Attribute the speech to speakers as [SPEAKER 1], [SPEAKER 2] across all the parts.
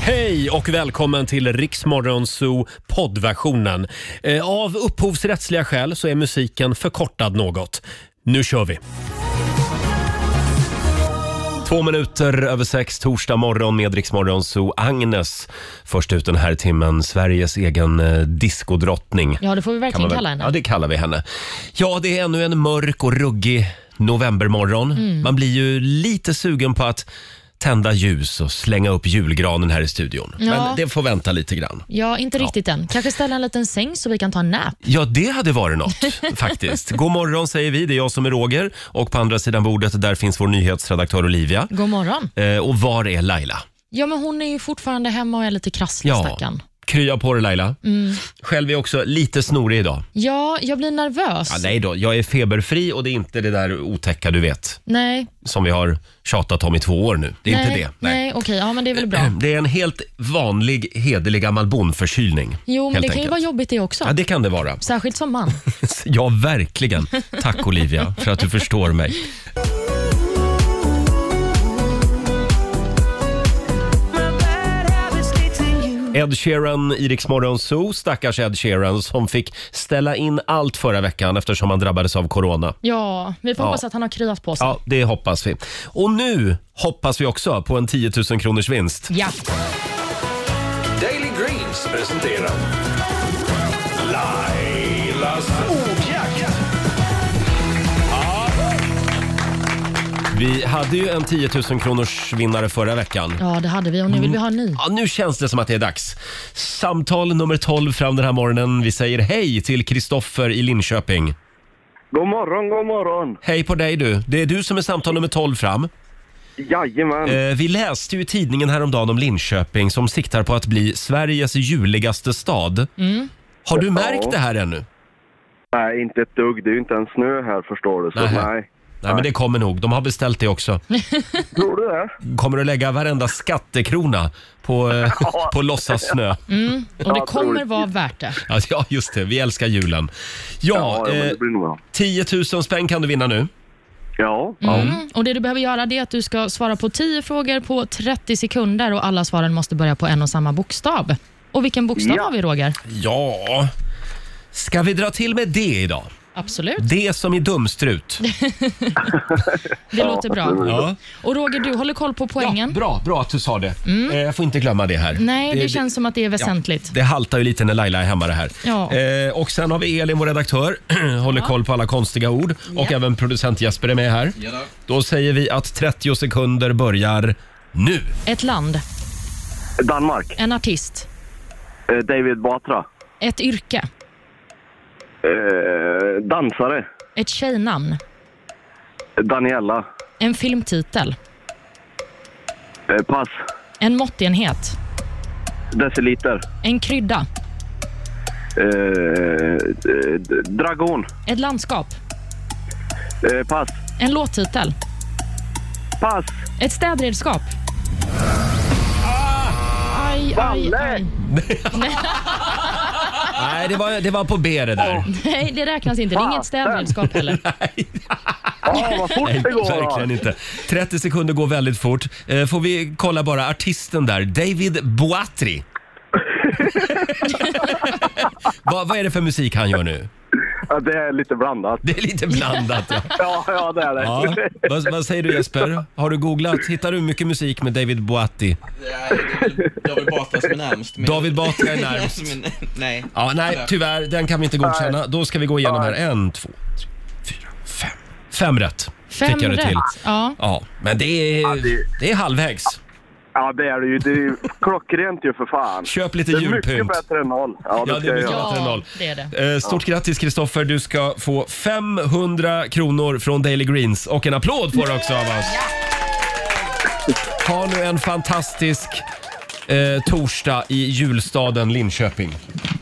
[SPEAKER 1] Hej och välkommen till Riksmorgon Zoo poddversionen. Eh, Av upphovsrättsliga skäl så är musiken förkortad något. Nu kör vi! Två minuter över sex torsdag morgon med Riksmorgon Zoo. Agnes först ut den här timmen, Sveriges egen eh, diskodrottning.
[SPEAKER 2] Ja, det får vi
[SPEAKER 1] Kan man
[SPEAKER 2] verkligen
[SPEAKER 1] väl-
[SPEAKER 2] kalla henne.
[SPEAKER 1] Ja, det kallar vi henne. Ja, det är ännu en mörk och ruggig novembermorgon.
[SPEAKER 2] Mm.
[SPEAKER 1] Man blir ju lite sugen på att tända ljus och slänga upp julgranen här i studion.
[SPEAKER 2] Ja.
[SPEAKER 1] Men det får vänta lite grann.
[SPEAKER 2] Ja, inte riktigt än. Kanske ställa en liten säng så vi kan ta en nap.
[SPEAKER 1] Ja, det hade varit något faktiskt. God morgon säger vi, det är jag som är Roger och på andra sidan bordet där finns vår nyhetsredaktör Olivia.
[SPEAKER 2] God morgon.
[SPEAKER 1] Eh, och var är Laila?
[SPEAKER 2] Ja, men hon är ju fortfarande hemma och är lite krasslig,
[SPEAKER 1] Ja.
[SPEAKER 2] stackarn. Mm.
[SPEAKER 1] Krya på dig Laila. Själv är jag också lite snorig idag.
[SPEAKER 2] Ja, jag blir nervös.
[SPEAKER 1] Ja,
[SPEAKER 2] nej.
[SPEAKER 1] nej då, jag är feberfri och det är inte det där otäcka du vet.
[SPEAKER 2] Nej,
[SPEAKER 1] som vi har tjatat om i två år nu. Det är inte det.
[SPEAKER 2] Nej, okej. Ja, men det är väl bra.
[SPEAKER 1] Det är en helt vanlig hederlig gammal bonförkylning.
[SPEAKER 2] Jo, men
[SPEAKER 1] helt
[SPEAKER 2] det kan ju
[SPEAKER 1] enkelt.
[SPEAKER 2] vara jobbigt det också.
[SPEAKER 1] Ja, det kan det vara.
[SPEAKER 2] Särskilt som man.
[SPEAKER 1] Ja, verkligen. Tack Olivia för att du förstår mig. Ed Sheeran i Rix Morgon Zoo, stackars Ed Sheeran som fick ställa in allt förra veckan eftersom han drabbades av corona.
[SPEAKER 2] Ja, vi får
[SPEAKER 1] Ja.
[SPEAKER 2] hoppas att han har kryat på sig.
[SPEAKER 1] Ja, det hoppas vi. Och nu hoppas vi också på en 10 000 kronors vinst.
[SPEAKER 2] Ja.
[SPEAKER 3] Daily Greens presenterar Lailas ordjakt.
[SPEAKER 1] Vi hade ju en 10 000 kronors vinnare förra veckan.
[SPEAKER 2] ja, det hade vi och nu vill vi ha en ny.
[SPEAKER 1] Ja, nu känns det som att det är dags. Samtal nummer 12 fram den här morgonen. Vi säger hej till Kristoffer i Linköping.
[SPEAKER 4] God morgon, god morgon.
[SPEAKER 1] Hej på dig du. Det är du som är samtal nummer 12 fram.
[SPEAKER 4] Jajamän.
[SPEAKER 1] Eh, vi läste ju i tidningen häromdagen om Linköping som siktar på att bli Sveriges juligaste stad. Har du märkt det här ännu?
[SPEAKER 4] Nej, inte ett dugg. Det är ju inte ens snö här förstår du. Så
[SPEAKER 1] Nähä.
[SPEAKER 4] nej.
[SPEAKER 1] Nej, men det kommer nog. De har beställt det också.
[SPEAKER 4] Tror du det?
[SPEAKER 1] Kommer att lägga varenda skattekrona på, eh,
[SPEAKER 4] Ja.
[SPEAKER 1] på låtsas snö.
[SPEAKER 2] Och det
[SPEAKER 4] Ja,
[SPEAKER 2] kommer
[SPEAKER 4] troligtvis.
[SPEAKER 2] vara värt det.
[SPEAKER 1] Ja, Ja, just det. Vi älskar julen. Ja,
[SPEAKER 4] ja, men
[SPEAKER 1] eh,
[SPEAKER 4] det blir nog bra.
[SPEAKER 1] 10 000 spänn kan du vinna nu.
[SPEAKER 4] Ja.
[SPEAKER 2] Mm. Och Det du behöver göra det är att du ska svara på 10 frågor på 30 sekunder och alla svaren måste börja på en och samma bokstav. Och vilken bokstav
[SPEAKER 4] Ja.
[SPEAKER 2] har vi, Roger?
[SPEAKER 1] Ja... Ska vi dra till med det idag?
[SPEAKER 2] Absolut.
[SPEAKER 1] Det som är dumstrut.
[SPEAKER 2] Det låter bra.
[SPEAKER 1] Ja.
[SPEAKER 2] Och Roger, du håller koll på poängen? Mm.
[SPEAKER 1] bra, bra att du sa det. Eh, Jag får inte glömma det här.
[SPEAKER 2] Nej, det, känns som att det är väsentligt.
[SPEAKER 1] Det haltar ju lite när Laila är hemma det här.
[SPEAKER 2] Ja.
[SPEAKER 1] Eh, och sen har vi Elin, vår redaktör, håller koll på alla konstiga ord. Och även producent Jesper är med här. Då säger vi att 30 sekunder börjar nu.
[SPEAKER 2] Ett land,
[SPEAKER 4] Danmark.
[SPEAKER 2] en artist,
[SPEAKER 4] Eh, David Batra.
[SPEAKER 2] ett yrke,
[SPEAKER 4] Eh, dansare.
[SPEAKER 2] ett tjejnamn,
[SPEAKER 4] Daniela.
[SPEAKER 2] en filmtitel,
[SPEAKER 4] Eh, pass.
[SPEAKER 2] en måttenhet,
[SPEAKER 4] Deciliter.
[SPEAKER 2] en krydda,
[SPEAKER 4] Eh, eh, d- dragon.
[SPEAKER 2] ett landskap,
[SPEAKER 4] Eh, pass.
[SPEAKER 2] en låttitel,
[SPEAKER 4] Pass.
[SPEAKER 2] ett städredskap. Aj, aj,
[SPEAKER 4] Valle!
[SPEAKER 2] aj.
[SPEAKER 1] Nej, det var, det var på B det där.
[SPEAKER 2] Nej, det räknas inte. Det är inget städredskap heller. Ah.
[SPEAKER 4] Ja, vad fort det går.
[SPEAKER 1] Verkligen inte. 30 sekunder går väldigt fort. Eh, Får vi kolla bara artisten där, David Boatri. vad, vad är det för musik han gör nu?
[SPEAKER 4] Ja, det är lite blandat.
[SPEAKER 1] Det är lite blandat. Ja.
[SPEAKER 4] Ja, ja det är det.
[SPEAKER 1] Ja. Vad, vad säger du Jesper? Har du googlat? Hittar du mycket musik med David Boatti?
[SPEAKER 5] David Batra som är närmst. men-
[SPEAKER 1] David Batra är
[SPEAKER 5] Som
[SPEAKER 1] närmst.
[SPEAKER 5] är- Nej.
[SPEAKER 1] Ja, nej, tyvärr. Den kan vi inte godkänna. Då ska vi gå igenom här. En, två, tre, fyra, fem. Fem rätt
[SPEAKER 2] Fem
[SPEAKER 1] fick jag det till.
[SPEAKER 2] rätt. Ja.
[SPEAKER 1] Ja, men det är,
[SPEAKER 4] det-
[SPEAKER 1] det är halvvägs.
[SPEAKER 4] Ja, det är det ju. Det är ju klockrent ju för fan.
[SPEAKER 1] Köp lite
[SPEAKER 4] Det är mycket
[SPEAKER 1] julpynt.
[SPEAKER 4] bättre än noll. Ja, det,
[SPEAKER 1] Ja, det
[SPEAKER 4] ska jag
[SPEAKER 1] är mycket
[SPEAKER 4] göra.
[SPEAKER 1] bättre än
[SPEAKER 2] ja,
[SPEAKER 1] noll.
[SPEAKER 2] det är det.
[SPEAKER 1] Eh, Stort grattis Kristoffer, du ska få 500 kronor från Daily Greens och en applåd får du också av oss. Ha nu en fantastisk eh, torsdag i julstaden Linköping.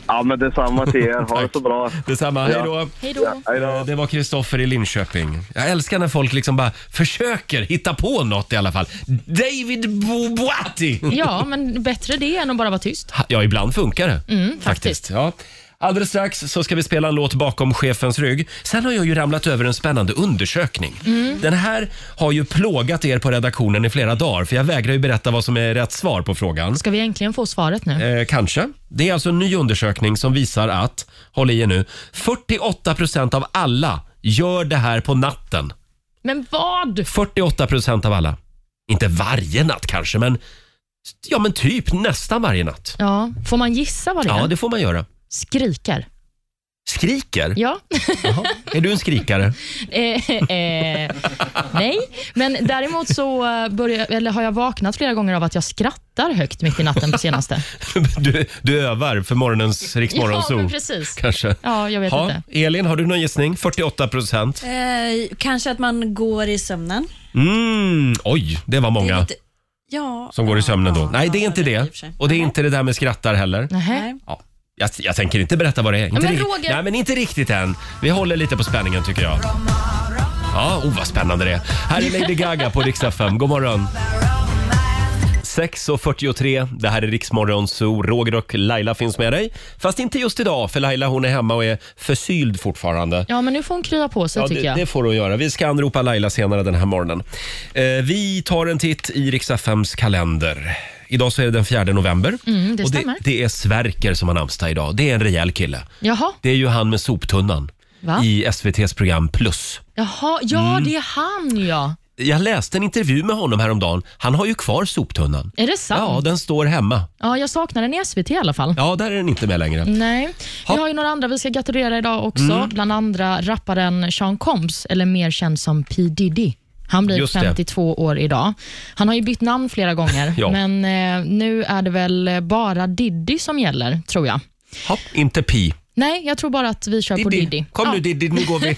[SPEAKER 4] Ja, men detsamma till er. Ha det så bra.
[SPEAKER 1] Detsamma, hej då.
[SPEAKER 2] Hej då.
[SPEAKER 4] Hej då.
[SPEAKER 1] Eh, Det var Kristoffer i Linköping. Jag älskar när folk liksom bara försöker hitta på något i alla fall. David Bo- Boatti!
[SPEAKER 2] Ja, men bättre det än att bara vara tyst.
[SPEAKER 1] Ja, ibland funkar det.
[SPEAKER 2] faktiskt.
[SPEAKER 1] Ja. Alldeles strax så ska vi spela en låt bakom chefens rygg. Sen har jag ju ramlat över en spännande undersökning. Den här har ju plågat er på redaktionen i flera dagar för jag vägrar ju berätta vad som är rätt svar på frågan.
[SPEAKER 2] Ska vi äntligen få svaret nu?
[SPEAKER 1] Eh, kanske. Det är alltså en ny undersökning som visar att, håll i er nu, 48 procent av alla gör det här på natten.
[SPEAKER 2] Men vad?
[SPEAKER 1] 48 procent av alla. Inte varje natt kanske, men ja, men typ nästan varje natt.
[SPEAKER 2] Ja, får man gissa vad det är?
[SPEAKER 1] Ja, det får man göra.
[SPEAKER 2] Skrikar.
[SPEAKER 1] Skriker?
[SPEAKER 2] Ja.
[SPEAKER 1] Jaha. Är du en skrikare?
[SPEAKER 2] Eh, eh, nej, men däremot så eh, börjar, eller har jag vaknat flera gånger av att jag skrattar högt mitt i natten på senaste.
[SPEAKER 1] Du, du övar för morgonens
[SPEAKER 2] ja, men
[SPEAKER 1] Riksmorgonzoo,
[SPEAKER 2] precis.
[SPEAKER 1] kanske?
[SPEAKER 2] Ja, jag vet
[SPEAKER 1] Ha,
[SPEAKER 2] inte.
[SPEAKER 1] Elin, har du någon gissning? 48 procent.
[SPEAKER 6] Eh, kanske att man går i sömnen.
[SPEAKER 1] Mm, oj, det var
[SPEAKER 6] Det är
[SPEAKER 1] många.
[SPEAKER 6] lite- Ja.
[SPEAKER 1] Som går i sömnen då?
[SPEAKER 6] Ja,
[SPEAKER 1] Nej, det är inte
[SPEAKER 6] i
[SPEAKER 1] det.
[SPEAKER 6] och för sig.
[SPEAKER 1] Och det är inte det där med skrattar heller.
[SPEAKER 2] Nähä.
[SPEAKER 6] Nej.
[SPEAKER 1] Ja, jag, jag tänker inte berätta vad det är. Inte
[SPEAKER 2] men
[SPEAKER 1] riktigt-
[SPEAKER 2] Roger-
[SPEAKER 1] Nej, men inte riktigt än. Vi håller lite på spänningen tycker jag. Ja, oh, vad spännande det är. Här är Lady Gaga på Rix FM. God morgon. 6.43, det här är Riksmorgon Zoo. Roger och Laila finns med dig. Fast inte just idag, för Laila hon är hemma och är förkyld fortfarande.
[SPEAKER 2] Ja, men nu får hon krya på sig tycker
[SPEAKER 1] det,
[SPEAKER 2] jag.
[SPEAKER 1] det får hon göra. Vi ska anropa Laila senare den här morgonen. Eh, vi tar en titt i Riks-FMs kalender. Idag så är det den 4 november.
[SPEAKER 2] Mm, det
[SPEAKER 1] och det,
[SPEAKER 2] stämmer.
[SPEAKER 1] det är Sverker som har namnsdag idag. Det är en rejäl kille.
[SPEAKER 2] Jaha,
[SPEAKER 1] Det är ju han med soptunnan
[SPEAKER 2] Va?
[SPEAKER 1] i Mm. SVTs program Plus.
[SPEAKER 2] Jaha. ja det är han ja.
[SPEAKER 1] Jag läste en intervju med honom häromdagen. Han har ju kvar soptunnan.
[SPEAKER 2] Är det
[SPEAKER 1] Ja,
[SPEAKER 2] sant? Ja,
[SPEAKER 1] den står hemma.
[SPEAKER 2] jag saknar den i SVT i alla fall.
[SPEAKER 1] Ja, där är den inte med längre.
[SPEAKER 2] Nej.
[SPEAKER 1] Ha. Mm.
[SPEAKER 2] Vi har ju några andra vi ska gratulera idag också. Bland andra rapparen Sean Combs, eller mer känd som P Diddy. Han blir
[SPEAKER 1] Just det.
[SPEAKER 2] 52 år idag. Han har ju bytt namn flera gånger,
[SPEAKER 1] Ja.
[SPEAKER 2] men eh, nu är det väl bara Diddy som gäller, tror jag.
[SPEAKER 1] Hopp, inte Pi.
[SPEAKER 2] Nej, jag tror bara att vi kör på Diddy.
[SPEAKER 1] Kom
[SPEAKER 2] Ja.
[SPEAKER 1] nu Diddy, nu går vi.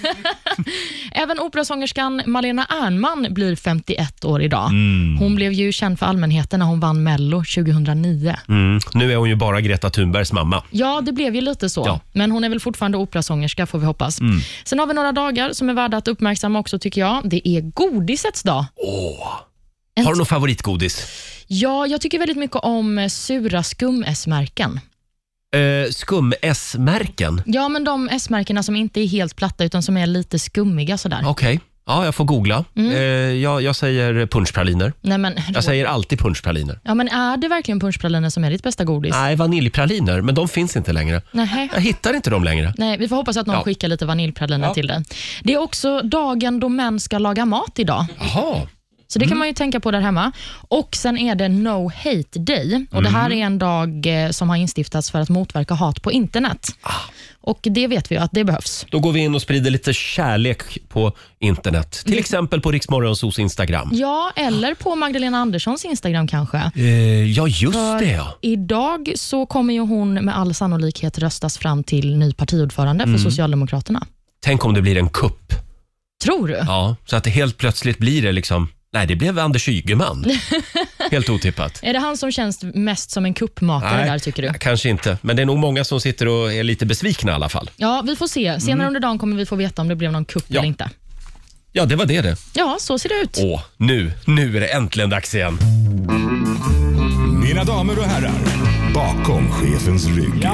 [SPEAKER 2] Även operasångerskan Malena Ernman blir 51 år idag.
[SPEAKER 1] Mm.
[SPEAKER 2] Hon blev ju känd för allmänheten när hon vann Mello 2009.
[SPEAKER 1] Mm, nu är hon ju bara Greta Thunbergs mamma.
[SPEAKER 2] Ja, det blev ju lite så.
[SPEAKER 1] Ja. Mm.
[SPEAKER 2] Men hon är väl fortfarande operasångerska, får vi hoppas. Sen har vi några dagar som är värda att uppmärksamma också, tycker jag. Det är godisets dag.
[SPEAKER 1] Har du någon favoritgodis?
[SPEAKER 2] Ja, jag tycker väldigt mycket om eh, sura skum-S-märken.
[SPEAKER 1] Eh, Skum-S-märken?
[SPEAKER 2] Ja, men de S-märkena som inte är helt platta, utan som är lite skummiga sådär.
[SPEAKER 1] Okej. Ja, jag får googla.
[SPEAKER 2] Mm.
[SPEAKER 1] Eh, jag, jag säger punschpraliner.
[SPEAKER 2] Nej, men,
[SPEAKER 1] Jag säger alltid punschpraliner.
[SPEAKER 2] ja, men är det verkligen punschpraliner som är ditt bästa godis?
[SPEAKER 1] Nej, vaniljpraliner, men de finns inte längre.
[SPEAKER 2] Nej.
[SPEAKER 1] Jag hittar inte dem längre.
[SPEAKER 2] Nej, vi får hoppas att någon
[SPEAKER 1] Ja.
[SPEAKER 2] skickar lite vaniljpraliner
[SPEAKER 1] Ja.
[SPEAKER 2] till dig. Det är också dagen då män ska laga mat idag.
[SPEAKER 1] Jaha.
[SPEAKER 2] Så
[SPEAKER 1] Mm.
[SPEAKER 2] det kan man ju tänka på där hemma. Och Sen är det No Hate Day. Och Det här
[SPEAKER 1] Mm.
[SPEAKER 2] är en dag eh, som har instiftats för att motverka hat på internet.
[SPEAKER 1] Ah.
[SPEAKER 2] Och Det vet vi ju att det behövs.
[SPEAKER 1] Då går vi in och sprider lite kärlek på internet. Till exempel på Riksmorgonsos Instagram.
[SPEAKER 2] Ja, eller på Magdalena Anderssons Instagram kanske.
[SPEAKER 1] Eh, ja, just det ja.
[SPEAKER 2] Idag så kommer ju hon med all sannolikhet röstas fram till ny partiordförande för
[SPEAKER 1] Mm.
[SPEAKER 2] Socialdemokraterna.
[SPEAKER 1] Tänk om det blir en kupp.
[SPEAKER 2] Tror du?
[SPEAKER 1] Ja, så att det helt plötsligt blir det liksom... Nej, det blev Anders Ygeman. Helt otippat.
[SPEAKER 2] Är det han som känns mest som en kuppmakare där, tycker du?
[SPEAKER 1] kanske inte. Men det är nog många som sitter och är lite besvikna i alla fall.
[SPEAKER 2] Ja, vi får se. Senare under dagen kommer vi få veta om det blev någon kupp
[SPEAKER 1] Mm. Ja.
[SPEAKER 2] eller inte.
[SPEAKER 1] Ja, det var det det.
[SPEAKER 2] Ja, så ser det ut.
[SPEAKER 1] Åh, nu, nu är det äntligen dags igen.
[SPEAKER 7] Mina damer och herrar, bakom chefens rygg.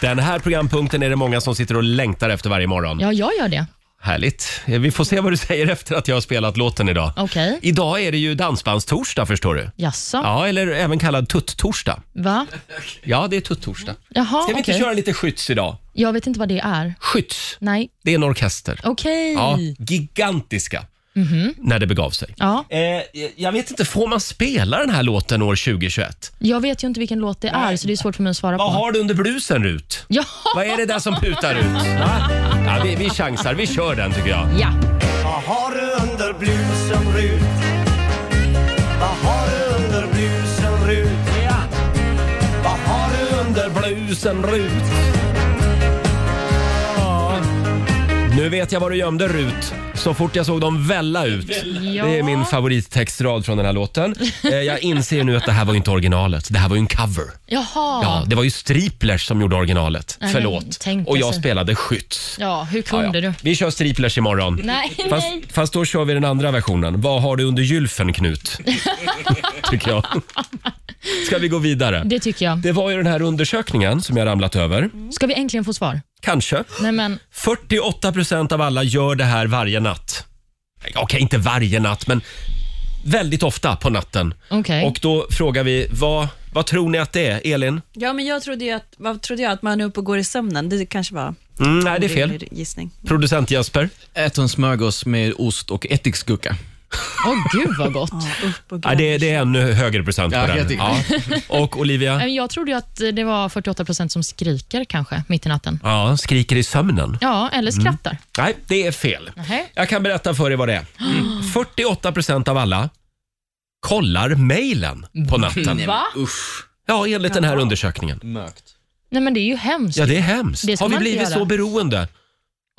[SPEAKER 1] Den här programpunkten är det många som sitter och längtar efter varje morgon.
[SPEAKER 2] Ja, jag gör det.
[SPEAKER 1] Härligt. Eh, Vi får se vad du säger efter att jag har spelat låten idag.
[SPEAKER 2] Okej.
[SPEAKER 1] Idag är det ju dansbandstorsdag förstår du.
[SPEAKER 2] Jaså?
[SPEAKER 1] Ja, eller även kallad tutt-torsdag.
[SPEAKER 2] Va?
[SPEAKER 1] Ja, det är tutt-torsdag.
[SPEAKER 2] Jaha,
[SPEAKER 1] Ska vi inte
[SPEAKER 2] okej.
[SPEAKER 1] köra lite skytts idag?
[SPEAKER 2] Jag vet inte vad det är.
[SPEAKER 1] Skytts,
[SPEAKER 2] Nej.
[SPEAKER 1] det är en orkester.
[SPEAKER 2] Okej.
[SPEAKER 1] Ja, gigantiska.
[SPEAKER 2] Mhm.
[SPEAKER 1] När det begav sig.
[SPEAKER 2] Ja.
[SPEAKER 1] Eh, jag vet inte, får man spela den här låten år 2021?
[SPEAKER 2] Jag vet ju inte vilken låt det är, så det är svårt för mig att svara
[SPEAKER 1] Vad
[SPEAKER 2] på.
[SPEAKER 1] har du under blusen, Rut?
[SPEAKER 2] Ja.
[SPEAKER 1] Vad är det där som putar ut? Va? Ja, vi, vi chansar. Vi kör den, tycker jag.
[SPEAKER 2] Ja.
[SPEAKER 8] Vad har du under blusen Rut? Vad har du under blusen Rut? Vad har du
[SPEAKER 1] Under blusen, Rut. Ja. Nu vet jag var du gömde Rut, så fort jag såg dem välla ut. Det är min favorittextrad från den här låten. Eh, Jag inser nu att det här var ju inte originalet, det här var ju en cover.
[SPEAKER 2] Jaha.
[SPEAKER 1] Ja, det var ju Striplers som gjorde originalet.
[SPEAKER 2] Nej, men
[SPEAKER 1] Förlåt.
[SPEAKER 2] tänk
[SPEAKER 1] Och jag
[SPEAKER 2] alltså.
[SPEAKER 1] spelade skytts.
[SPEAKER 2] Ja, hur kunde
[SPEAKER 1] Ja, ja.
[SPEAKER 2] du?
[SPEAKER 1] Vi kör Striplers imorgon.
[SPEAKER 2] Nej,
[SPEAKER 1] Fast,
[SPEAKER 2] nej.
[SPEAKER 1] fast då kör vi den andra versionen. Vad har du under gylfen, Knut? Tycker jag. Ska vi gå vidare?
[SPEAKER 2] Det tycker jag.
[SPEAKER 1] Det var ju den här undersökningen som jag ramlat över.
[SPEAKER 2] Ska vi äntligen få svar?
[SPEAKER 1] Kanske.
[SPEAKER 2] Nej, men
[SPEAKER 1] 48 procent av alla gör det här varje natt. Okej, inte varje natt, men väldigt ofta på natten.
[SPEAKER 2] okej.
[SPEAKER 1] Och då frågar vi, vad, vad tror ni att det är? Elin?
[SPEAKER 6] Ja, men jag trodde ju att, vad trodde jag, att man är uppe och går i sömnen. Det kanske var
[SPEAKER 1] Mm, nej, det är fel.
[SPEAKER 6] orimlig gissning.
[SPEAKER 1] Producent Jesper?
[SPEAKER 5] Ät en smörgås med ost och ättiksgurka.
[SPEAKER 2] Åh gud vad gott.
[SPEAKER 6] Ja, upp och
[SPEAKER 1] Ja, det, det är ännu högre procent på
[SPEAKER 5] Ja, jag
[SPEAKER 1] den.
[SPEAKER 5] tycker
[SPEAKER 1] Ja. Och
[SPEAKER 2] Nej,
[SPEAKER 1] Olivia?
[SPEAKER 2] men Jag trodde ju att det var 48 procent som skriker kanske, mitt i natten.
[SPEAKER 1] Ja, skriker i sömnen.
[SPEAKER 2] Ja, eller
[SPEAKER 1] Mm.
[SPEAKER 2] skrattar.
[SPEAKER 1] Nej, det är fel.
[SPEAKER 2] Nähä.
[SPEAKER 1] Jag kan berätta för er vad det är. 48 procent av alla kollar mejlen på natten.
[SPEAKER 2] Mm. Va?
[SPEAKER 5] Usch,
[SPEAKER 1] Ja, enligt den här undersökningen.
[SPEAKER 5] mörkt.
[SPEAKER 2] Nej, men det är ju hemskt.
[SPEAKER 1] Ja, det är hemskt.
[SPEAKER 2] Det ska
[SPEAKER 1] Har vi
[SPEAKER 2] man inte
[SPEAKER 1] blivit
[SPEAKER 2] göra.
[SPEAKER 1] så beroende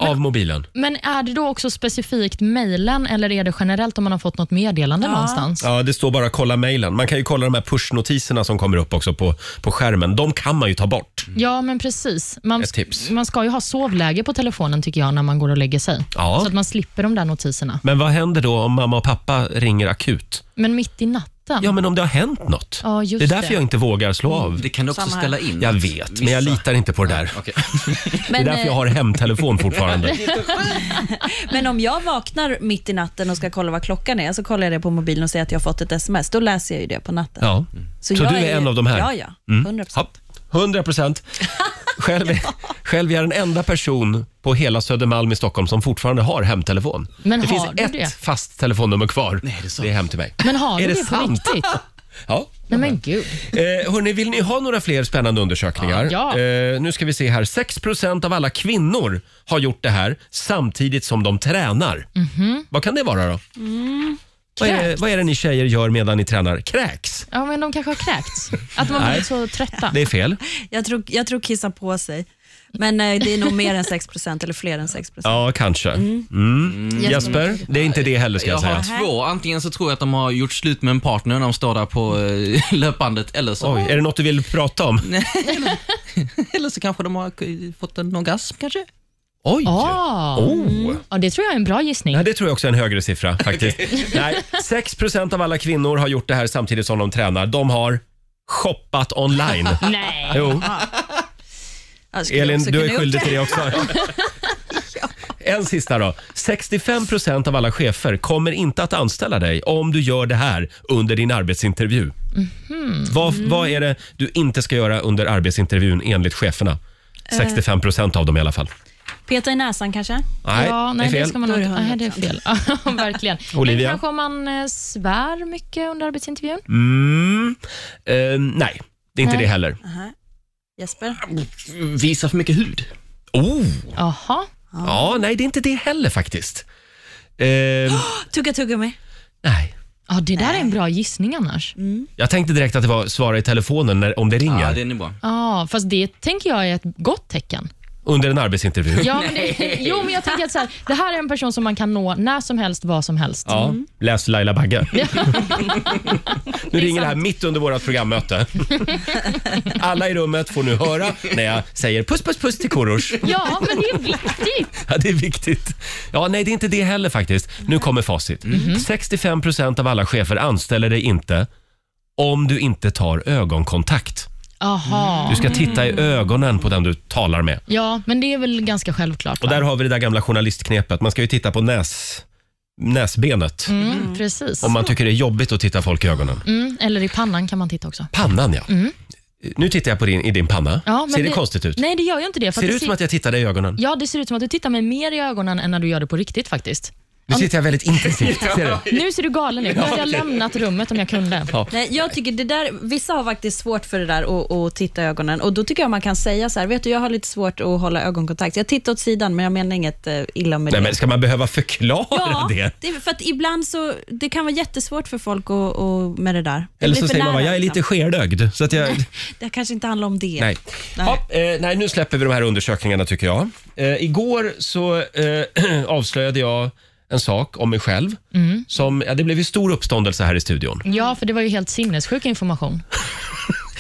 [SPEAKER 1] av mobilen?
[SPEAKER 2] Men är det då också specifikt mejlen eller är det generellt om man har fått något meddelande någonstans?
[SPEAKER 1] Ja, det står bara kolla mejlen. Man kan ju kolla de här pushnotiserna som kommer upp också på, på skärmen. De kan man ju ta bort.
[SPEAKER 2] Ja, men precis. Man,
[SPEAKER 1] Ett tips.
[SPEAKER 2] man ska ju ha sovläge på telefonen tycker jag när man går och lägger sig.
[SPEAKER 1] Ja.
[SPEAKER 2] Så att man slipper de där notiserna.
[SPEAKER 1] Men vad händer då om mamma och pappa ringer akut?
[SPEAKER 2] Men mitt i natten?
[SPEAKER 1] Ja, men om det har hänt något.
[SPEAKER 2] Ja, just
[SPEAKER 1] det är därför
[SPEAKER 2] det. Mm.
[SPEAKER 1] jag inte vågar slå av.
[SPEAKER 5] Det kan du också
[SPEAKER 6] Samma här.
[SPEAKER 5] ställa in.
[SPEAKER 1] Jag vet, men jag
[SPEAKER 5] Vissa-
[SPEAKER 1] litar inte på det där.
[SPEAKER 5] Okej.
[SPEAKER 1] Det är
[SPEAKER 6] Men,
[SPEAKER 1] därför jag
[SPEAKER 6] eh,
[SPEAKER 1] har hemtelefon fortfarande.
[SPEAKER 6] men om jag vaknar mitt i natten och ska kolla vad klockan är, så kollar jag det på mobilen och ser att jag har fått ett sms. Då läser jag ju det på natten.
[SPEAKER 1] Ja.
[SPEAKER 2] Mm.
[SPEAKER 1] Så
[SPEAKER 6] jag
[SPEAKER 1] du är en av de här? Mm.
[SPEAKER 6] Ja, ja. 100
[SPEAKER 1] Hopp. 100 procent. Själv, är- själv är jag den enda person på hela Södermalm i Stockholm som fortfarande har hemtelefon.
[SPEAKER 2] Men
[SPEAKER 1] det
[SPEAKER 2] har
[SPEAKER 1] finns
[SPEAKER 2] du
[SPEAKER 1] ett
[SPEAKER 2] det?
[SPEAKER 1] fast telefonnummer kvar.
[SPEAKER 5] Nej, det är sant.
[SPEAKER 1] det är hem till mig.
[SPEAKER 2] Men har
[SPEAKER 1] Är
[SPEAKER 2] du
[SPEAKER 1] det
[SPEAKER 2] det, på
[SPEAKER 1] sant?
[SPEAKER 2] riktigt?
[SPEAKER 1] Ja.
[SPEAKER 2] Nej, men gud.
[SPEAKER 1] Eh, hörni, vill ni ha några fler spännande undersökningar?
[SPEAKER 2] Ja.
[SPEAKER 1] Eh, nu ska vi se här. 6 av alla kvinnor har gjort det här samtidigt som de tränar. Vad kan det vara då? Vad, är,
[SPEAKER 2] Mhm. Mm. kräks.
[SPEAKER 1] vad är det ni tjejer gör medan ni tränar? Kräks?
[SPEAKER 2] Ja, men de kanske har kräkts. Att man
[SPEAKER 1] Nej.
[SPEAKER 2] blir så trötta.
[SPEAKER 1] Det är fel.
[SPEAKER 6] Jag tror, jag tror kissa på sig. Men eh, det är nog mer än 6% eller fler än 6%.
[SPEAKER 1] Ja, kanske. Mm. Jesper, det är inte det heller ska
[SPEAKER 5] Jag
[SPEAKER 1] jag säga.
[SPEAKER 5] har två. Antingen så tror jag att de har gjort slut med en partner när de står där på eh, löpbandet eller så,
[SPEAKER 1] Oj, är det något du vill prata om?
[SPEAKER 5] eller så kanske de har eh, fått en orgasm kanske.
[SPEAKER 1] Oj!
[SPEAKER 2] Ah.
[SPEAKER 1] Oh.
[SPEAKER 2] Ja, det tror jag är en bra gissning.
[SPEAKER 1] Nej, det tror jag också är en högre siffra faktiskt. Nej, 6 av alla kvinnor har gjort det här samtidigt som de tränar. De har shoppat online.
[SPEAKER 2] Nej.
[SPEAKER 1] Jo,
[SPEAKER 6] Ja, det skulle jag
[SPEAKER 1] Elin,
[SPEAKER 6] också
[SPEAKER 1] du är
[SPEAKER 6] kunna
[SPEAKER 1] skyldig
[SPEAKER 6] gjort.
[SPEAKER 1] till det också. En sista då. 65 procent av alla chefer kommer inte att anställa dig om du gör det här under din arbetsintervju.
[SPEAKER 2] Mhm.
[SPEAKER 1] Vad, vad är det du inte ska göra under arbetsintervjun enligt cheferna?
[SPEAKER 2] Eh.
[SPEAKER 1] 65 procent av dem i alla fall.
[SPEAKER 6] Peta i näsan kanske?
[SPEAKER 1] Nej,
[SPEAKER 2] ja, nej,
[SPEAKER 1] det är fel.
[SPEAKER 2] ska man
[SPEAKER 6] Då är
[SPEAKER 2] inte.
[SPEAKER 6] det
[SPEAKER 2] Nej, det är fel. Ja, Verkligen. Men
[SPEAKER 1] Olivia?
[SPEAKER 2] kanske om man eh, svär mycket under arbetsintervjun?
[SPEAKER 1] Mm, eh, nej, det är inte
[SPEAKER 2] Nej.
[SPEAKER 1] det heller.
[SPEAKER 6] Jesper?
[SPEAKER 5] Visa för mycket hud.
[SPEAKER 1] Oh,
[SPEAKER 2] Jaha.
[SPEAKER 1] ja, nej, det är inte det heller faktiskt. Eh,
[SPEAKER 6] Tugga tuggummi?
[SPEAKER 1] nej.
[SPEAKER 2] Ja, det där är en bra gissning annars. Ja,
[SPEAKER 1] Jag tänkte direkt att det var svara i telefonen när, om det ringer
[SPEAKER 5] Ja, den är bra.
[SPEAKER 2] fast det tänker jag är ett gott tecken.
[SPEAKER 1] under en arbetsintervju.
[SPEAKER 2] Ja, men det, jo, men jag tänker att så här, det här är en person som man kan nå när som helst, vad som helst.
[SPEAKER 1] Ja, läs Laila Bagge. nu ringer det här mitt under vårt programmöte. Alla i rummet får nu höra när jag säger puss, puss, puss till Korosh.
[SPEAKER 2] Ja, men det är viktigt.
[SPEAKER 1] Ja, det är viktigt. Ja, nej, det är inte det heller faktiskt. Nu kommer facit. 65 procent av alla chefer anställer dig inte om du inte tar ögonkontakt.
[SPEAKER 2] Jaha.
[SPEAKER 1] Du ska titta i ögonen på den du talar med.
[SPEAKER 2] Ja, men det är väl ganska självklart.
[SPEAKER 1] Och där
[SPEAKER 2] va?
[SPEAKER 1] har vi det där gamla journalistknepet. Man ska ju titta på näs, näsbenet
[SPEAKER 2] Mm, precis.
[SPEAKER 1] om man tycker det är jobbigt att titta folk i ögonen.
[SPEAKER 2] Mm, eller i pannan kan man titta också.
[SPEAKER 1] Pannan ja. Nu tittar jag på din, i din panna.
[SPEAKER 2] Mm. Ja, men
[SPEAKER 1] ser det, konstigt ut?
[SPEAKER 2] Nej, det gör ju inte det. För
[SPEAKER 1] ser
[SPEAKER 2] att
[SPEAKER 1] det ut som att jag tittar dig i ögonen?
[SPEAKER 2] Ja, det ser ut som att du tittar mig mer i ögonen än när du gör det på riktigt faktiskt.
[SPEAKER 1] Nu tittar jag väldigt intensivt. Ser du?
[SPEAKER 2] Nu ser du galen ut. Nu hade jag lämnat rummet om jag kunde.
[SPEAKER 1] Ja.
[SPEAKER 6] Nej, jag tycker det där, vissa har faktiskt svårt för det där att- att titta i ögonen och då tycker jag man kan säga så här, vet du jag har lite svårt att hålla ögonkontakt. Jag tittar åt sidan men jag menar inget eh, illa med
[SPEAKER 1] Nej,
[SPEAKER 6] det.
[SPEAKER 1] men ska man behöva förklara
[SPEAKER 6] ja,
[SPEAKER 1] det?
[SPEAKER 6] det är för att ibland så, det kan vara jättesvårt för folk att, att, med det där. Det
[SPEAKER 1] Eller
[SPEAKER 6] blir för
[SPEAKER 1] så säger man
[SPEAKER 6] nära,
[SPEAKER 1] bara, jag är lite
[SPEAKER 6] liksom.
[SPEAKER 1] skelögd. Så att jag,
[SPEAKER 6] Det kanske inte handlar om det.
[SPEAKER 1] nej. Ja, eh, nej, nu släpper vi de här undersökningarna tycker jag. Eh, igår så eh, avslöjade jag en sak om mig själv.
[SPEAKER 2] Mm.
[SPEAKER 1] Som, ja, det blev ju stor uppståndelse här i studion.
[SPEAKER 2] Ja, för det var ju helt sinnessjuk information.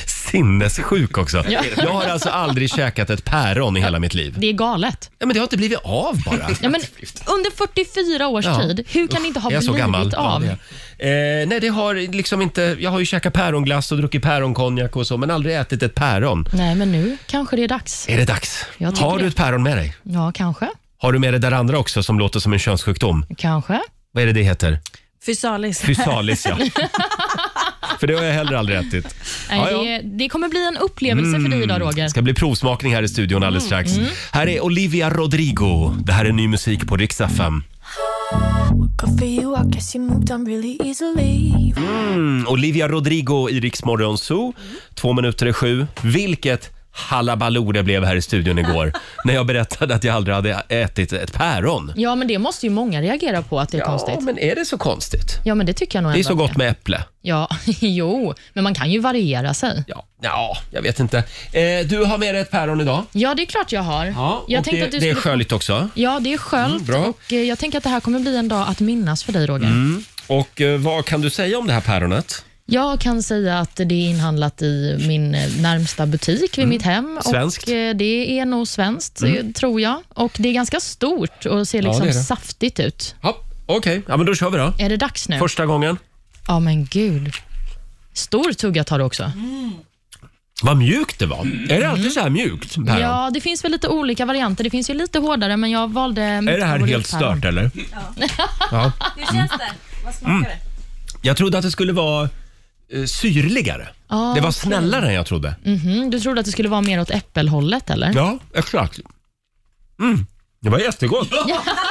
[SPEAKER 1] sinnessjuk också.
[SPEAKER 2] Ja.
[SPEAKER 1] Jag har alltså aldrig käkat ett päron i hela mitt liv.
[SPEAKER 2] Det är galet.
[SPEAKER 1] Ja, men det har inte blivit av bara.
[SPEAKER 2] Ja, men under 44 års
[SPEAKER 1] Ja.
[SPEAKER 2] tid, hur kan det inte ha
[SPEAKER 1] Är jag
[SPEAKER 2] blivit
[SPEAKER 1] så gammal?
[SPEAKER 2] av?
[SPEAKER 1] Ja, det är jag. eh, nej, det har liksom inte... Jag har ju käkat päronglass och druckit päronkonjak och så, men aldrig ätit ett päron.
[SPEAKER 2] Nej, men nu kanske det är dags.
[SPEAKER 1] Är det dags?
[SPEAKER 2] Jag tycker
[SPEAKER 1] Har du
[SPEAKER 2] det.
[SPEAKER 1] ett päron med dig?
[SPEAKER 2] Ja, kanske.
[SPEAKER 1] Har du med det där andra också som låter som en könssjukdom?
[SPEAKER 2] Kanske.
[SPEAKER 1] Vad är det det heter?
[SPEAKER 6] Fysalis.
[SPEAKER 1] Fysalis, ja. För det har jag heller aldrig ätit.
[SPEAKER 2] Nej,
[SPEAKER 1] Ja, ja.
[SPEAKER 2] Det, det kommer bli en upplevelse för dig idag, Roger.
[SPEAKER 1] Det ska bli provsmakning här i studion alldeles
[SPEAKER 2] Mm.
[SPEAKER 1] strax. Här är Olivia Rodrigo. Det här är ny musik på Rix FM. Mm, Olivia Rodrigo i Rix Morgon Zoo. Två minuter i sju. Vilket halabaloo det blev här i studion igår när jag berättade att jag aldrig hade ätit ett päron.
[SPEAKER 2] Ja, men det måste ju många reagera på att det är
[SPEAKER 1] Ja,
[SPEAKER 2] konstigt.
[SPEAKER 1] men är det så konstigt?
[SPEAKER 2] Ja, men det tycker jag nog
[SPEAKER 1] Det är
[SPEAKER 2] ändå
[SPEAKER 1] så
[SPEAKER 2] att
[SPEAKER 1] gott med äpple.
[SPEAKER 2] Ja, jo, men man kan ju variera sig.
[SPEAKER 1] Ja, ja jag vet inte. Eh, du har med dig ett päron idag.
[SPEAKER 2] Ja, det är klart jag har. jag
[SPEAKER 1] och det, det är sköljt också.
[SPEAKER 2] Ja, det är skönt
[SPEAKER 1] bra.
[SPEAKER 2] och eh, jag tänker att det här kommer bli en dag att minnas för dig, Roger.
[SPEAKER 1] Och eh, vad kan du säga om det här päronet?
[SPEAKER 2] Jag kan säga att det är inhandlat i min eh, närmsta butik vid mitt hem.
[SPEAKER 1] Mm. Svenskt. Mm.
[SPEAKER 2] Och eh, det är nog svenskt, eh, tror jag. Och Det är ganska stort och ser liksom
[SPEAKER 1] det är det.
[SPEAKER 2] saftigt ut.
[SPEAKER 1] Ja, Okej, ja, men då kör vi då.
[SPEAKER 2] Är det dags nu?
[SPEAKER 1] Första gången.
[SPEAKER 2] Ja, men gud. Stor tugga tar du också.
[SPEAKER 1] Mm. Vad mjukt det var. Är det alltid så här mjukt päron?
[SPEAKER 2] Ja, det finns väl lite olika varianter. Det finns ju lite hårdare, men jag valde
[SPEAKER 1] Är det här helt stört eller?
[SPEAKER 6] Hur känns det? Vad
[SPEAKER 2] Mm.
[SPEAKER 6] smakar det?
[SPEAKER 1] Jag trodde att det skulle vara eh, syrligare.
[SPEAKER 2] Ah,
[SPEAKER 1] det var snällare än jag trodde.
[SPEAKER 2] Mhm, du trodde att det skulle vara mer åt äppelhållet, eller?
[SPEAKER 1] Ja, exakt. Mm. Det var jättegott.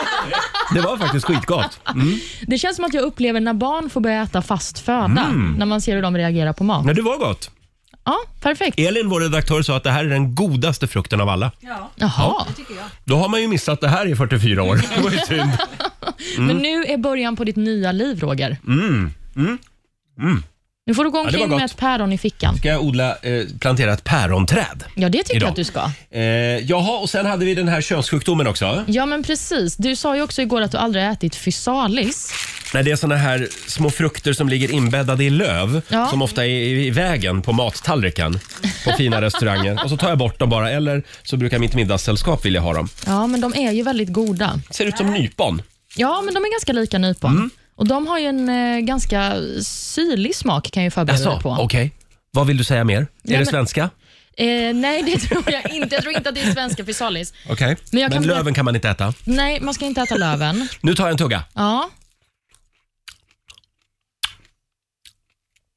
[SPEAKER 1] det var faktiskt skitgott.
[SPEAKER 2] Det känns som att jag upplever när barn får börja äta fast föda, när man ser hur de reagerar på mat.
[SPEAKER 1] Mm. Nej, det var gott.
[SPEAKER 2] Ja, perfekt.
[SPEAKER 1] Elin, vår redaktör, sa att det här är den godaste frukten av alla.
[SPEAKER 6] Ja,
[SPEAKER 2] Jaha,
[SPEAKER 6] tycker jag.
[SPEAKER 1] Då har man ju missat det här i 44 år. Det var ju synd. Mm.
[SPEAKER 2] men nu är början på ditt nya liv, Roger. Nu får du gå
[SPEAKER 1] Mm. det var
[SPEAKER 2] omkring med
[SPEAKER 1] gott.
[SPEAKER 2] ett päron i fickan.
[SPEAKER 1] Ska jag odla, eh, plantera ett päronträd?
[SPEAKER 2] Ja, det tycker
[SPEAKER 1] Idag.
[SPEAKER 2] jag att du ska.
[SPEAKER 1] Eh, jaha, och sen hade vi den här könssjukdomen också.
[SPEAKER 2] Ja, men precis. Du sa ju också igår att du aldrig har ätit fysalis.
[SPEAKER 1] Nej, det är såna här små frukter som ligger inbäddade i löv
[SPEAKER 2] Ja.
[SPEAKER 1] som ofta är i, i vägen på mattallriken på fina restauranger. Och så tar jag bort dem bara, eller så brukar mitt middagssällskap vilja ha dem.
[SPEAKER 2] Ja, men de är ju väldigt goda.
[SPEAKER 1] Ser ut som nypon.
[SPEAKER 2] Ja, men de är ganska lika nypon. Och de har ju en eh, ganska syrlig smak kan jag ju förbereda dig på.
[SPEAKER 1] okej. Vad vill du säga mer? är det
[SPEAKER 2] men-
[SPEAKER 1] svenska?
[SPEAKER 2] Eh, nej, det tror jag inte. Jag tror inte att det är svenska fysalis.
[SPEAKER 1] Okej.
[SPEAKER 2] Men jag
[SPEAKER 1] Men
[SPEAKER 2] kan-
[SPEAKER 1] löven kan man inte äta.
[SPEAKER 2] Nej, man ska inte äta löven.
[SPEAKER 1] Nu tar jag en tugga.
[SPEAKER 2] Ja.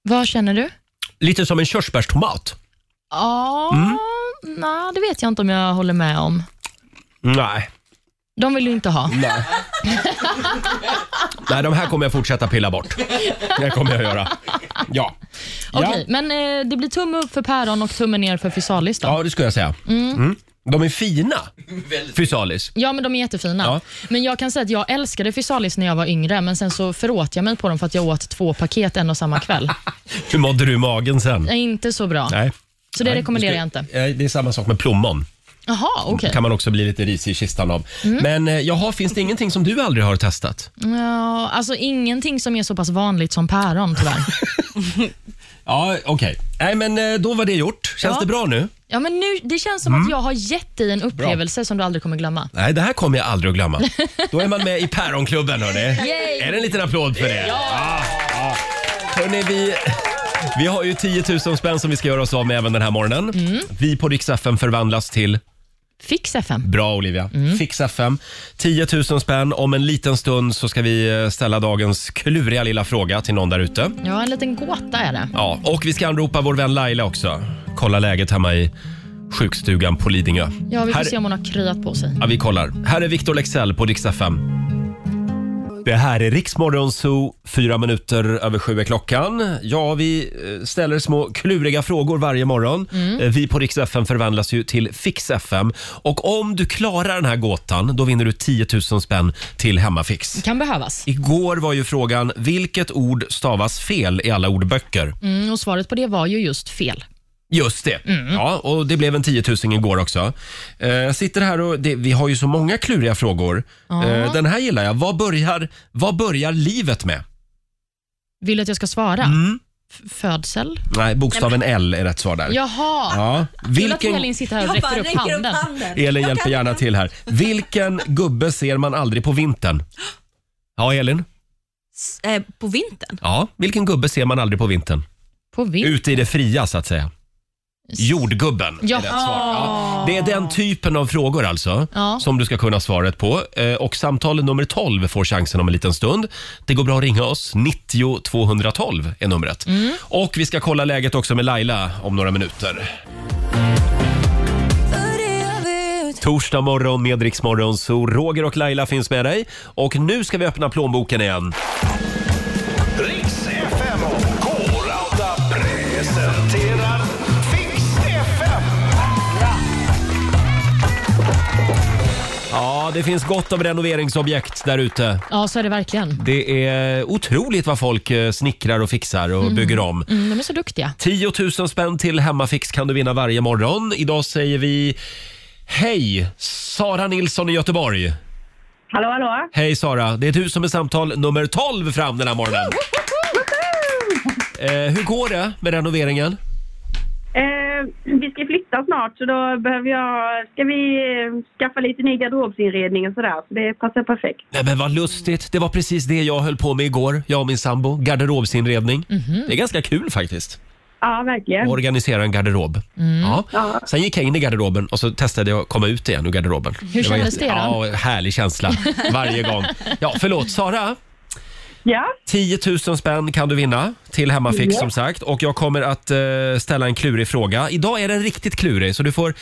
[SPEAKER 2] Vad känner du?
[SPEAKER 1] Lite som en körsbärstomat.
[SPEAKER 2] Ja, nej, det vet jag inte om jag håller med om.
[SPEAKER 1] Nej.
[SPEAKER 2] De vill du inte ha.
[SPEAKER 1] Nej. Nej, de här kommer jag fortsätta pilla bort. Det kommer jag göra. Ja.
[SPEAKER 2] Okej,
[SPEAKER 1] Ja.
[SPEAKER 2] men eh, det blir tumme upp för päron och tumme ner för fysalis då. Ja.
[SPEAKER 1] ja, det skulle jag säga. Mm. De är fina, Fysalis.
[SPEAKER 2] men de är jättefina.
[SPEAKER 1] Ja.
[SPEAKER 2] Men jag kan säga att jag älskade fysalis när jag var yngre, men sen så föråt jag mig på dem för att jag åt två paket en och samma kväll.
[SPEAKER 1] Hur mådde du i magen sen?
[SPEAKER 2] Det är inte så bra,
[SPEAKER 1] Nej.
[SPEAKER 2] så det
[SPEAKER 1] Nej,
[SPEAKER 2] rekommenderar jag
[SPEAKER 1] det
[SPEAKER 2] inte.
[SPEAKER 1] ska- eh, Det är samma sak med plommon.
[SPEAKER 2] Jaha, okej.
[SPEAKER 1] kan man också bli lite risig i kistan av.
[SPEAKER 2] Mm.
[SPEAKER 1] Men eh, jaha, finns det ingenting som du aldrig har testat?
[SPEAKER 2] Ja, alltså ingenting som är så pass vanligt som päron tyvärr.
[SPEAKER 1] Ja, okej. Nej, men eh, då var det gjort. Känns
[SPEAKER 2] Ja.
[SPEAKER 1] det bra nu?
[SPEAKER 2] Ja, men nu, det känns som
[SPEAKER 1] Mm.
[SPEAKER 2] att jag har gett dig en upplevelse som du aldrig kommer glömma.
[SPEAKER 1] Nej, det här kommer jag aldrig att glömma. Då är man med i Päronklubben, hörni.
[SPEAKER 2] Yay!
[SPEAKER 1] Är det en liten applåd för det? Ja! ja. Hörni, vi... Vi har ju 10 000 spänn som vi ska göra oss av med även den här morgonen.
[SPEAKER 2] Mm.
[SPEAKER 1] Vi på Rix FM förvandlas till
[SPEAKER 2] Fix FM.
[SPEAKER 1] Bra Olivia.
[SPEAKER 2] Mm.
[SPEAKER 1] Fix FM. 10 000 spänn. Om en liten stund så ska vi eh, ställa dagens kluriga lilla fråga till någon där ute.
[SPEAKER 2] Ja, en liten gåta är det.
[SPEAKER 1] Ja, och vi ska anropa vår vän Laila också. Kolla läget hemma i sjukstugan på Lidingö.
[SPEAKER 2] Ja, vi får
[SPEAKER 1] Här-
[SPEAKER 2] se om hon har kryat på sig.
[SPEAKER 1] Ja, vi kollar. Här är Victor Lexell på Rix FM. Det här är Riksmorgon Zoo, fyra minuter över sju är klockan. Ja, vi eh, ställer små kluriga frågor varje morgon. Eh, Vi på Rix FM förvandlas ju till Fix FM. Och om du klarar den här gåtan, då vinner du 10 000 spänn till Hemmafix.
[SPEAKER 2] Kan behövas.
[SPEAKER 1] Igår var ju frågan, vilket ord stavas fel i alla ordböcker?
[SPEAKER 2] Mm, och svaret på det var ju just fel.
[SPEAKER 1] Just det.
[SPEAKER 2] Mm.
[SPEAKER 1] Ja, och det blev en 10 000 igår också. Eh, Jag sitter här och det, vi har ju så många kluriga frågor. Eh, Den här gillar jag. Vad börjar, vad börjar livet med? Mm.
[SPEAKER 2] Vill du att jag ska svara? f- födsel?
[SPEAKER 1] Nej, bokstaven L är rätt svar där.
[SPEAKER 2] Jaha!
[SPEAKER 1] Ja.
[SPEAKER 2] Kul att
[SPEAKER 1] Vilken-
[SPEAKER 2] Elin sitter här och
[SPEAKER 6] Jag bara
[SPEAKER 2] räcker upp
[SPEAKER 6] räcker
[SPEAKER 2] handen.
[SPEAKER 6] upp handen.
[SPEAKER 1] Elin
[SPEAKER 6] Jag
[SPEAKER 1] hjälper
[SPEAKER 6] kan-
[SPEAKER 1] gärna till här. Vilken gubbe ser man aldrig på vintern? Ja, Elin?
[SPEAKER 6] S- eh, På vintern?
[SPEAKER 1] Ja, vilken gubbe ser man aldrig på vintern?
[SPEAKER 2] På vintern?
[SPEAKER 1] Ute i det fria så att säga. Jordgubben är
[SPEAKER 2] Ja.
[SPEAKER 1] rätt svar. Ja. Det är den typen av frågor alltså
[SPEAKER 2] Ja.
[SPEAKER 1] som du ska kunna svaret på. Eh, Och samtal nummer 12 får chansen om en liten stund. Det går bra att ringa oss. 90 212 är numret. Och vi ska kolla läget också med Laila om några minuter. Torsdag morgon med Rix Morgon, så Roger och Laila finns med dig. Och nu ska vi öppna plånboken igen.
[SPEAKER 3] Riks FM och K-Rauta presenterar Fix FM.
[SPEAKER 1] Ja, det finns gott om renoveringsobjekt där ute.
[SPEAKER 2] Ja, så är det verkligen.
[SPEAKER 1] Det är otroligt vad folk eh, snickrar och fixar och bygger om.
[SPEAKER 2] Mm, de är så duktiga.
[SPEAKER 1] 10 000 spänn till Hemmafix kan du vinna varje morgon. Idag säger vi Hej! Sara Nilsson i Göteborg.
[SPEAKER 9] Hallå, hallå.
[SPEAKER 1] Hej Sara, det är du som är samtal nummer 12 fram den här morgonen. Eh, hur går det med renoveringen?
[SPEAKER 9] Eh, vi ska flytta snart så då behöver jag, ska vi eh, skaffa lite ny garderobsinredning och sådär. Så det passar perfekt.
[SPEAKER 1] Nej men vad lustigt, det var precis det jag höll på med igår, jag och min sambo. Garderobsinredning. Det är ganska kul faktiskt.
[SPEAKER 9] Ja, verkligen.
[SPEAKER 2] Mm.
[SPEAKER 1] Att organisera en garderob. Ja. Sen gick jag in i garderoben och så testade jag att komma ut igen ur garderoben.
[SPEAKER 2] Hur
[SPEAKER 1] var
[SPEAKER 2] kändes
[SPEAKER 1] jätte-
[SPEAKER 2] det då?
[SPEAKER 1] Ja, härlig känsla varje gång. Ja, förlåt Sara.
[SPEAKER 9] Ja,
[SPEAKER 1] 10 000 spänn kan du vinna till Hemmafix som sagt. Och jag kommer att eh, ställa en klurig fråga. Idag är den riktigt klurig så du får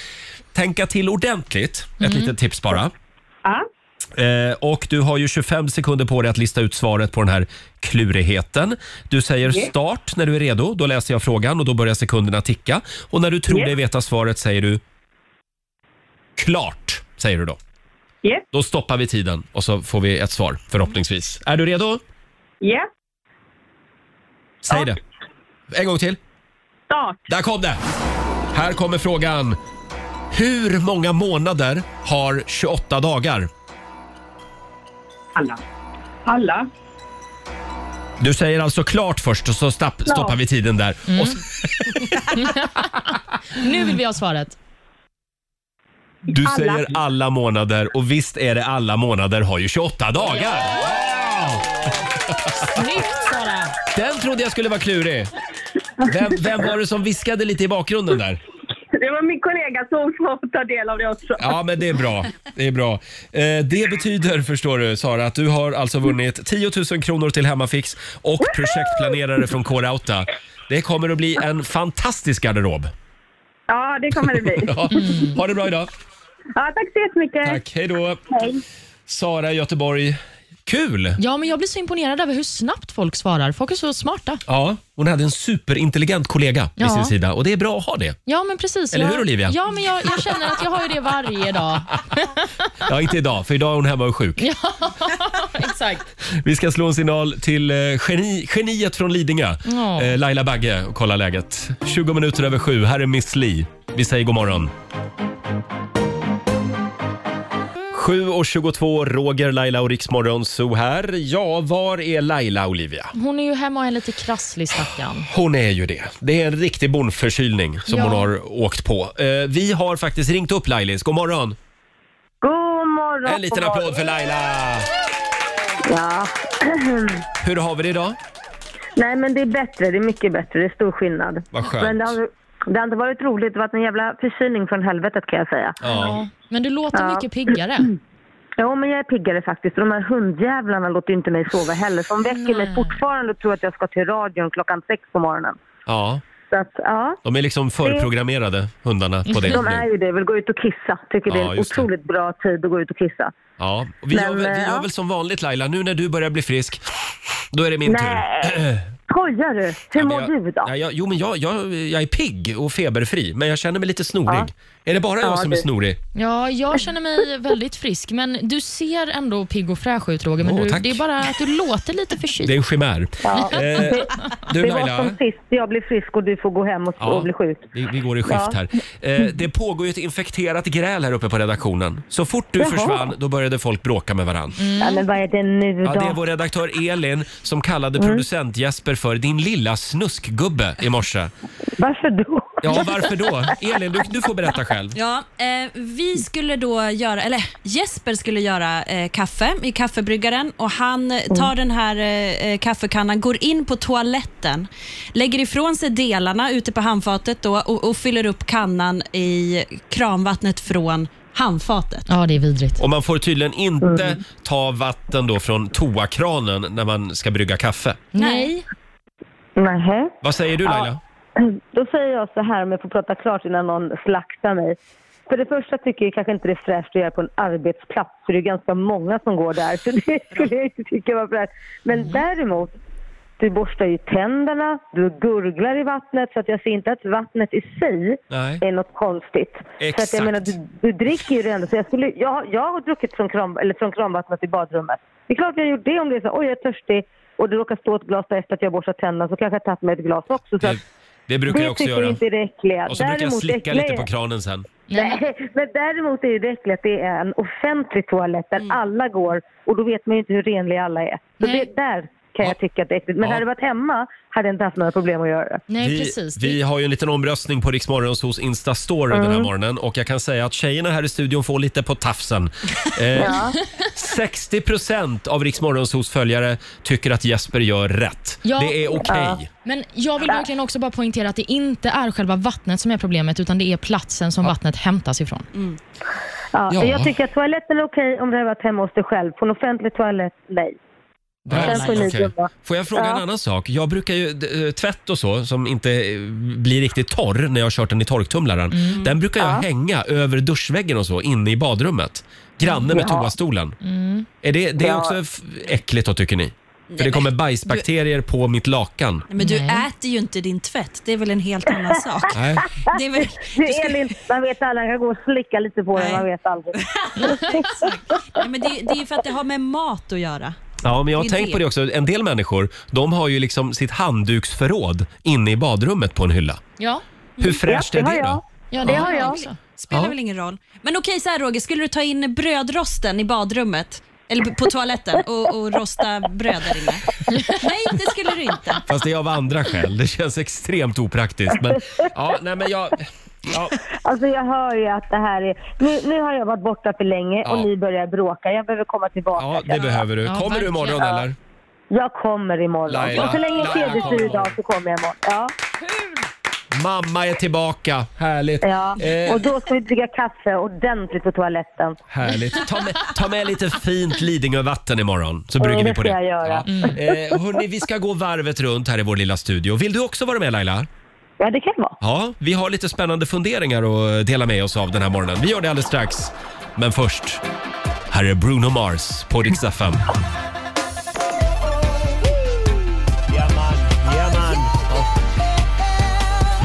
[SPEAKER 1] tänka till ordentligt. Ett
[SPEAKER 2] Mm.
[SPEAKER 1] litet tips bara.
[SPEAKER 9] ja,
[SPEAKER 1] Eh, och du har ju 25 sekunder på dig att lista ut svaret på den här klurigheten. Du säger start när du är redo. Då läser jag frågan och då börjar sekunderna ticka. Och när du tror
[SPEAKER 9] Yeah.
[SPEAKER 1] dig veta svaret säger du klart, säger du då.
[SPEAKER 9] Yeah.
[SPEAKER 1] Då stoppar vi tiden och så får vi ett svar förhoppningsvis. Är du redo?
[SPEAKER 9] ja.
[SPEAKER 1] Säg det. En gång till.
[SPEAKER 9] Start.
[SPEAKER 1] Där kom det! Här kommer frågan. Hur många månader har 28 dagar?
[SPEAKER 9] Alla. Alla.
[SPEAKER 1] Du säger alltså klart först och så stapp, stoppar vi tiden där. Och s-
[SPEAKER 2] Nu vill vi ha svaret.
[SPEAKER 1] du
[SPEAKER 9] Alla.
[SPEAKER 1] säger alla månader och visst är det alla månader har ju 28 dagar. Wow!
[SPEAKER 2] Snyggt Sara!
[SPEAKER 1] Den trodde jag skulle vara klurig. Vem, vem var det som viskade lite i bakgrunden där?
[SPEAKER 9] Det var min kollega så hon får ta del av det också.
[SPEAKER 1] Ja, men det är bra. Det är bra. Eh, det betyder, förstår du Sara, att du har alltså vunnit 10 000 kronor till Hemmafix och projektplanerare från K-Rauta. Det kommer att bli en fantastisk garderob.
[SPEAKER 9] Ja, det kommer det bli.
[SPEAKER 1] Ja. Ha det bra idag.
[SPEAKER 9] Ja, tack så jättemycket.
[SPEAKER 1] Tack, hej då.
[SPEAKER 9] Hej.
[SPEAKER 1] Sara i Göteborg. Kul!
[SPEAKER 2] Ja, men jag blir så imponerad över hur snabbt folk svarar. Folk är så smarta.
[SPEAKER 1] Ja, hon hade en superintelligent kollega vid
[SPEAKER 2] Ja.
[SPEAKER 1] sin sida och det är bra att ha det.
[SPEAKER 2] Ja, men precis.
[SPEAKER 1] Eller
[SPEAKER 2] jag,
[SPEAKER 1] hur, Olivia?
[SPEAKER 2] Ja, men jag, jag känner att jag har ju det varje dag.
[SPEAKER 1] Ja, inte idag, för idag är hon hemma och sjuk.
[SPEAKER 2] Exakt.
[SPEAKER 1] Vi ska slå en signal till eh, geni, geniet från Lidingö,
[SPEAKER 2] Ja.
[SPEAKER 1] eh, Laila Bagge, och kolla läget. 20 minuter över sju. Här är Miss Li. Vi säger god morgon. 7.22, Roger, Laila och Riksmorgon så här. Ja, var är Laila, Olivia?
[SPEAKER 2] Hon är ju hemma och är lite krasslig stackarn.
[SPEAKER 1] Hon är ju det. Det är en riktig bondförkylning som
[SPEAKER 2] Ja.
[SPEAKER 1] hon har åkt på. Eh, vi har faktiskt ringt upp Lailis. God morgon!
[SPEAKER 9] God morgon.
[SPEAKER 1] En liten applåd för Laila!
[SPEAKER 9] Ja.
[SPEAKER 1] Hur har vi det idag?
[SPEAKER 9] Nej, men det är bättre. Det är mycket bättre. Det är stor skillnad.
[SPEAKER 1] Vad skönt.
[SPEAKER 9] Men det har, det har inte varit roligt. Det har varit en jävla förkylning från helvetet kan jag säga.
[SPEAKER 2] Ja. Men du låter
[SPEAKER 9] Ja.
[SPEAKER 2] mycket piggare.
[SPEAKER 9] Jo, men jag är piggare faktiskt. Och De här hundjävlarna låter ju inte mig sova heller. Så De väcker mig fortfarande och tror att jag ska till radion klockan sex på morgonen.
[SPEAKER 1] Ja,
[SPEAKER 9] Så att, ja.
[SPEAKER 1] de är liksom förprogrammerade, hundarna, på det
[SPEAKER 9] De
[SPEAKER 1] nu.
[SPEAKER 9] är ju det, vill gå ut och kissa. Tycker det
[SPEAKER 1] Ja,
[SPEAKER 9] är en
[SPEAKER 1] just det.
[SPEAKER 9] otroligt bra tid att gå ut och kissa.
[SPEAKER 1] Ja, och vi, gör,
[SPEAKER 9] Men,
[SPEAKER 1] väl- vi
[SPEAKER 9] eh,
[SPEAKER 1] gör
[SPEAKER 9] ja.
[SPEAKER 1] väl som vanligt Laila, nu när du börjar bli frisk, då är det min tur.
[SPEAKER 9] Nej! Skojar du? Hur
[SPEAKER 1] Ja, men
[SPEAKER 9] mår
[SPEAKER 1] jag-
[SPEAKER 9] du då?
[SPEAKER 1] Ja, jag, jo, men jag, jag, jag är pigg och feberfri, men jag känner mig lite snorig Är det bara jag
[SPEAKER 9] Ja,
[SPEAKER 1] som är
[SPEAKER 9] det-
[SPEAKER 1] snorig?
[SPEAKER 2] Ja, jag känner mig väldigt frisk, men du ser ändå pigg och fräsch ut Roger, men
[SPEAKER 1] Åh,
[SPEAKER 2] du,
[SPEAKER 1] tack.
[SPEAKER 2] det är bara att du låter lite
[SPEAKER 1] Det är
[SPEAKER 2] förkyld.
[SPEAKER 1] en chimär.
[SPEAKER 10] Ja.
[SPEAKER 1] Eh, du
[SPEAKER 10] Det var
[SPEAKER 1] Laila,
[SPEAKER 10] som sist jag blev frisk och du får gå hem och,
[SPEAKER 1] Ja.
[SPEAKER 10] och bli sjuk.
[SPEAKER 1] vi, vi går i skift
[SPEAKER 10] Ja.
[SPEAKER 1] här. Eh, det pågår ju ett infekterat gräl här uppe på redaktionen. Så fort du
[SPEAKER 10] Jaha.
[SPEAKER 1] försvann, då började folk bråka med varandra.
[SPEAKER 10] Ja, men vad är det nu då?
[SPEAKER 1] Ja, det är vår redaktör Elin som kallade
[SPEAKER 10] Mm.
[SPEAKER 1] producent Jesper för din lilla snuskgubbe i morse.
[SPEAKER 10] Varför då?
[SPEAKER 1] Ja, varför då? Elin, du, du får berätta själv.
[SPEAKER 6] Ja, eh, vi skulle då göra, eller Jesper skulle göra eh, kaffe i kaffebryggaren och han eh, tar den här eh, eh, kaffekannan, går in på toaletten, lägger ifrån sig delarna ute på handfatet då och, och fyller upp kannan i kranvattnet från handfatet.
[SPEAKER 2] Ja, det är vidrigt.
[SPEAKER 1] Och man får tydligen inte
[SPEAKER 10] Mm.
[SPEAKER 1] ta vatten då från toakranen när man ska brygga kaffe.
[SPEAKER 2] Nej.
[SPEAKER 10] Nähä.
[SPEAKER 1] Vad säger du Laila?
[SPEAKER 10] Då säger jag så här om jag får prata klart innan någon slaktar mig. För det första tycker jag kanske inte det är fräscht att göra på en arbetsplats för det är ganska många som går där. Så det skulle jag inte tycka var fräscht.
[SPEAKER 1] Mm.
[SPEAKER 10] Men däremot, du borstar ju tänderna, du gurglar i vattnet så att jag ser inte att vattnet i sig
[SPEAKER 1] Nej.
[SPEAKER 10] är något konstigt. Så att
[SPEAKER 1] Exakt.
[SPEAKER 10] jag menar, du, du dricker ju det ändå. Så jag, skulle, jag, jag har druckit från, kran, eller från kranvattnet i badrummet. Det är klart jag har gjort det om det är så oj jag är törstig och det råkar stå ett glas där efter att jag borstat tänderna så kanske jag tagit mig ett glas också. Så
[SPEAKER 1] Det,
[SPEAKER 10] att,
[SPEAKER 1] det brukar jag också
[SPEAKER 10] tycker
[SPEAKER 1] göra.
[SPEAKER 10] inte är det äckliga.
[SPEAKER 1] Och så brukar jag
[SPEAKER 10] Däremot
[SPEAKER 1] slicka
[SPEAKER 10] äckliga
[SPEAKER 1] lite på
[SPEAKER 10] är-
[SPEAKER 1] kranen sen.
[SPEAKER 2] Nej.
[SPEAKER 10] Nej, men däremot är ju det äckliga att det är en offentlig toalett där alla går och då vet man ju inte hur renliga alla är. Så
[SPEAKER 2] Nej.
[SPEAKER 10] det där kan
[SPEAKER 1] Ja.
[SPEAKER 10] jag tycka att det är äckligt. Men
[SPEAKER 1] Ja.
[SPEAKER 10] hade det varit hemma hade jag inte haft några problem att göra det.
[SPEAKER 2] Nej,
[SPEAKER 1] vi,
[SPEAKER 2] precis. Det- Mm.
[SPEAKER 1] vi har ju en liten omröstning på Riksmorgons hos Instastory den här morgonen och jag kan säga att tjejerna här i studion får lite på tafsen. Eh, 60% av Riksmorgons hos följare tycker att Jesper gör rätt.
[SPEAKER 2] Ja.
[SPEAKER 1] Det är okej.
[SPEAKER 2] Men jag vill verkligen också bara poängtera att det inte är själva vattnet som är problemet, utan det är platsen som vattnet hämtas ifrån.
[SPEAKER 10] Ja.
[SPEAKER 1] Ja.
[SPEAKER 10] Jag tycker att toaletten är okej om det hade varit hemma hos dig själv. På en offentlig toalett, nej.
[SPEAKER 1] Ja,
[SPEAKER 10] Sen får ni
[SPEAKER 1] okej.
[SPEAKER 10] döma.
[SPEAKER 1] Får jag fråga
[SPEAKER 10] Ja.
[SPEAKER 1] en annan sak? Jag brukar ju d- eh, tvätt och så som inte eh, blir riktigt torr när jag har kört den i torktumlaren.
[SPEAKER 10] Mm.
[SPEAKER 1] Den brukar jag hänga över duschväggen och så inne i badrummet. Granne med toastolen. Är det, det
[SPEAKER 10] Mm.
[SPEAKER 1] är
[SPEAKER 10] Ja.
[SPEAKER 1] också f- äckligt då tycker ni? För det kommer bajsbakterier på mitt lakan.
[SPEAKER 6] Men du
[SPEAKER 2] Nej.
[SPEAKER 6] äter ju inte din tvätt, det är väl en helt annan sak.
[SPEAKER 1] Nej.
[SPEAKER 6] Det är väl,
[SPEAKER 10] Du, Elin, man vet aldrig. Jag kan gå och slicka lite på den,
[SPEAKER 6] Nej.
[SPEAKER 10] man vet aldrig.
[SPEAKER 6] nej, men det, det är ju för att det har med mat att göra.
[SPEAKER 1] Ja, men jag har
[SPEAKER 6] Det är
[SPEAKER 1] tänkt
[SPEAKER 6] det.
[SPEAKER 1] på det också. En del människor, de har ju liksom sitt handduksförråd inne i badrummet på en hylla.
[SPEAKER 2] Ja,
[SPEAKER 1] Hur fräscht
[SPEAKER 10] Mm. Ja,
[SPEAKER 1] är
[SPEAKER 10] det
[SPEAKER 1] det
[SPEAKER 10] har
[SPEAKER 2] ja det
[SPEAKER 10] jag.
[SPEAKER 1] då?
[SPEAKER 2] har jag
[SPEAKER 6] jag.
[SPEAKER 2] också.
[SPEAKER 6] Spelar
[SPEAKER 1] Ja.
[SPEAKER 6] väl ingen roll. Men okej så här Roger, skulle du ta in brödrosten i badrummet? Eller på toaletten och, och rosta bröd där inne? Nej, det skulle du inte.
[SPEAKER 1] Fast det är av andra skäl. Det känns extremt opraktiskt. Men, ja, nej, men jag, ja,
[SPEAKER 10] Alltså jag hör ju att det här är... Nu, nu har jag varit borta för länge
[SPEAKER 1] Ja.
[SPEAKER 10] och ni börjar bråka. Jag behöver komma tillbaka.
[SPEAKER 1] ja, det behöver du.
[SPEAKER 2] Ja,
[SPEAKER 1] Kommer du imorgon
[SPEAKER 2] verkligen.
[SPEAKER 1] eller?
[SPEAKER 10] Jag kommer imorgon.
[SPEAKER 1] Laila.
[SPEAKER 10] Och så länge
[SPEAKER 1] Laila
[SPEAKER 10] inte jag
[SPEAKER 1] kommer
[SPEAKER 10] bestyr idag
[SPEAKER 1] imorgon.
[SPEAKER 10] så kommer jag imorgon. Ja,
[SPEAKER 1] Mamma är tillbaka. Härligt.
[SPEAKER 10] ja.
[SPEAKER 1] Eh,
[SPEAKER 10] Och då ska vi dricka kaffe ordentligt på toaletten.
[SPEAKER 1] härligt. Ta med, ta med lite fint Lidingövatten imorgon så
[SPEAKER 10] Mm,
[SPEAKER 1] brygger vi
[SPEAKER 10] det
[SPEAKER 1] på det.
[SPEAKER 10] ska jag göra.
[SPEAKER 2] Mm.
[SPEAKER 1] Eh, hörni, vi ska gå varvet runt här i vår lilla studio. Vill du också vara med Laila?
[SPEAKER 10] Ja, det kan vara.
[SPEAKER 1] Ja, vi har lite spännande funderingar att dela med oss av den här morgonen. Vi gör det alldeles strax. Men först, här är Bruno Mars på Rix FM.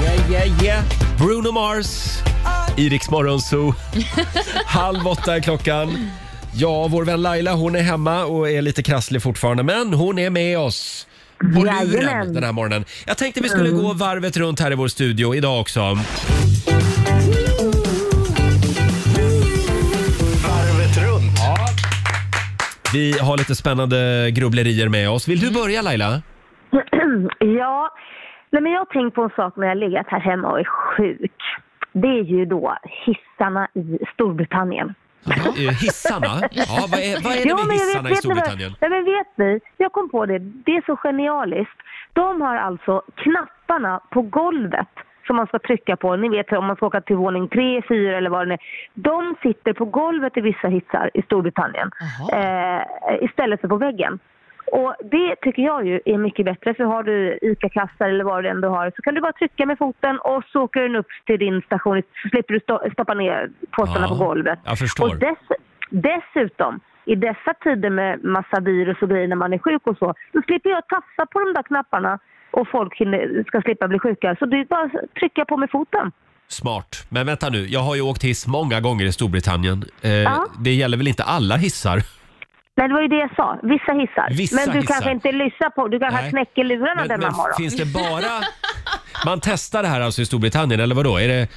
[SPEAKER 1] Yeah, yeah, yeah. Bruno Mars i Rix Morgon Zoo. Halv åtta är klockan. Ja, vår vän Laila hon är hemma och är lite krasslig fortfarande, men hon är med oss. På luren
[SPEAKER 10] Jajamän.
[SPEAKER 1] den här morgonen. Jag tänkte vi skulle gå varvet runt här i vår studio idag också.
[SPEAKER 3] Varvet runt.
[SPEAKER 1] Vi har lite spännande grubblerier med oss. Vill du börja Laila?
[SPEAKER 10] ja, Nej, men jag har tänkt på en sak när jag har legat här hemma och är sjuk. Det är ju då hissarna i Storbritannien.
[SPEAKER 1] Eh, Hissarna? Ja, vad är, vad är
[SPEAKER 10] Jo,
[SPEAKER 1] det med
[SPEAKER 10] men jag
[SPEAKER 1] hissarna
[SPEAKER 10] vet- vet
[SPEAKER 1] i
[SPEAKER 10] ni vad-
[SPEAKER 1] Storbritannien?
[SPEAKER 10] Nej, men vet ni, jag kom på det. Det är så genialiskt. De har alltså knapparna på golvet som man ska trycka på. Ni vet om man ska åka till våning tre, fyra eller vad det är. De sitter på golvet i vissa hissar i Storbritannien eh, istället för på väggen. Och Det tycker jag ju är mycket bättre. För Har du ICA-kassar eller vad det än du har så kan du bara trycka med foten och så åker den upp till din station. Så slipper du stå- stoppa ner påsarna
[SPEAKER 1] Ja,
[SPEAKER 10] på golvet.
[SPEAKER 1] jag förstår.
[SPEAKER 10] Och dess, dessutom, i dessa tider med massa virus och grejer när man är sjuk och så, då slipper jag tafsa på de där knapparna och folk hinner, ska slippa bli sjuka. Så det är bara att trycka på med foten.
[SPEAKER 1] Smart. Men vänta nu, jag har ju åkt hiss många gånger i Storbritannien. Eh,
[SPEAKER 10] Ja.
[SPEAKER 1] Det gäller väl inte alla hissar?
[SPEAKER 10] Nej, det var ju det jag sa. Vissa hissar.
[SPEAKER 1] Vissa
[SPEAKER 10] men du
[SPEAKER 1] hissar.
[SPEAKER 10] kanske inte lyssnar på Du kanske
[SPEAKER 1] Nej.
[SPEAKER 10] knäcker lurarna
[SPEAKER 1] Men-
[SPEAKER 10] denna
[SPEAKER 1] men
[SPEAKER 10] morgon.
[SPEAKER 1] finns det bara- Man testar det här alltså i Storbritannien, eller vadå? Är det...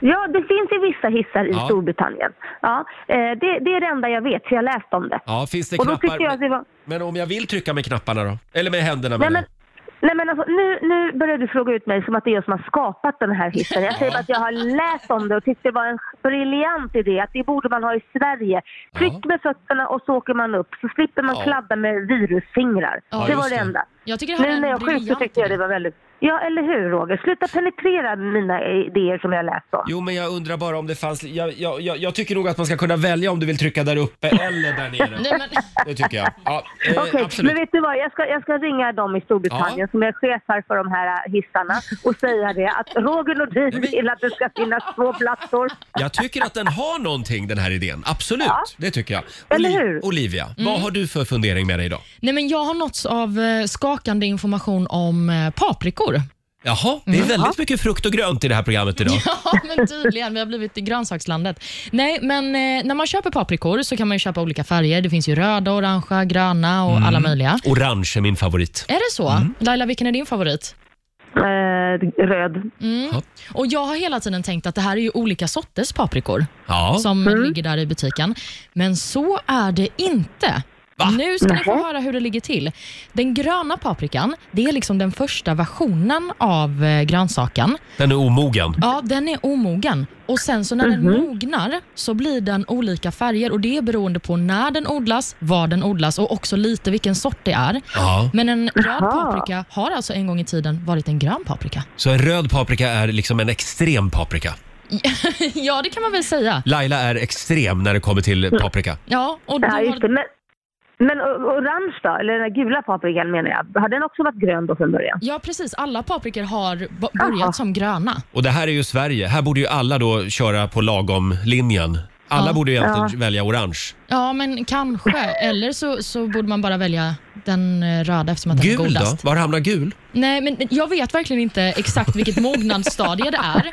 [SPEAKER 10] Ja, det finns ju vissa hissar i
[SPEAKER 1] Ja.
[SPEAKER 10] Storbritannien. Ja, eh, det, det är det enda jag vet, för jag har läst om det.
[SPEAKER 1] Ja, finns det
[SPEAKER 10] Och då
[SPEAKER 1] knappar?
[SPEAKER 10] tyckte jag att det var...
[SPEAKER 1] Men om jag vill trycka med knapparna då? Eller med händerna?
[SPEAKER 10] Nej,
[SPEAKER 1] menar jag.
[SPEAKER 10] men, nej, men alltså, nu, nu börjar du fråga ut mig som att det är jag som har skapat den här hissen. Jag säger bara att jag har läst om det och tyckte det var en briljant idé, att det borde man ha i Sverige. Tryck med fötterna och så åker man upp, så slipper man
[SPEAKER 2] Ja.
[SPEAKER 10] kladda med virusfingrar.
[SPEAKER 2] Ja,
[SPEAKER 10] det
[SPEAKER 2] just
[SPEAKER 10] var det
[SPEAKER 2] det.
[SPEAKER 10] enda.
[SPEAKER 2] Jag tycker det här är
[SPEAKER 10] nu
[SPEAKER 2] en
[SPEAKER 10] när jag sjuk så
[SPEAKER 2] briljant
[SPEAKER 10] tyckte jag det var väldigt... Ja, eller hur Roger? Sluta penetrera mina idéer som jag läst om.
[SPEAKER 1] Jo, men jag undrar bara om det fanns... Jag, jag, jag, jag tycker nog att man ska kunna välja om du vill trycka där uppe eller där nere.
[SPEAKER 10] Nej, men-
[SPEAKER 1] Det tycker jag. Ja, eh,
[SPEAKER 10] Okej,
[SPEAKER 1] absolut.
[SPEAKER 10] men vet du vad? Jag ska, jag ska ringa dem i Storbritannien
[SPEAKER 1] Ja.
[SPEAKER 10] som är chefer för de här äh, hissarna och säga det att Roger Nordin vill att det ska finnas två plattor.
[SPEAKER 1] Jag tycker att den har någonting, den här idén. Absolut,
[SPEAKER 2] Ja.
[SPEAKER 1] det tycker jag.
[SPEAKER 2] Eller
[SPEAKER 1] Oli-
[SPEAKER 2] hur?
[SPEAKER 1] Olivia, vad
[SPEAKER 2] Mm.
[SPEAKER 1] har du för fundering med dig idag?
[SPEAKER 2] Nej, men jag har nåtts av eh, skakande information om eh, paprikor.
[SPEAKER 1] Jaha, det är
[SPEAKER 2] Mm.
[SPEAKER 1] väldigt
[SPEAKER 2] Ja.
[SPEAKER 1] mycket frukt och grönt i det här programmet idag.
[SPEAKER 2] Ja, men tydligen. Vi har blivit i grönsakslandet. Nej, men eh, när man köper paprikor så kan man ju köpa olika färger. Det finns ju röda, orangea, gröna och alla möjliga.
[SPEAKER 1] Orange är min favorit.
[SPEAKER 2] Är det så? Laila, vilken är din favorit?
[SPEAKER 10] Eh, röd.
[SPEAKER 2] Mm. Och Jag har hela tiden tänkt att det här är ju olika sorters paprikor
[SPEAKER 1] Ja.
[SPEAKER 2] som ligger där i butiken. Men så är det inte. Nu ska ni få höra hur det ligger till. Den gröna paprikan, det är liksom den första versionen av eh, grönsaken.
[SPEAKER 1] Den är omogen.
[SPEAKER 2] Ja, den är omogen. Och sen så när den mognar så blir den olika färger och det är beroende på när den odlas, var den odlas och också lite vilken sort det är.
[SPEAKER 1] Ja.
[SPEAKER 2] Men en röd
[SPEAKER 1] Jaha.
[SPEAKER 2] paprika har alltså en gång i tiden varit en grön paprika.
[SPEAKER 1] Så en röd paprika är liksom en extrem paprika.
[SPEAKER 2] ja, det kan man väl säga.
[SPEAKER 1] Laila är extrem när det kommer till
[SPEAKER 2] Mm.
[SPEAKER 1] paprika.
[SPEAKER 2] Ja, och
[SPEAKER 10] ja, just det. Men, men o- orange då? Eller den där gula paprikan menar jag. Har den också varit grön då från början?
[SPEAKER 2] Ja, precis. Alla paprikor har bo- börjat som gröna.
[SPEAKER 1] Och det här är ju Sverige. Här borde ju alla då köra på lagom-linjen. Alla
[SPEAKER 2] Ja.
[SPEAKER 1] borde ju egentligen
[SPEAKER 2] Ja.
[SPEAKER 1] välja orange.
[SPEAKER 2] Ja, men kanske. Eller så, så borde man bara välja den eh, röda eftersom att den
[SPEAKER 1] Gul
[SPEAKER 2] är godast.
[SPEAKER 1] då? Var hamnar gul?
[SPEAKER 2] Nej, men jag vet verkligen inte exakt vilket mognadsstadie det är. Utan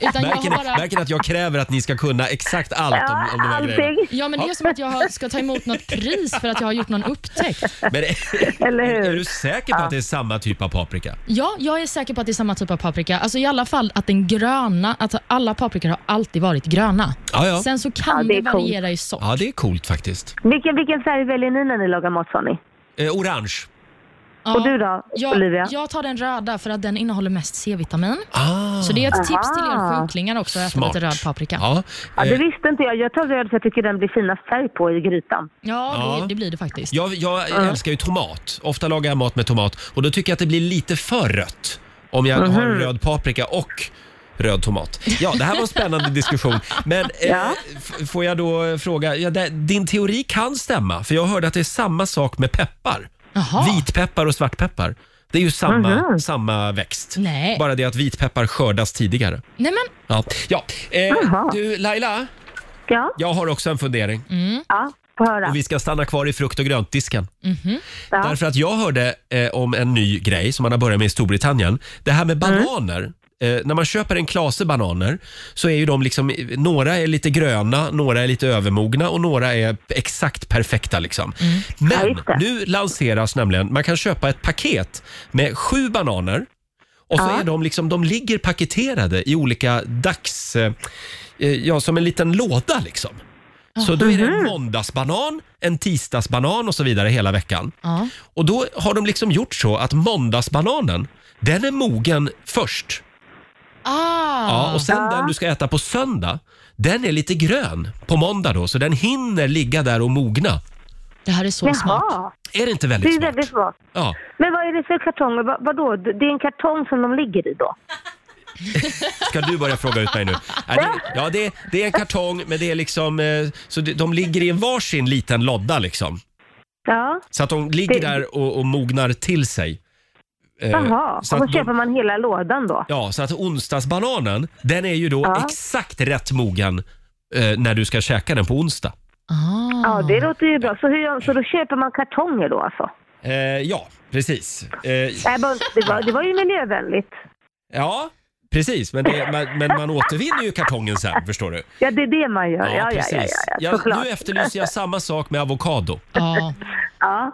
[SPEAKER 2] jag
[SPEAKER 1] Märker
[SPEAKER 2] har
[SPEAKER 1] ni,
[SPEAKER 2] bara...
[SPEAKER 1] märker ni att jag kräver att ni ska kunna exakt allt om, om de här grejerna?
[SPEAKER 2] Ja, men det är som att jag har- ska ta emot något pris för att jag har gjort någon upptäckt.
[SPEAKER 1] Men är, är du säker på att det är samma typ av paprika?
[SPEAKER 2] Ja, jag är säker på att det är samma typ av paprika. Alltså i alla fall att den gröna, att alla paprikor har alltid varit gröna.
[SPEAKER 1] Ja, ja.
[SPEAKER 2] Sen så kan
[SPEAKER 10] Ja, det
[SPEAKER 2] det,
[SPEAKER 10] är coolt.
[SPEAKER 2] variera i sort.
[SPEAKER 1] Ja, det är coolt faktiskt.
[SPEAKER 10] Vilken, vilken färg väljer ni när ni lagar mat sa ni?
[SPEAKER 1] Eh, orange.
[SPEAKER 10] Och du då,
[SPEAKER 2] jag,
[SPEAKER 10] Olivia?
[SPEAKER 2] Jag tar den röda för att den innehåller mest C-vitamin.
[SPEAKER 1] Ah.
[SPEAKER 2] Så det är ett tips till er
[SPEAKER 10] Aha.
[SPEAKER 2] sjuklingar också att äta
[SPEAKER 10] Smart.
[SPEAKER 2] lite röd paprika.
[SPEAKER 1] Ja, Eh,
[SPEAKER 10] Ja, det visste inte jag. Jag tar röd för jag tycker den blir finast färg på i grytan.
[SPEAKER 2] Ja,
[SPEAKER 1] Ja.
[SPEAKER 2] Det, det blir det faktiskt.
[SPEAKER 1] Jag, jag älskar ju tomat. Ofta lagar jag mat med tomat och då tycker jag att det blir lite för rött om jag har
[SPEAKER 10] Mm-hmm.
[SPEAKER 2] Mhm.
[SPEAKER 1] röd paprika och röd tomat. Ja, det här var en spännande diskussion. Men eh,
[SPEAKER 3] Ja.
[SPEAKER 1] f- får jag då fråga, ja, det, din teori kan stämma för jag hörde att det är samma sak med peppar. Vitpeppar och svartpeppar. Det är ju samma,
[SPEAKER 10] Mm-hmm.
[SPEAKER 2] Mhm.
[SPEAKER 1] samma växt.
[SPEAKER 2] Nej.
[SPEAKER 1] Bara det att vitpeppar skördas tidigare.
[SPEAKER 2] Nej men,
[SPEAKER 1] Ja. ja. Eh, du Laila,
[SPEAKER 10] ja?
[SPEAKER 2] Mm.
[SPEAKER 1] jag har också en fundering.
[SPEAKER 10] Ja, få höra.
[SPEAKER 1] Och vi ska stanna kvar i frukt och gröntdisken.
[SPEAKER 10] Ja.
[SPEAKER 1] Därför att jag hörde eh, om en ny grej som man har börjat med i Storbritannien. Det här med bananer. Eh, när man köper en klase bananer så är ju de liksom, några är lite gröna, några är lite övermogna och några är exakt perfekta. Liksom. Men nu lanseras nämligen, man kan köpa ett paket med sju bananer och så
[SPEAKER 3] Ja.
[SPEAKER 1] är de liksom, de ligger paketerade i olika dags... Eh, eh, ja, som en liten låda liksom. Så då är det en måndagsbanan, en tisdagsbanan och så vidare hela veckan.
[SPEAKER 2] ja.
[SPEAKER 1] Och då har de liksom gjort så att måndagsbananen, den är mogen först.
[SPEAKER 2] Ah.
[SPEAKER 1] Ja, och sen den du ska äta på söndag, den är lite grön på måndag då, så den hinner ligga där och mogna.
[SPEAKER 2] Det här är så
[SPEAKER 10] Jaha.
[SPEAKER 2] smart.
[SPEAKER 1] Är det inte
[SPEAKER 10] Det
[SPEAKER 1] väldigt
[SPEAKER 10] är
[SPEAKER 1] smart?
[SPEAKER 10] väldigt smart.
[SPEAKER 1] Ja.
[SPEAKER 10] Men vad är det för kartonger? Vad, vadå? Det är en kartong som de ligger i då?
[SPEAKER 1] Ska du börja fråga ut mig nu? Nej, det, ja, det, det är en kartong, men det är liksom... eh, Så det- de ligger i en varsin liten lodda liksom.
[SPEAKER 10] Ja.
[SPEAKER 1] Så att de ligger
[SPEAKER 10] Det-
[SPEAKER 1] där och, och mognar till sig. Eh,
[SPEAKER 10] Jaha,
[SPEAKER 1] så
[SPEAKER 10] och
[SPEAKER 1] att
[SPEAKER 10] då
[SPEAKER 1] de-
[SPEAKER 10] köper man hela lådan då?
[SPEAKER 1] Ja, så att onsdagsbananen, den är ju då
[SPEAKER 10] Ja.
[SPEAKER 1] exakt rätt mogen eh, när du ska käka den på onsdag.
[SPEAKER 2] Ah.
[SPEAKER 10] Ja, det låter ju bra. Så, hur, så då köper man kartonger då alltså?
[SPEAKER 1] Eh, ja, precis. Eh,
[SPEAKER 10] Nej, bara- det, var, det var ju miljövänligt.
[SPEAKER 1] ja, Precis, men, det, man, men man återvinner ju kartongen sen förstår du.
[SPEAKER 10] Ja, det är det man gör. Ja, ja, ja, ja, ja,
[SPEAKER 1] jag,
[SPEAKER 10] såklart.
[SPEAKER 1] nu efterlyser jag samma sak med avokado.
[SPEAKER 2] Ja.
[SPEAKER 10] ja.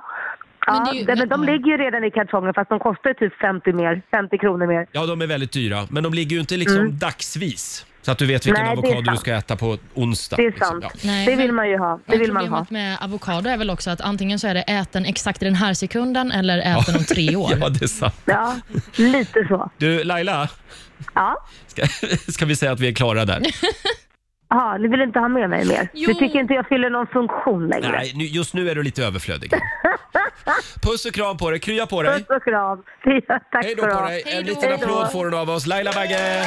[SPEAKER 10] Ja, men men de ligger ju redan i kartongen fast de kostar ju typ 50, mer, 50 kronor mer.
[SPEAKER 1] Ja, de är väldigt dyra, men de ligger ju inte liksom
[SPEAKER 10] Mm.
[SPEAKER 1] dagsvis. Så att du vet vilken
[SPEAKER 10] Nej, det är
[SPEAKER 1] avokado du
[SPEAKER 10] sant.
[SPEAKER 1] ska äta på onsdag.
[SPEAKER 10] Det är
[SPEAKER 1] liksom.
[SPEAKER 10] sant.
[SPEAKER 1] Ja.
[SPEAKER 2] Nej,
[SPEAKER 10] det
[SPEAKER 2] men-
[SPEAKER 10] vill man ju ha. Det
[SPEAKER 2] Men
[SPEAKER 10] vill man ha.
[SPEAKER 2] problemet med avokado är väl också att antingen så är det ät den exakt i den här sekunden eller ät den om tre år.
[SPEAKER 1] Ja, det är sant.
[SPEAKER 10] Ja, lite så.
[SPEAKER 1] Du, Laila,
[SPEAKER 10] Ja.
[SPEAKER 1] ska, ska vi säga att vi är klara där?
[SPEAKER 10] Ja, ni vill inte ha med mig mer?
[SPEAKER 2] Jo.
[SPEAKER 10] Du tycker inte jag fyller någon funktion längre?
[SPEAKER 1] Nej, nu, just nu är du lite överflödig. Puss och kram på dig, krya på dig.
[SPEAKER 10] Puss och kram. Ja, Tack
[SPEAKER 1] Hej då
[SPEAKER 10] för
[SPEAKER 1] på
[SPEAKER 10] att-
[SPEAKER 1] dig. En
[SPEAKER 2] Hej då.
[SPEAKER 1] liten applåd får hon av oss. Laila Bagge!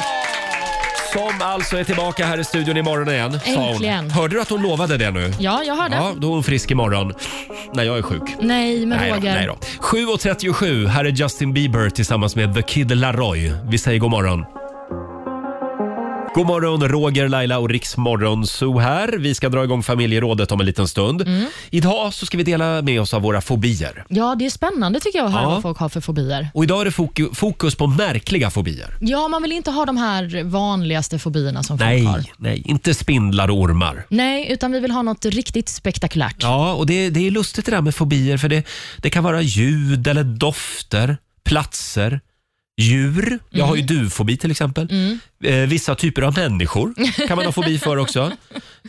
[SPEAKER 1] Som alltså är tillbaka här i studion imorgon igen, sa hon.
[SPEAKER 2] Äntligen.
[SPEAKER 1] Hörde du att hon lovade det nu?
[SPEAKER 2] Ja, jag hörde.
[SPEAKER 1] Ja, då är hon frisk imorgon. När jag är sjuk.
[SPEAKER 2] Nej, men
[SPEAKER 1] Nej då,
[SPEAKER 2] Roger.
[SPEAKER 1] nej då. 7.37, här är Justin Bieber tillsammans med The Kid Laroi. Vi säger god morgon. God morgon, Roger, Laila och Riksmorgon Zoo här. Vi ska dra igång familjerådet om en liten stund. Idag så ska vi dela med oss av våra fobier.
[SPEAKER 2] Ja, det är spännande tycker jag att höra
[SPEAKER 1] Ja.
[SPEAKER 2] vad folk har för fobier.
[SPEAKER 1] Och idag är det foku- fokus på märkliga fobier.
[SPEAKER 2] Ja, man vill inte ha de här vanligaste fobierna som
[SPEAKER 1] Nej,
[SPEAKER 2] folk har.
[SPEAKER 1] nej, inte spindlar och ormar.
[SPEAKER 2] Nej, utan vi vill ha något riktigt spektakulärt.
[SPEAKER 1] Ja, och det, det är lustigt det där med fobier för det, det kan vara ljud eller dofter, platser, djur. Jag har ju
[SPEAKER 2] Mm.
[SPEAKER 1] duvfobi till exempel. Eh, vissa typer av människor kan man ha fobi för också.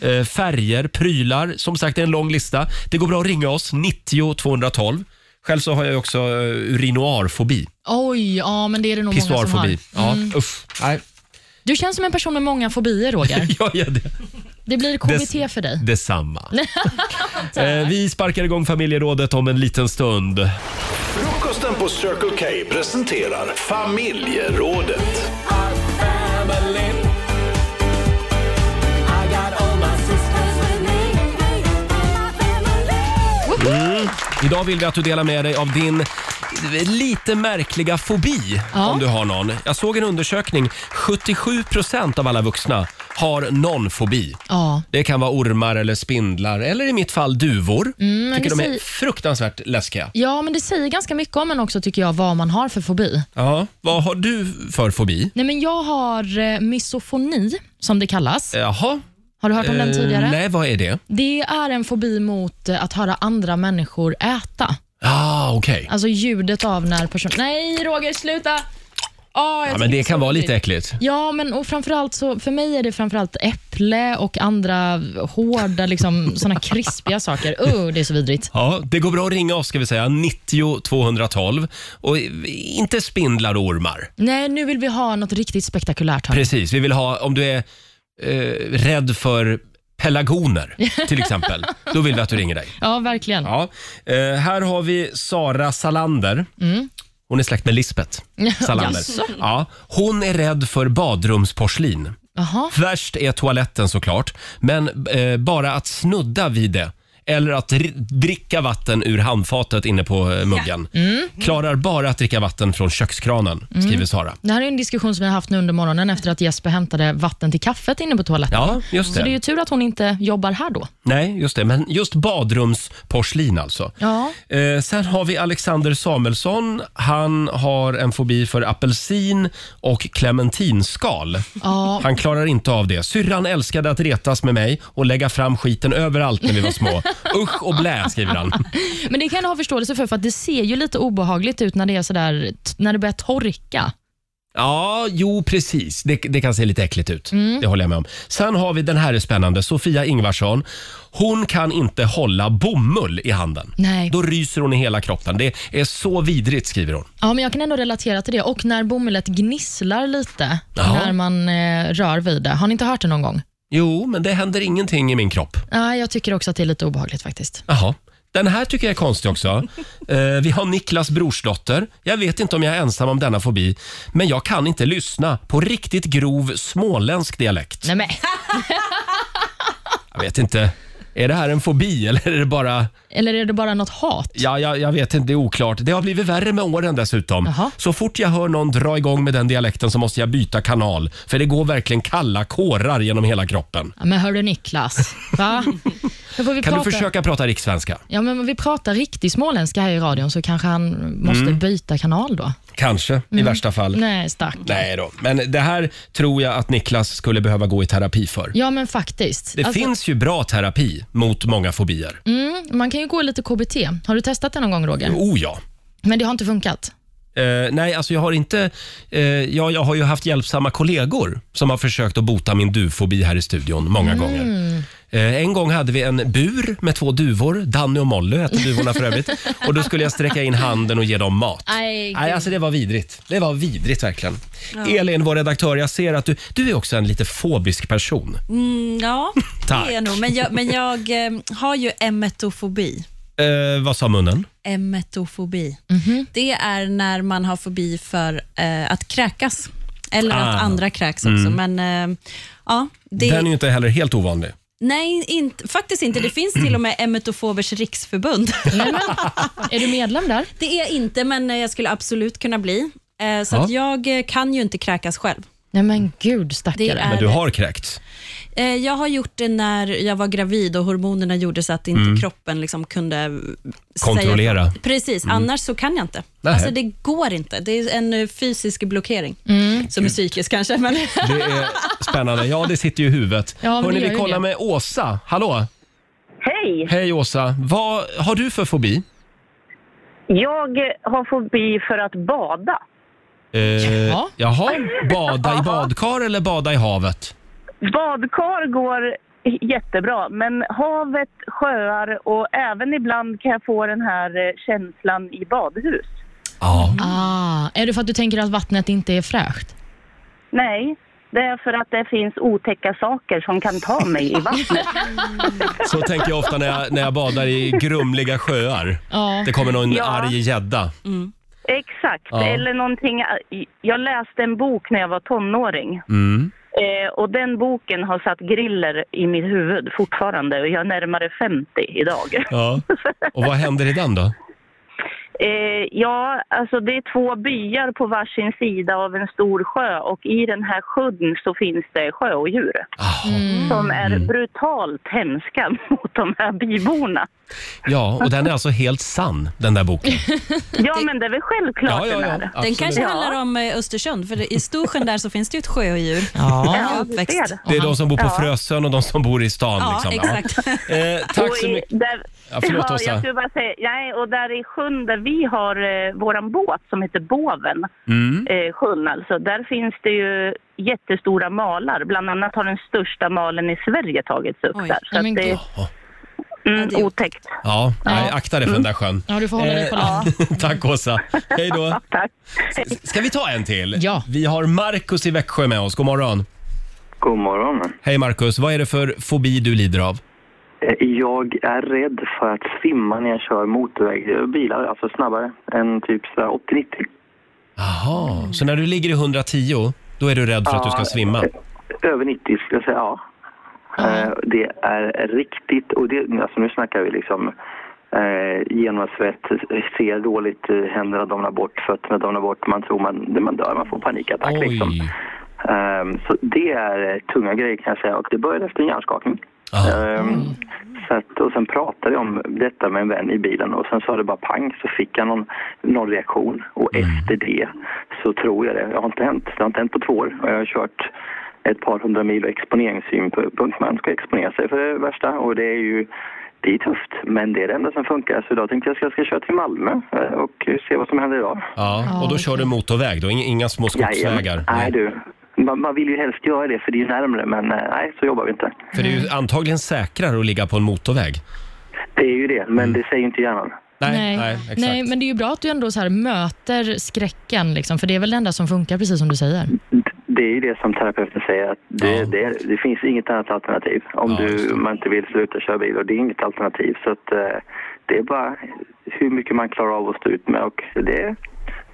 [SPEAKER 1] Eh, färger, prylar. Som sagt, det är en lång lista. Det går bra att ringa oss, 90 212. Själv så har jag också eh, urinoarfobi,
[SPEAKER 2] Oj, ja men det är det nog många som har.
[SPEAKER 1] pissoarfobi. Ja,
[SPEAKER 2] Mm.
[SPEAKER 1] uff. Nej,
[SPEAKER 2] Du känns som en person med många fobier, Roger.
[SPEAKER 1] jag gör det.
[SPEAKER 2] Det blir KBT för dig.
[SPEAKER 1] Detsamma. eh, vi sparkar igång familjerådet om en liten stund.
[SPEAKER 3] Frukosten på Circle K presenterar familjerådet.
[SPEAKER 1] Idag vill vi att du delar med dig av din lite märkliga fobi,
[SPEAKER 2] Ja.
[SPEAKER 1] om du har någon. Jag såg en undersökning. 77 procent av alla vuxna har någon fobi.
[SPEAKER 2] Ja.
[SPEAKER 1] Det kan vara ormar eller spindlar eller i mitt fall duvor.
[SPEAKER 2] Mm. men
[SPEAKER 1] Tycker
[SPEAKER 2] det
[SPEAKER 1] de är
[SPEAKER 2] säger-
[SPEAKER 1] fruktansvärt läskiga.
[SPEAKER 2] ja, men det säger ganska mycket om en också tycker jag, vad man har för fobi.
[SPEAKER 1] Ja. Vad har du för fobi?
[SPEAKER 2] Nej, men jag har eh, misofoni, som det kallas.
[SPEAKER 1] Jaha.
[SPEAKER 2] Har du hört om den
[SPEAKER 1] Eh,
[SPEAKER 2] tidigare?
[SPEAKER 1] nej, vad är det?
[SPEAKER 2] Det är en fobi mot eh, att höra andra människor äta.
[SPEAKER 1] Ah, okej.
[SPEAKER 2] Alltså ljudet av när personen... Nej, Roger, sluta! Ah, jag
[SPEAKER 1] Ja,
[SPEAKER 2] tycker
[SPEAKER 1] men
[SPEAKER 2] är
[SPEAKER 1] det
[SPEAKER 2] så
[SPEAKER 1] kan vara lite
[SPEAKER 2] äckligt.
[SPEAKER 1] äckligt.
[SPEAKER 2] Ja, men och framförallt så, för mig är det framförallt äpple och andra hårda, liksom, såna krispiga saker. Oh, det är så vidrigt.
[SPEAKER 1] Ja, det går bra att ringa oss ska vi säga. 90 212. Och eh, inte spindlar och ormar.
[SPEAKER 2] Nej, nu vill vi ha något riktigt spektakulärt. Här.
[SPEAKER 1] Precis, vi vill ha, om du är eh, rädd för pelargoner till exempel, då vill vi att du ringer dig.
[SPEAKER 2] Ja, verkligen.
[SPEAKER 1] Ja. Eh, här har vi Sara Salander. Hon är släkt med Lisbeth Salander.
[SPEAKER 2] Mm. Jaså?
[SPEAKER 1] ja, hon är rädd för badrumsporslin.
[SPEAKER 2] Jaha.
[SPEAKER 1] Värst är toaletten såklart, men eh, bara att snudda vid det eller att dri- dricka vatten ur handfatet inne på eh, muggen.
[SPEAKER 2] Mm.
[SPEAKER 1] Klarar bara att dricka vatten från kökskranen, skriver Sara.
[SPEAKER 2] Det här är en diskussion som vi har haft nu under morgonen efter att Jesper hämtade vatten till kaffet inne på toaletten.
[SPEAKER 1] Ja, just det.
[SPEAKER 2] Så det är ju tur att hon inte jobbar här då.
[SPEAKER 1] Nej, just det. Men just badrumsporslin alltså.
[SPEAKER 2] Ja.
[SPEAKER 1] Eh, sen har vi Alexander Samuelsson. Han har en fobi för apelsin och clementinskal.
[SPEAKER 2] Ja,
[SPEAKER 1] Han klarar inte av det. Syrran älskade att retas med mig och lägga fram skiten överallt när vi var små. Usch och blä, skriver han.
[SPEAKER 2] men det kan jag ha förståelse för, för att det ser ju lite obehagligt ut när det, är sådär, t- när det börjar torka.
[SPEAKER 1] Ja, jo precis. Det, det kan se lite äckligt ut. Det håller jag med om. Sen har vi den här är spännande. Sofia Ingvarsson. Hon kan inte hålla bomull i handen.
[SPEAKER 2] Nej.
[SPEAKER 1] Då ryser hon i hela kroppen. Det är så vidrigt, skriver hon.
[SPEAKER 2] Ja, men jag kan ändå relatera till det. Och när bomullet gnisslar lite
[SPEAKER 1] Ja.
[SPEAKER 2] när man eh, rör vid det. Har ni inte hört det någon gång?
[SPEAKER 1] Jo, men det händer ingenting i min kropp.
[SPEAKER 2] Nej, jag tycker också att det är lite obehagligt faktiskt.
[SPEAKER 1] Jaha. Den här tycker jag är konstig också. Eh, vi har Niklas brorsdotter. Jag vet inte om jag är ensam om denna fobi, men jag kan inte lyssna på riktigt grov småländsk dialekt.
[SPEAKER 2] Nej, men.
[SPEAKER 1] Jag vet inte. Är det här en fobi eller är det bara...
[SPEAKER 2] Eller är det bara något hat?
[SPEAKER 1] Ja, jag, jag vet inte, det är oklart. Det har blivit värre med åren dessutom. Så fort jag hör någon dra igång med den dialekten så måste jag byta kanal. För det går verkligen kalla kårar genom hela kroppen.
[SPEAKER 2] Ja, men hörru Niklas, va? Då får vi
[SPEAKER 1] Kan du
[SPEAKER 2] prata-
[SPEAKER 1] försöka prata rikssvenska?
[SPEAKER 2] Ja, men om vi pratar riktig småländska här i radion så kanske han måste
[SPEAKER 1] Mm.
[SPEAKER 2] byta kanal då.
[SPEAKER 1] Kanske, i
[SPEAKER 2] Mm.
[SPEAKER 1] värsta fall.
[SPEAKER 2] Nej, stack.
[SPEAKER 1] Nej då, men det här tror jag att Niklas skulle behöva gå i terapi för.
[SPEAKER 2] Ja, men faktiskt.
[SPEAKER 1] Det
[SPEAKER 2] Alltså-
[SPEAKER 1] finns ju bra terapi mot många fobier.
[SPEAKER 2] Mm, man kan ju gå lite KBT. Har du testat det någon gång, Roger?
[SPEAKER 1] Oh ja.
[SPEAKER 2] Men det har inte funkat?
[SPEAKER 1] Eh, nej, alltså jag har inte... eh, ja, jag har ju haft hjälpsamma kollegor som har försökt att bota min duvfobi här i studion många gånger.
[SPEAKER 2] Mm.
[SPEAKER 1] Eh, En gång hade vi en bur med två duvor, Danny och Molly hette duvorna för övrigt. Och då skulle jag sträcka in handen och ge dem mat.
[SPEAKER 2] Nej,
[SPEAKER 1] Nej,
[SPEAKER 2] gud.
[SPEAKER 1] alltså det var vidrigt. Det var vidrigt verkligen.
[SPEAKER 6] Ja.
[SPEAKER 1] Elin, vår redaktör, jag ser att du, du är också en lite fobisk person.
[SPEAKER 6] Mm, ja,
[SPEAKER 1] Tack.
[SPEAKER 6] det är jag nog. Men jag, men jag eh, har ju emetofobi.
[SPEAKER 1] Eh, vad sa munnen?
[SPEAKER 6] Emetofobi.
[SPEAKER 1] Mhm.
[SPEAKER 6] Det är när man har fobi för eh, att kräkas. Eller att
[SPEAKER 1] Ah.
[SPEAKER 6] andra kräks också.
[SPEAKER 1] Mm.
[SPEAKER 6] Men eh, ja, det,
[SPEAKER 1] Den är ju inte heller helt ovanlig.
[SPEAKER 6] Nej, inte, faktiskt inte. Det finns till och med Emetofobers riksförbund.
[SPEAKER 2] är du medlem där?
[SPEAKER 6] Det är jag inte, men eh, jag skulle absolut kunna bli. Eh, Så
[SPEAKER 1] Ja.
[SPEAKER 6] att jag eh, kan ju inte kräkas själv.
[SPEAKER 2] Nej, men gud
[SPEAKER 6] Det
[SPEAKER 2] stackare.
[SPEAKER 6] är-
[SPEAKER 1] Men du har kräkts.
[SPEAKER 6] Eh, Jag har gjort det när jag var gravid och hormonerna gjorde så att inte
[SPEAKER 1] Mm.
[SPEAKER 6] kroppen liksom kunde...
[SPEAKER 1] Kontrollera.
[SPEAKER 6] Säga, precis,
[SPEAKER 1] Mm.
[SPEAKER 6] annars så kan jag inte.
[SPEAKER 1] Nej.
[SPEAKER 6] Alltså det går inte. Det är en eh, fysisk blockering, som är psykisk kanske. Men...
[SPEAKER 1] Det är spännande. Ja, det sitter ju i huvudet.
[SPEAKER 6] Ja, men det
[SPEAKER 1] Hörrni,
[SPEAKER 6] gör
[SPEAKER 1] vi
[SPEAKER 6] ju
[SPEAKER 1] kollar
[SPEAKER 6] det.
[SPEAKER 1] med Åsa. Hallå!
[SPEAKER 9] Hej!
[SPEAKER 1] Hej Åsa! Vad har du för fobi?
[SPEAKER 9] Jag eh, har fobi för att bada.
[SPEAKER 1] Eh,
[SPEAKER 9] Jaha.
[SPEAKER 1] Jaha, bada i badkar eller bada i havet?
[SPEAKER 9] Badkar går jättebra, men havet, sjöar och även ibland kan jag få den här eh, känslan i badhus.
[SPEAKER 2] Ah, är det för att du tänker att vattnet inte är fräscht?
[SPEAKER 9] Nej, det är för att det finns otäcka saker som kan ta mig i vattnet.
[SPEAKER 1] Så tänker jag ofta när jag, när jag badar i grumliga sjöar.
[SPEAKER 9] Ja.
[SPEAKER 1] Det kommer någon
[SPEAKER 9] Ja.
[SPEAKER 1] arg gädda.
[SPEAKER 9] Exakt,
[SPEAKER 1] Ja.
[SPEAKER 9] eller någonting. eh, Jag läste en bok när jag var tonåring.
[SPEAKER 1] Mm.
[SPEAKER 9] Eh, och den boken har satt griller i mitt huvud fortfarande och jag är närmare 50 idag.
[SPEAKER 1] Ja. Och vad händer i den då?
[SPEAKER 9] Eh, ja, alltså det är två byar på varsin sida av en stor sjö och i den här sjön så finns det sjöodjur.
[SPEAKER 1] Ah.
[SPEAKER 9] Som är
[SPEAKER 1] Mm.
[SPEAKER 9] brutalt hemska mot de här byborna.
[SPEAKER 1] Ja, och den är alltså helt sann, den där boken.
[SPEAKER 9] Ja, men det är väl självklart
[SPEAKER 1] Ja, ja, ja,
[SPEAKER 9] den är.
[SPEAKER 1] absolut.
[SPEAKER 6] Den kanske
[SPEAKER 9] Ja.
[SPEAKER 6] handlar om eh, Östersund, för det- i Storsjön där så finns det ju ett sjödjur.
[SPEAKER 1] Ja.
[SPEAKER 6] Jag är uppväxt.
[SPEAKER 1] Det är de som bor på
[SPEAKER 6] Ja.
[SPEAKER 1] Frösön och de som bor i stan.
[SPEAKER 9] Ja,
[SPEAKER 1] liksom.
[SPEAKER 9] exakt.
[SPEAKER 1] Eh, tack så
[SPEAKER 9] Och i-
[SPEAKER 1] mycket.
[SPEAKER 9] Där,
[SPEAKER 1] Ja, förlåt,
[SPEAKER 9] ja,
[SPEAKER 1] Åsa.
[SPEAKER 9] jag skulle bara säga, nej, och där i sjön där vi har eh, våran båt som heter Båven,
[SPEAKER 1] Mm.
[SPEAKER 9] eh, sjön alltså, där finns det ju jättestora malar. Bland annat har den största malen i Sverige tagits upp där. Så att det, mm, otäckt.
[SPEAKER 1] Ja, nej, akta dig för den där sjön.
[SPEAKER 2] Ja, du får hålla dig på
[SPEAKER 1] Eh,
[SPEAKER 2] land.
[SPEAKER 1] Tack Åsa. Hej då. S- Ska vi ta en till? Ja. Vi har Markus i Växjö med oss. God morgon.
[SPEAKER 11] God morgon.
[SPEAKER 1] Hej Markus, vad är det för fobi du lider av?
[SPEAKER 11] Eh, Jag är rädd för att svimma när jag kör motorvägsbilar, alltså snabbare än typ så här 80-90.
[SPEAKER 1] Jaha, så när du ligger i 110, då är du rädd för att du ska
[SPEAKER 11] Ja.
[SPEAKER 1] svimma?
[SPEAKER 11] Över 90 skulle jag säga, ja. Eh, Det är riktigt, och det, alltså nu snackar vi liksom eh, genomsvett, ser dåligt, eh, händerna domnar bort, fötterna domnar bort, man tror man, man dör, man får panikattack liksom. Ehm, så det är eh, tunga grejer kan jag säga och det började efter en hjärnskakning. Ehm, så att, och sen pratade jag om detta med en vän i bilen och sen sa det bara pang så fick jag någon, någon reaktion och efter det så tror jag det. Det har inte hänt. Det har inte hänt på två år och jag har kört ett par hundra mil och exponeringssynpunkt. Man ska exponera sig för det värsta och det är ju det är tufft, men det är det enda som funkar. Så idag tänkte jag att jag ska köra till Malmö eh, och se vad som händer idag.
[SPEAKER 1] Ja, och då kör du motorväg då, inga, inga små skogsvägar?
[SPEAKER 11] Jajamän. Nej du, man, man vill ju helst göra det för det är ju närmare men eh, nej så jobbar vi inte.
[SPEAKER 1] För det är ju antagligen säkrare att ligga på en motorväg.
[SPEAKER 11] Det är ju det, men det säger ju inte hjärnan.
[SPEAKER 1] Nej, nej, exakt.
[SPEAKER 2] Nej, men det är ju bra att du ändå så här möter skräcken, liksom, för det är väl det enda som funkar, precis som du säger.
[SPEAKER 11] Det är ju det som terapeuten säger, att det, det, det finns inget annat alternativ. Om du, man inte vill sluta köra bil och det är inget alternativ. Så att, eh, det är bara hur mycket man klarar av att stå ut med och det,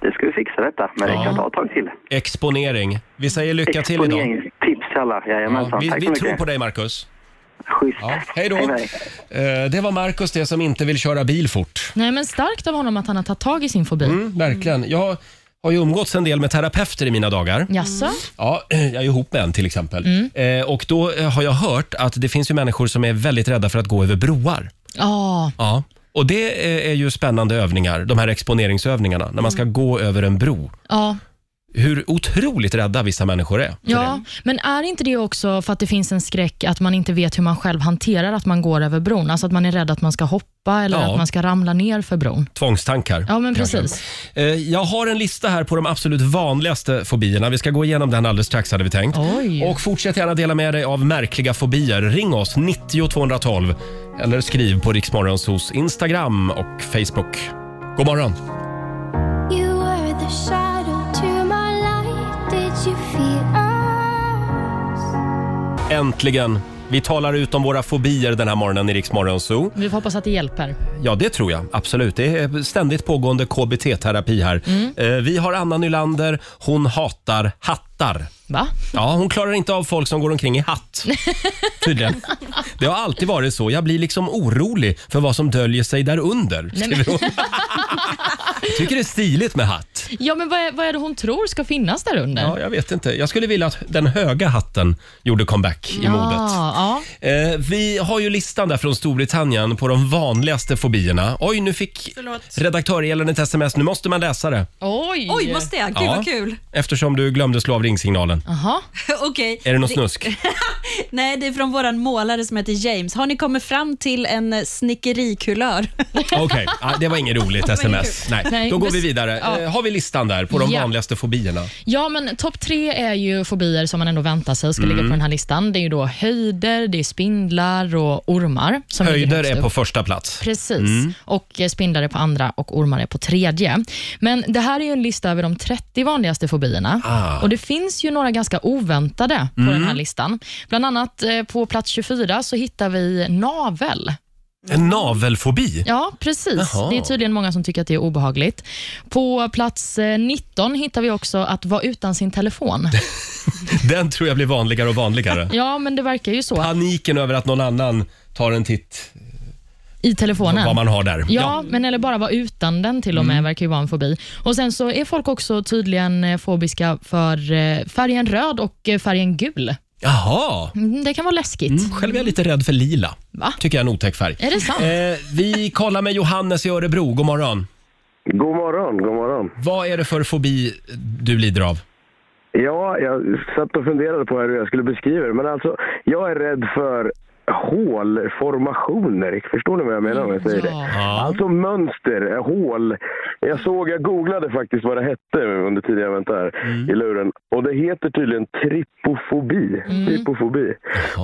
[SPEAKER 11] det ska vi fixa detta. Men det kan ta ett tag till.
[SPEAKER 1] Exponering. Vi säger lycka till idag.
[SPEAKER 11] Exponeringstips till alla, jajamensan.
[SPEAKER 1] Vi,
[SPEAKER 11] Tack
[SPEAKER 1] vi
[SPEAKER 11] så mycket.
[SPEAKER 1] tror på dig Marcus.
[SPEAKER 11] Schysst.
[SPEAKER 1] Ja, hej då. Eh, Det var Markus det som inte vill köra bil fort.
[SPEAKER 2] Nej, men starkt av honom att han har tagit tag i sin fobi.
[SPEAKER 1] Mm, verkligen. Jag har ju umgåtts en del med terapeuter i mina dagar.
[SPEAKER 11] Mm.
[SPEAKER 2] Jaså?
[SPEAKER 1] Ja, jag är ihop med en till exempel. Eh, och då eh, har jag hört att det finns ju människor som är väldigt rädda för att gå över broar.
[SPEAKER 2] Ja.
[SPEAKER 1] Ja. Och det eh, är ju spännande övningar, de här exponeringsövningarna, när man
[SPEAKER 11] Mm.
[SPEAKER 1] ska gå över en bro.
[SPEAKER 2] Ja.
[SPEAKER 1] Hur otroligt rädda vissa människor är.
[SPEAKER 11] Mm.
[SPEAKER 2] Ja, men är inte det också för att det finns en skräck att man inte vet hur man själv hanterar att man går över bron? Alltså att man är rädd att man ska hoppa eller
[SPEAKER 1] Ja.
[SPEAKER 2] att man ska ramla ner för bron.
[SPEAKER 1] Tvångstankar.
[SPEAKER 2] Ja, men
[SPEAKER 1] kanske.
[SPEAKER 2] precis.
[SPEAKER 1] Eh, Jag har en lista här på de absolut vanligaste fobierna. Vi ska gå igenom den alldeles strax hade vi tänkt. Och fortsätt gärna dela med dig av märkliga fobier. Ring oss, 90 212 eller skriv på Riksmorgonsos Instagram och Facebook. God morgon!
[SPEAKER 8] You were the shadow to my light. Did you feel us?
[SPEAKER 1] Äntligen! Vi talar ut om våra fobier den här morgonen i Riksmorgonso.
[SPEAKER 2] Vi får hoppas att det hjälper.
[SPEAKER 1] Ja, det tror jag. Absolut. Det är ständigt pågående KBT-terapi här. Eh, Vi har Anna Nylander. Hon hatar hattar.
[SPEAKER 2] Va?
[SPEAKER 1] Ja, hon klarar inte av folk som går omkring i hatt. Tydligen. Det har alltid varit så. Jag blir liksom orolig för vad som döljer sig där under.
[SPEAKER 2] Nej,
[SPEAKER 1] skriver hon.
[SPEAKER 2] men,
[SPEAKER 1] Jag tycker det är stiligt med hatt.
[SPEAKER 2] ja, men vad, är, vad är det hon tror ska finnas där under?
[SPEAKER 1] Ja, jag vet inte. Jag skulle vilja att den höga hatten gjorde comeback i modet.
[SPEAKER 2] Ja,
[SPEAKER 1] Eh, vi har ju listan där från Storbritannien på de vanligaste fobierna. Oj, nu fick redaktör Elin ett sms. Nu måste man läsa det.
[SPEAKER 2] Oj!
[SPEAKER 6] Oj, måste jag? Gud,
[SPEAKER 1] Ja.
[SPEAKER 6] vad kul.
[SPEAKER 1] Eftersom du glömde slå av ringsignalen.
[SPEAKER 2] Aha.
[SPEAKER 6] Okej.
[SPEAKER 1] Är det något
[SPEAKER 6] Det-
[SPEAKER 1] snusk?
[SPEAKER 6] Nej, det är från våran målare som heter James. Har ni kommit fram till en eh, snickerikulör?
[SPEAKER 1] Okej, ah, det var inget roligt
[SPEAKER 6] Det var inget
[SPEAKER 1] sms.
[SPEAKER 6] kul.
[SPEAKER 1] Nej.
[SPEAKER 2] Nej,
[SPEAKER 1] Då går
[SPEAKER 2] bes-
[SPEAKER 1] vi vidare.
[SPEAKER 2] ja.
[SPEAKER 1] Eh, har vi listan där på de
[SPEAKER 2] Ja.
[SPEAKER 1] vanligaste fobierna?
[SPEAKER 2] Ja, men topp tre är ju fobier som man ändå väntar sig ska ligga
[SPEAKER 1] Mm.
[SPEAKER 2] på den här listan. Det är ju då höjder, det är spindlar och ormar. Som ligger
[SPEAKER 1] Höjder
[SPEAKER 2] högst
[SPEAKER 1] är
[SPEAKER 2] upp.
[SPEAKER 1] på första plats.
[SPEAKER 2] Precis.
[SPEAKER 1] Mm.
[SPEAKER 2] Och eh, spindlar är på andra och ormar är på tredje. Men det här är ju en lista över de 30 vanligaste fobierna.
[SPEAKER 8] Ah.
[SPEAKER 2] Och det finns ju några ganska oväntade på
[SPEAKER 8] Mm.
[SPEAKER 2] den här listan. Bland annat eh, på plats 24 så hittar vi navel.
[SPEAKER 1] En navelfobi?
[SPEAKER 2] Ja, precis.
[SPEAKER 1] Jaha.
[SPEAKER 2] Det är tydligen många som tycker att det är obehagligt. På plats eh, 19 hittar vi också att vara utan sin telefon.
[SPEAKER 1] Den tror jag blir vanligare och vanligare.
[SPEAKER 2] Ja, men det verkar ju så.
[SPEAKER 1] Paniken över att någon annan tar en titt
[SPEAKER 2] I telefonen.
[SPEAKER 1] vad man har där.
[SPEAKER 2] Ja, men eller bara vara utan den till och med, verkar ju vara en fobi. Och Sen så är folk också tydligen eh, fobiska för eh, färgen röd och eh, färgen gul.
[SPEAKER 1] Jaha.
[SPEAKER 2] Mm, Det kan vara läskigt.
[SPEAKER 1] Själv är jag lite rädd för lila. Tycker jag är en otäck färg.
[SPEAKER 2] Är det sant?
[SPEAKER 1] Eh, vi kollar med Johannes i Örebro. God morgon.
[SPEAKER 12] God morgon, god morgon.
[SPEAKER 1] Vad är det för fobi du lider av?
[SPEAKER 12] Ja, jag satt och funderade på hur jag skulle beskriva det. Men alltså, jag är rädd för hålformationer. Förstår ni vad jag menar om jag säger det? Alltså mönster, eh, hål. Jag såg, jag googlade faktiskt vad det hette under tiden jag väntade här i luren. Och det heter tydligen trypofobi. Trypofobi.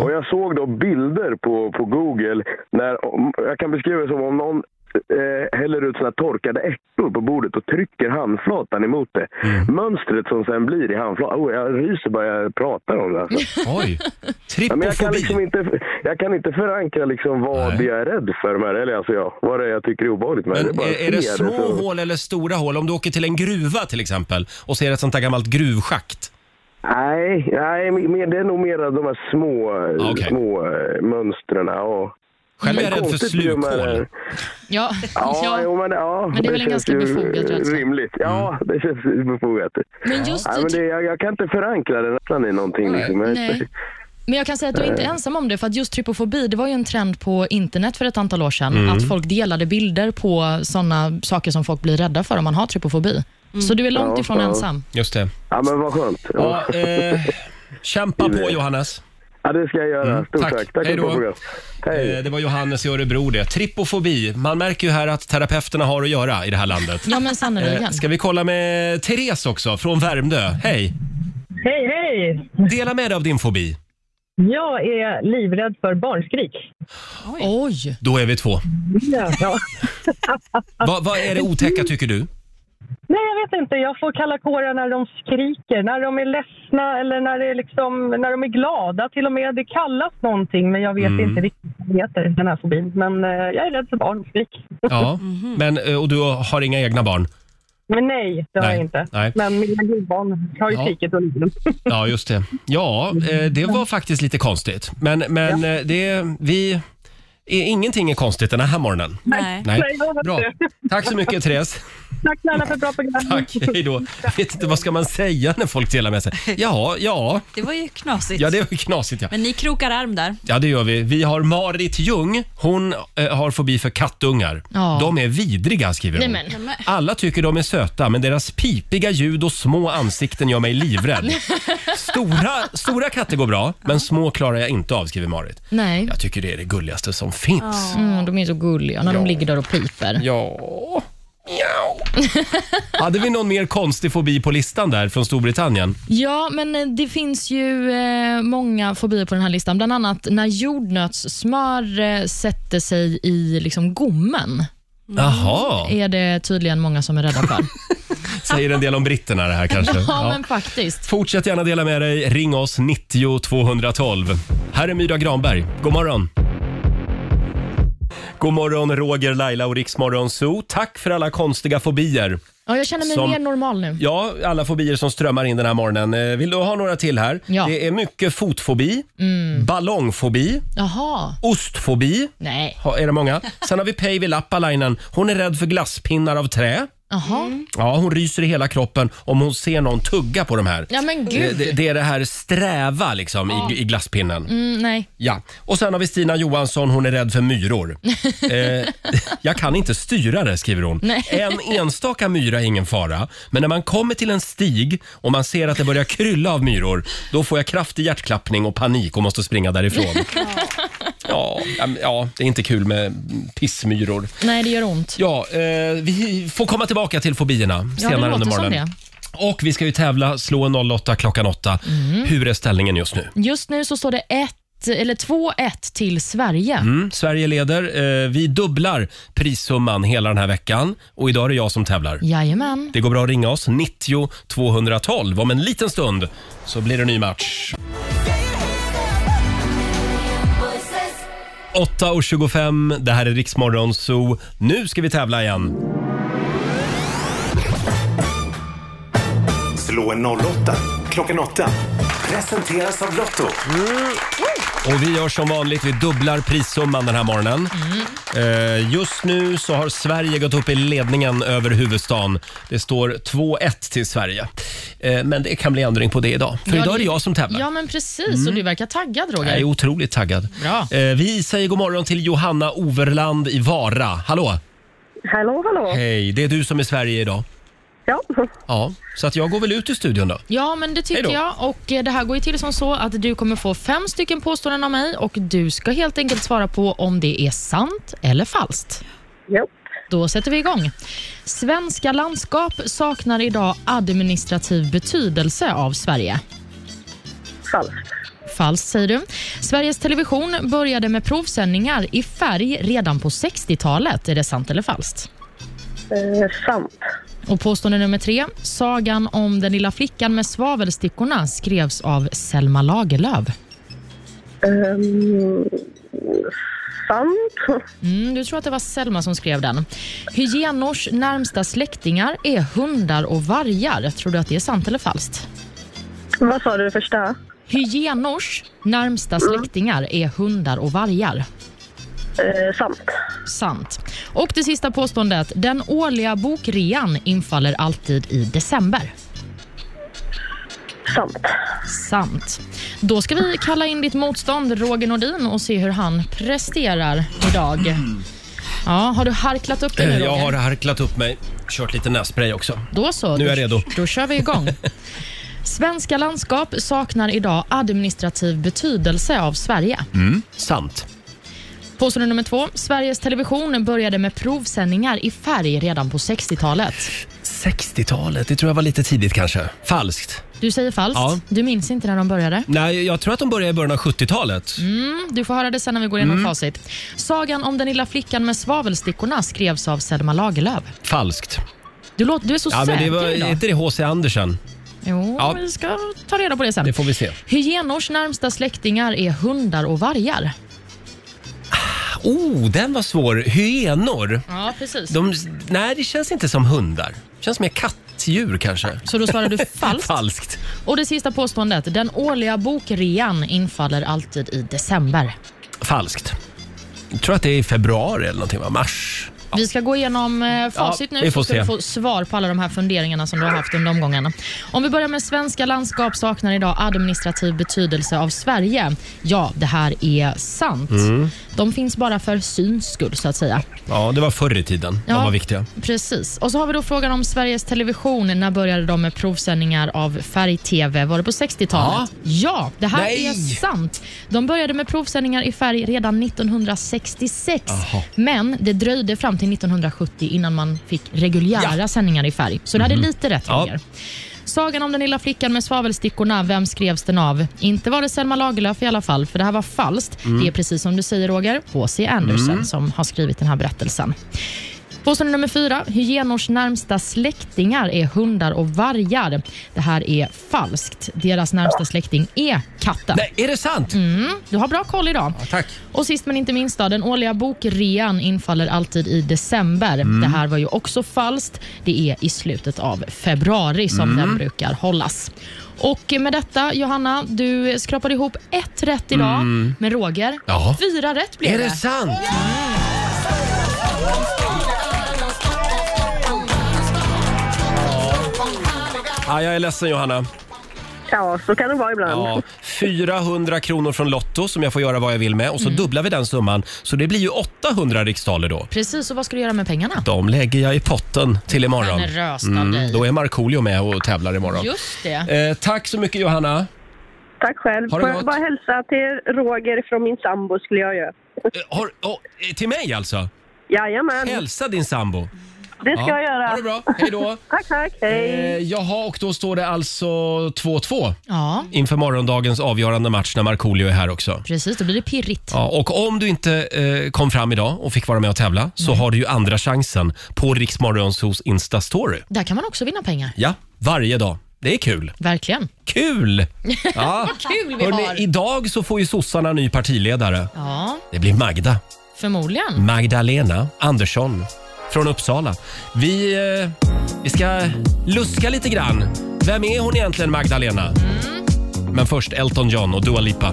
[SPEAKER 12] Och jag såg då bilder på, på Google. När, om, jag kan beskriva det som om någon eh, häller ut såna här torkade ärtor på bordet och trycker handflatan emot det. Mönstret som sen blir i handflatan. Oh, jag ryser bara jag pratar om det. Alltså.
[SPEAKER 1] Oj!
[SPEAKER 12] Ja, men jag, kan
[SPEAKER 1] Trypofobi.
[SPEAKER 12] liksom inte, jag kan inte förankra liksom vad jag är rädd för med det. Eller alltså jag, vad det är jag tycker är obehagligt med det. Jag bara alltså.
[SPEAKER 1] Är, är det
[SPEAKER 12] ser
[SPEAKER 1] små
[SPEAKER 12] så-
[SPEAKER 1] hål eller stora hål? Om du åker till en gruva till exempel och ser ett sånt här gammalt gruvschakt.
[SPEAKER 12] Nej, nej mer, det är nog mer de här små, små eh, mönstren. Ja.
[SPEAKER 1] Själv är
[SPEAKER 12] Men
[SPEAKER 1] jag rädd för
[SPEAKER 12] konstigt ju med-
[SPEAKER 1] slukhål.
[SPEAKER 2] Ja,
[SPEAKER 12] Ja,
[SPEAKER 2] ja.
[SPEAKER 12] Jo, men, ja,
[SPEAKER 2] Men det är väl
[SPEAKER 12] känns
[SPEAKER 2] en ganska
[SPEAKER 12] ju
[SPEAKER 2] befogad rädsla.
[SPEAKER 12] Rimligt. Ja, det känns ju befogat.
[SPEAKER 2] Mm. Men just
[SPEAKER 12] ja,
[SPEAKER 2] du-
[SPEAKER 12] men det, jag, jag kan inte förankra den nästan i någonting. Liksom. Jag-
[SPEAKER 2] Nej. Men jag kan säga att du är inte
[SPEAKER 12] Nej.
[SPEAKER 2] ensam om det, för att just trypofobi, det var ju en trend på internet för ett antal år sedan,
[SPEAKER 12] Mm.
[SPEAKER 2] att folk delade bilder på sådana saker som folk blir rädda för om man har trypofobi. Så du är långt
[SPEAKER 12] Ja,
[SPEAKER 2] ifrån
[SPEAKER 12] ja.
[SPEAKER 2] ensam.
[SPEAKER 1] Just det.
[SPEAKER 12] Ja, men vad skönt.
[SPEAKER 1] Ja, eh, kämpa på Johannes.
[SPEAKER 12] Ja, det ska jag göra. Stort tack. Tack,
[SPEAKER 1] Mm, Hej
[SPEAKER 12] för
[SPEAKER 1] då.
[SPEAKER 12] frågan. Hej.
[SPEAKER 1] Eh, Det var Johannes i Örebro det. Trypofobi. Man märker ju här att terapeuterna har att göra i det här landet.
[SPEAKER 2] Ja, men sannerligen.
[SPEAKER 1] Eh, Ska vi kolla med Therese också från Värmdö? Hej!
[SPEAKER 13] Hej, hej!
[SPEAKER 1] Dela med dig av din fobi.
[SPEAKER 13] Jag är livrädd för barnskrik.
[SPEAKER 2] Oj!
[SPEAKER 1] Då är vi två.
[SPEAKER 13] Ja, ja.
[SPEAKER 1] Vad vad är det otäcka tycker du?
[SPEAKER 13] Nej, jag vet inte. Jag får kalla kårar när de skriker, när de är ledsna eller när, det är liksom, när de är glada till och med. Det kallas någonting, men jag vet
[SPEAKER 1] Mm.
[SPEAKER 13] inte riktigt vad det heter, den här fobin. Men eh, jag är rädd för barnskrik.
[SPEAKER 1] Ja, men, eh, och du har inga egna barn?
[SPEAKER 13] Men nej, det har
[SPEAKER 1] Nej,
[SPEAKER 13] jag inte.
[SPEAKER 1] nej.
[SPEAKER 13] Men mina gubbbarn har ju
[SPEAKER 1] Ja.
[SPEAKER 13] skrikit och livet.
[SPEAKER 1] Ja, just det. Ja, eh, det var faktiskt lite konstigt. Men, men eh, det, vi... i- Ingenting är konstigt den här morgonen.
[SPEAKER 6] Nej.
[SPEAKER 1] Bra. Tack så mycket, Therese.
[SPEAKER 13] Tack snälla för ett bra program.
[SPEAKER 1] Tack, hej då. Jag vet inte, vad ska man säga när folk delar med sig? Ja, ja.
[SPEAKER 6] Det var ju knasigt.
[SPEAKER 1] Ja, det var ju knasigt ja.
[SPEAKER 6] Men ni krokar arm där.
[SPEAKER 1] Ja, det gör vi. Vi har Marit Ljung. Hon eh, har fobi för kattungar.
[SPEAKER 6] Ja.
[SPEAKER 1] De är vidriga, skriver hon.
[SPEAKER 2] Nej, men.
[SPEAKER 1] Alla tycker de är söta, men deras pipiga ljud och små ansikten gör mig livrädd. Stora, stora katter går bra, men små klarar jag inte av, skriver Marit.
[SPEAKER 2] Nej.
[SPEAKER 1] Jag tycker det är det gulligaste som finns.
[SPEAKER 2] Mm, de är så gulliga när de ligger där och piper.
[SPEAKER 1] Ja. Hade vi någon mer konstig fobi på listan där från Storbritannien?
[SPEAKER 2] Ja, men eh, det finns ju eh, många fobier på den här listan. Bland annat när jordnötssmör eh, sätter sig i liksom gommen. Mm.
[SPEAKER 1] Jaha.
[SPEAKER 2] Är det tydligen många som är rädda för.
[SPEAKER 1] Säger en del om britterna det här kanske.
[SPEAKER 2] ja,
[SPEAKER 1] Ja.
[SPEAKER 2] men faktiskt.
[SPEAKER 1] Fortsätt gärna dela med dig. Ring oss 90 212. Här är Myra Granberg. God morgon! God morgon Roger, Laila och Riksmorgon Zoo. Tack för alla konstiga fobier.
[SPEAKER 2] Ja, jag känner mig
[SPEAKER 1] Som-
[SPEAKER 2] mer normal nu.
[SPEAKER 1] Ja, alla fobier som strömmar in den här morgonen. Eh, Vill du ha några till här?
[SPEAKER 2] Ja. Mm.
[SPEAKER 1] Det är mycket fotfobi, ballongfobi,
[SPEAKER 2] Jaha.
[SPEAKER 1] ostfobi.
[SPEAKER 2] Nej.
[SPEAKER 1] Ha- Är det många? Sen har vi Päivi Lappalainen. Hon är rädd för glasspinnar av trä.
[SPEAKER 2] Jaha.
[SPEAKER 1] Ja, hon ryser i hela kroppen om hon ser någon tugga på de här.
[SPEAKER 2] Ja, men
[SPEAKER 1] Det,
[SPEAKER 2] gud.
[SPEAKER 1] det, det är det här sträva liksom i, i glasspinnen.
[SPEAKER 2] Mm, nej.
[SPEAKER 1] Ja, och sen har vi Stina Johansson, hon är rädd för myror. Eh, jag kan inte styra det, skriver hon.
[SPEAKER 2] Nej.
[SPEAKER 1] En enstaka myra är ingen fara, men när man kommer till en stig och man ser att det börjar krylla av myror, då får jag kraftig hjärtklappning och panik och måste springa därifrån. Ja, ja, men- ja det är inte kul med pissmyror.
[SPEAKER 2] Nej, det gör ont.
[SPEAKER 1] Ja, eh, vi får komma tillbaka till fobierna
[SPEAKER 2] Ja, det
[SPEAKER 1] senare
[SPEAKER 2] låter
[SPEAKER 1] under
[SPEAKER 2] som
[SPEAKER 1] morgonen.
[SPEAKER 2] det.
[SPEAKER 1] Och vi ska ju tävla, slå en 08 klockan 8.
[SPEAKER 2] Mm.
[SPEAKER 1] Hur är ställningen just nu?
[SPEAKER 2] Just nu så står det ett, eller 2-1 till Sverige.
[SPEAKER 1] Mm, Sverige leder. Eh, vi dubblar prissumman hela den här veckan och idag är det jag som tävlar.
[SPEAKER 2] Jajamän.
[SPEAKER 1] Det går bra att ringa oss, 90 212. Om en liten stund så blir det en ny match. 8.25, det här är Riksmorgon Zoo. Nu ska vi tävla igen.
[SPEAKER 3] Slå en 08 klockan 8. Presenteras av Lotto.
[SPEAKER 1] Och vi gör som vanligt, vi dubblar prissumman den här morgonen. Eh, Just nu så har Sverige gått upp i ledningen över huvudstaden. Det står 2-1 till Sverige. Eh, Men det kan bli ändring på det idag. För
[SPEAKER 2] Ja,
[SPEAKER 1] idag är det
[SPEAKER 2] det-
[SPEAKER 1] jag som tävlar.
[SPEAKER 2] Ja, men precis.
[SPEAKER 1] Mm.
[SPEAKER 2] Och du verkar taggad, Roger.
[SPEAKER 1] Jag är otroligt taggad. Eh, Vi säger god morgon till Johanna Overland i Vara. Hallå!
[SPEAKER 14] Hallå, hallå.
[SPEAKER 1] Hej, det är du som är Sverige idag.
[SPEAKER 14] Ja.
[SPEAKER 1] Ja, så att jag går väl ut ur studion då.
[SPEAKER 2] Ja, men det tycker
[SPEAKER 1] Hej då.
[SPEAKER 2] jag. Och eh, Det här går ju till som så att du kommer få fem stycken påståenden av mig och du ska helt enkelt svara på om det är sant eller falskt.
[SPEAKER 14] Yep.
[SPEAKER 2] Då sätter vi igång. Svenska landskap saknar idag administrativ betydelse av Sverige.
[SPEAKER 14] Falskt.
[SPEAKER 2] Falskt, säger du. Sveriges Television började med provsändningar i färg redan på 60-talet. Är det sant eller falskt?
[SPEAKER 14] Eh, sant.
[SPEAKER 2] Och påstående nummer tre. Sagan om den lilla flickan med svavelstickorna skrevs av Selma Lagerlöf.
[SPEAKER 14] Ehm, sant.
[SPEAKER 2] Mm, du tror att det var Selma som skrev den. Hyenors närmsta släktingar är hundar och vargar. Tror du att det är sant eller falskt?
[SPEAKER 14] Vad sa du det första?
[SPEAKER 2] Hyenors närmsta släktingar är hundar och vargar.
[SPEAKER 14] Eh, sant.
[SPEAKER 2] Sant. Och det sista påståendet. Den årliga bokrean infaller alltid i december.
[SPEAKER 14] Sant.
[SPEAKER 2] Sant. Då ska vi kalla in ditt motstånd Roger Nordin och se hur han presterar idag. Ja, har du harklat upp dig nu, Roger?
[SPEAKER 1] Mm. Jag har harklat upp mig, kört lite nässpray också.
[SPEAKER 2] Då så.
[SPEAKER 1] Nu är jag
[SPEAKER 2] Då-
[SPEAKER 1] redo.
[SPEAKER 2] Då kör vi igång. Svenska landskap saknar idag administrativ betydelse av Sverige.
[SPEAKER 1] Mm, sant.
[SPEAKER 2] Påstående nummer två. Sveriges Television började med provsändningar i färg redan på 60-talet.
[SPEAKER 1] 60-talet, det tror jag var lite tidigt kanske. Falskt.
[SPEAKER 2] Du säger falskt.
[SPEAKER 1] Ja.
[SPEAKER 2] Du minns inte när de började.
[SPEAKER 1] Nej, jag tror att de började i början av 70-talet.
[SPEAKER 2] Mm, du får höra det sen när vi går igenom
[SPEAKER 1] Mm.
[SPEAKER 2] facit. Sagan om den lilla flickan med svavelstickorna skrevs av Selma Lagerlöf.
[SPEAKER 1] Falskt.
[SPEAKER 2] Du, låter, du är så
[SPEAKER 1] Ja,
[SPEAKER 2] säker
[SPEAKER 1] men det var
[SPEAKER 2] idag.
[SPEAKER 1] inte det H.C. Andersen?
[SPEAKER 2] Jo,
[SPEAKER 1] Ja.
[SPEAKER 2] vi ska ta reda på det sen.
[SPEAKER 1] Det får vi se.
[SPEAKER 2] Hyenors närmsta släktingar är hundar och vargar.
[SPEAKER 1] Oh, den var svår. Hyenor.
[SPEAKER 2] Ja, precis.
[SPEAKER 1] De, nej, det känns inte som hundar. Känns mer kattdjur kanske.
[SPEAKER 2] Så då svarar du falskt?
[SPEAKER 1] falskt.
[SPEAKER 2] Och det sista påståendet. Den årliga bokrean infaller alltid i december.
[SPEAKER 1] Falskt. Jag tror att det är i februari eller någonting va? Mars?
[SPEAKER 2] Vi ska gå igenom eh, facit
[SPEAKER 1] Ja,
[SPEAKER 2] nu
[SPEAKER 1] vi får
[SPEAKER 2] så ska
[SPEAKER 1] se.
[SPEAKER 2] du få svar på alla de här funderingarna som du har haft under omgångarna. Om vi börjar med svenska landskap saknar idag administrativ betydelse av Sverige. Ja, det här är sant.
[SPEAKER 1] Mm.
[SPEAKER 2] De finns bara för syns skull så att säga.
[SPEAKER 1] Ja, det var förr i tiden.
[SPEAKER 2] Ja.
[SPEAKER 1] De var viktiga.
[SPEAKER 2] Precis. Och så har vi då frågan om Sveriges Television. När började de med provsändningar av färg-tv? Var det på 60-talet? Ja, det här
[SPEAKER 8] Nej.
[SPEAKER 2] är sant. De började med provsändningar i färg redan 1966.
[SPEAKER 8] Jaha.
[SPEAKER 2] Men det dröjde fram till 1970 innan man fick reguljära sändningar i färg. Så du hade
[SPEAKER 8] Mhm.
[SPEAKER 2] lite rätt,
[SPEAKER 8] Ja.
[SPEAKER 2] Roger. Sagan om den lilla flickan med svavelstickorna, vem skrevs den av? Inte var det Selma Lagerlöf i alla fall, för det här var falskt.
[SPEAKER 8] Mm.
[SPEAKER 2] Det är precis som du säger Roger, H.C. Andersen
[SPEAKER 8] Mm.
[SPEAKER 2] som har skrivit den här berättelsen. Påstående nummer fyra. Hyenors närmsta släktingar är hundar och vargar. Det här är falskt. Deras närmsta släkting är katten.
[SPEAKER 1] Nej, är det sant?
[SPEAKER 2] Mm, du har bra koll idag.
[SPEAKER 1] tack.
[SPEAKER 2] Och sist men inte minst, då, den årliga bokrean infaller alltid i december.
[SPEAKER 8] Mm.
[SPEAKER 2] Det här var ju också falskt. Det är i slutet av februari som
[SPEAKER 8] Mm.
[SPEAKER 2] den brukar hållas. Och med detta, Johanna, du skrapade ihop ett rätt idag.
[SPEAKER 8] Mm.
[SPEAKER 2] Men Roger,
[SPEAKER 8] Ja.
[SPEAKER 2] fyra rätt blev
[SPEAKER 8] Är
[SPEAKER 2] det.
[SPEAKER 8] det sant?
[SPEAKER 1] Ja, jag är ledsen Johanna.
[SPEAKER 14] Ja, så kan det vara ibland.
[SPEAKER 1] Ja, 400 kronor från Lotto som jag får göra vad jag vill med och så
[SPEAKER 2] Mm.
[SPEAKER 1] dubblar vi den summan. Så det blir ju 800 riksdaler då.
[SPEAKER 2] Precis, och vad ska du göra med pengarna?
[SPEAKER 1] De lägger jag i potten till imorgon. Mm,
[SPEAKER 2] Generöst av dig.
[SPEAKER 1] Då är Markoolio med och tävlar imorgon.
[SPEAKER 2] Just det.
[SPEAKER 1] Eh, tack så mycket Johanna. Eh,
[SPEAKER 14] Tack själv.
[SPEAKER 1] Ha det
[SPEAKER 14] Får jag
[SPEAKER 1] gott.
[SPEAKER 14] bara hälsa till Roger från min sambo skulle jag göra.
[SPEAKER 1] Har, oh, eh, till mig alltså?
[SPEAKER 14] Jajamän.
[SPEAKER 1] Hälsa din sambo.
[SPEAKER 14] Det ska
[SPEAKER 1] Ja.
[SPEAKER 14] jag göra.
[SPEAKER 1] Ha det bra. Hej då.
[SPEAKER 14] tack, tack.
[SPEAKER 1] Eh,
[SPEAKER 14] Hej.
[SPEAKER 1] jaha, och då står det alltså 2-2
[SPEAKER 2] Ja,
[SPEAKER 1] inför morgondagens avgörande match när Markoolio är här också.
[SPEAKER 2] precis. Då blir det pirrigt.
[SPEAKER 1] Ja, och om du inte eh, kom fram idag och fick vara med och tävla så
[SPEAKER 2] Nej.
[SPEAKER 1] har du ju andra chansen på Riksmorgonsos Insta-story.
[SPEAKER 2] Där kan man också vinna pengar.
[SPEAKER 1] Ja, varje dag. Det är kul.
[SPEAKER 2] Verkligen.
[SPEAKER 1] Kul! Ja.
[SPEAKER 2] Kul vi
[SPEAKER 1] Hörrni,
[SPEAKER 2] har.
[SPEAKER 1] idag så får ju sossarna ny partiledare.
[SPEAKER 2] Ja,
[SPEAKER 1] Det blir Magda. Mm.
[SPEAKER 2] förmodligen.
[SPEAKER 1] Magdalena Andersson från Uppsala. Vi, eh, vi ska luska lite grann. Vem är hon egentligen, Magdalena?
[SPEAKER 2] Mm.
[SPEAKER 1] Men först Elton John och Dua Lipa.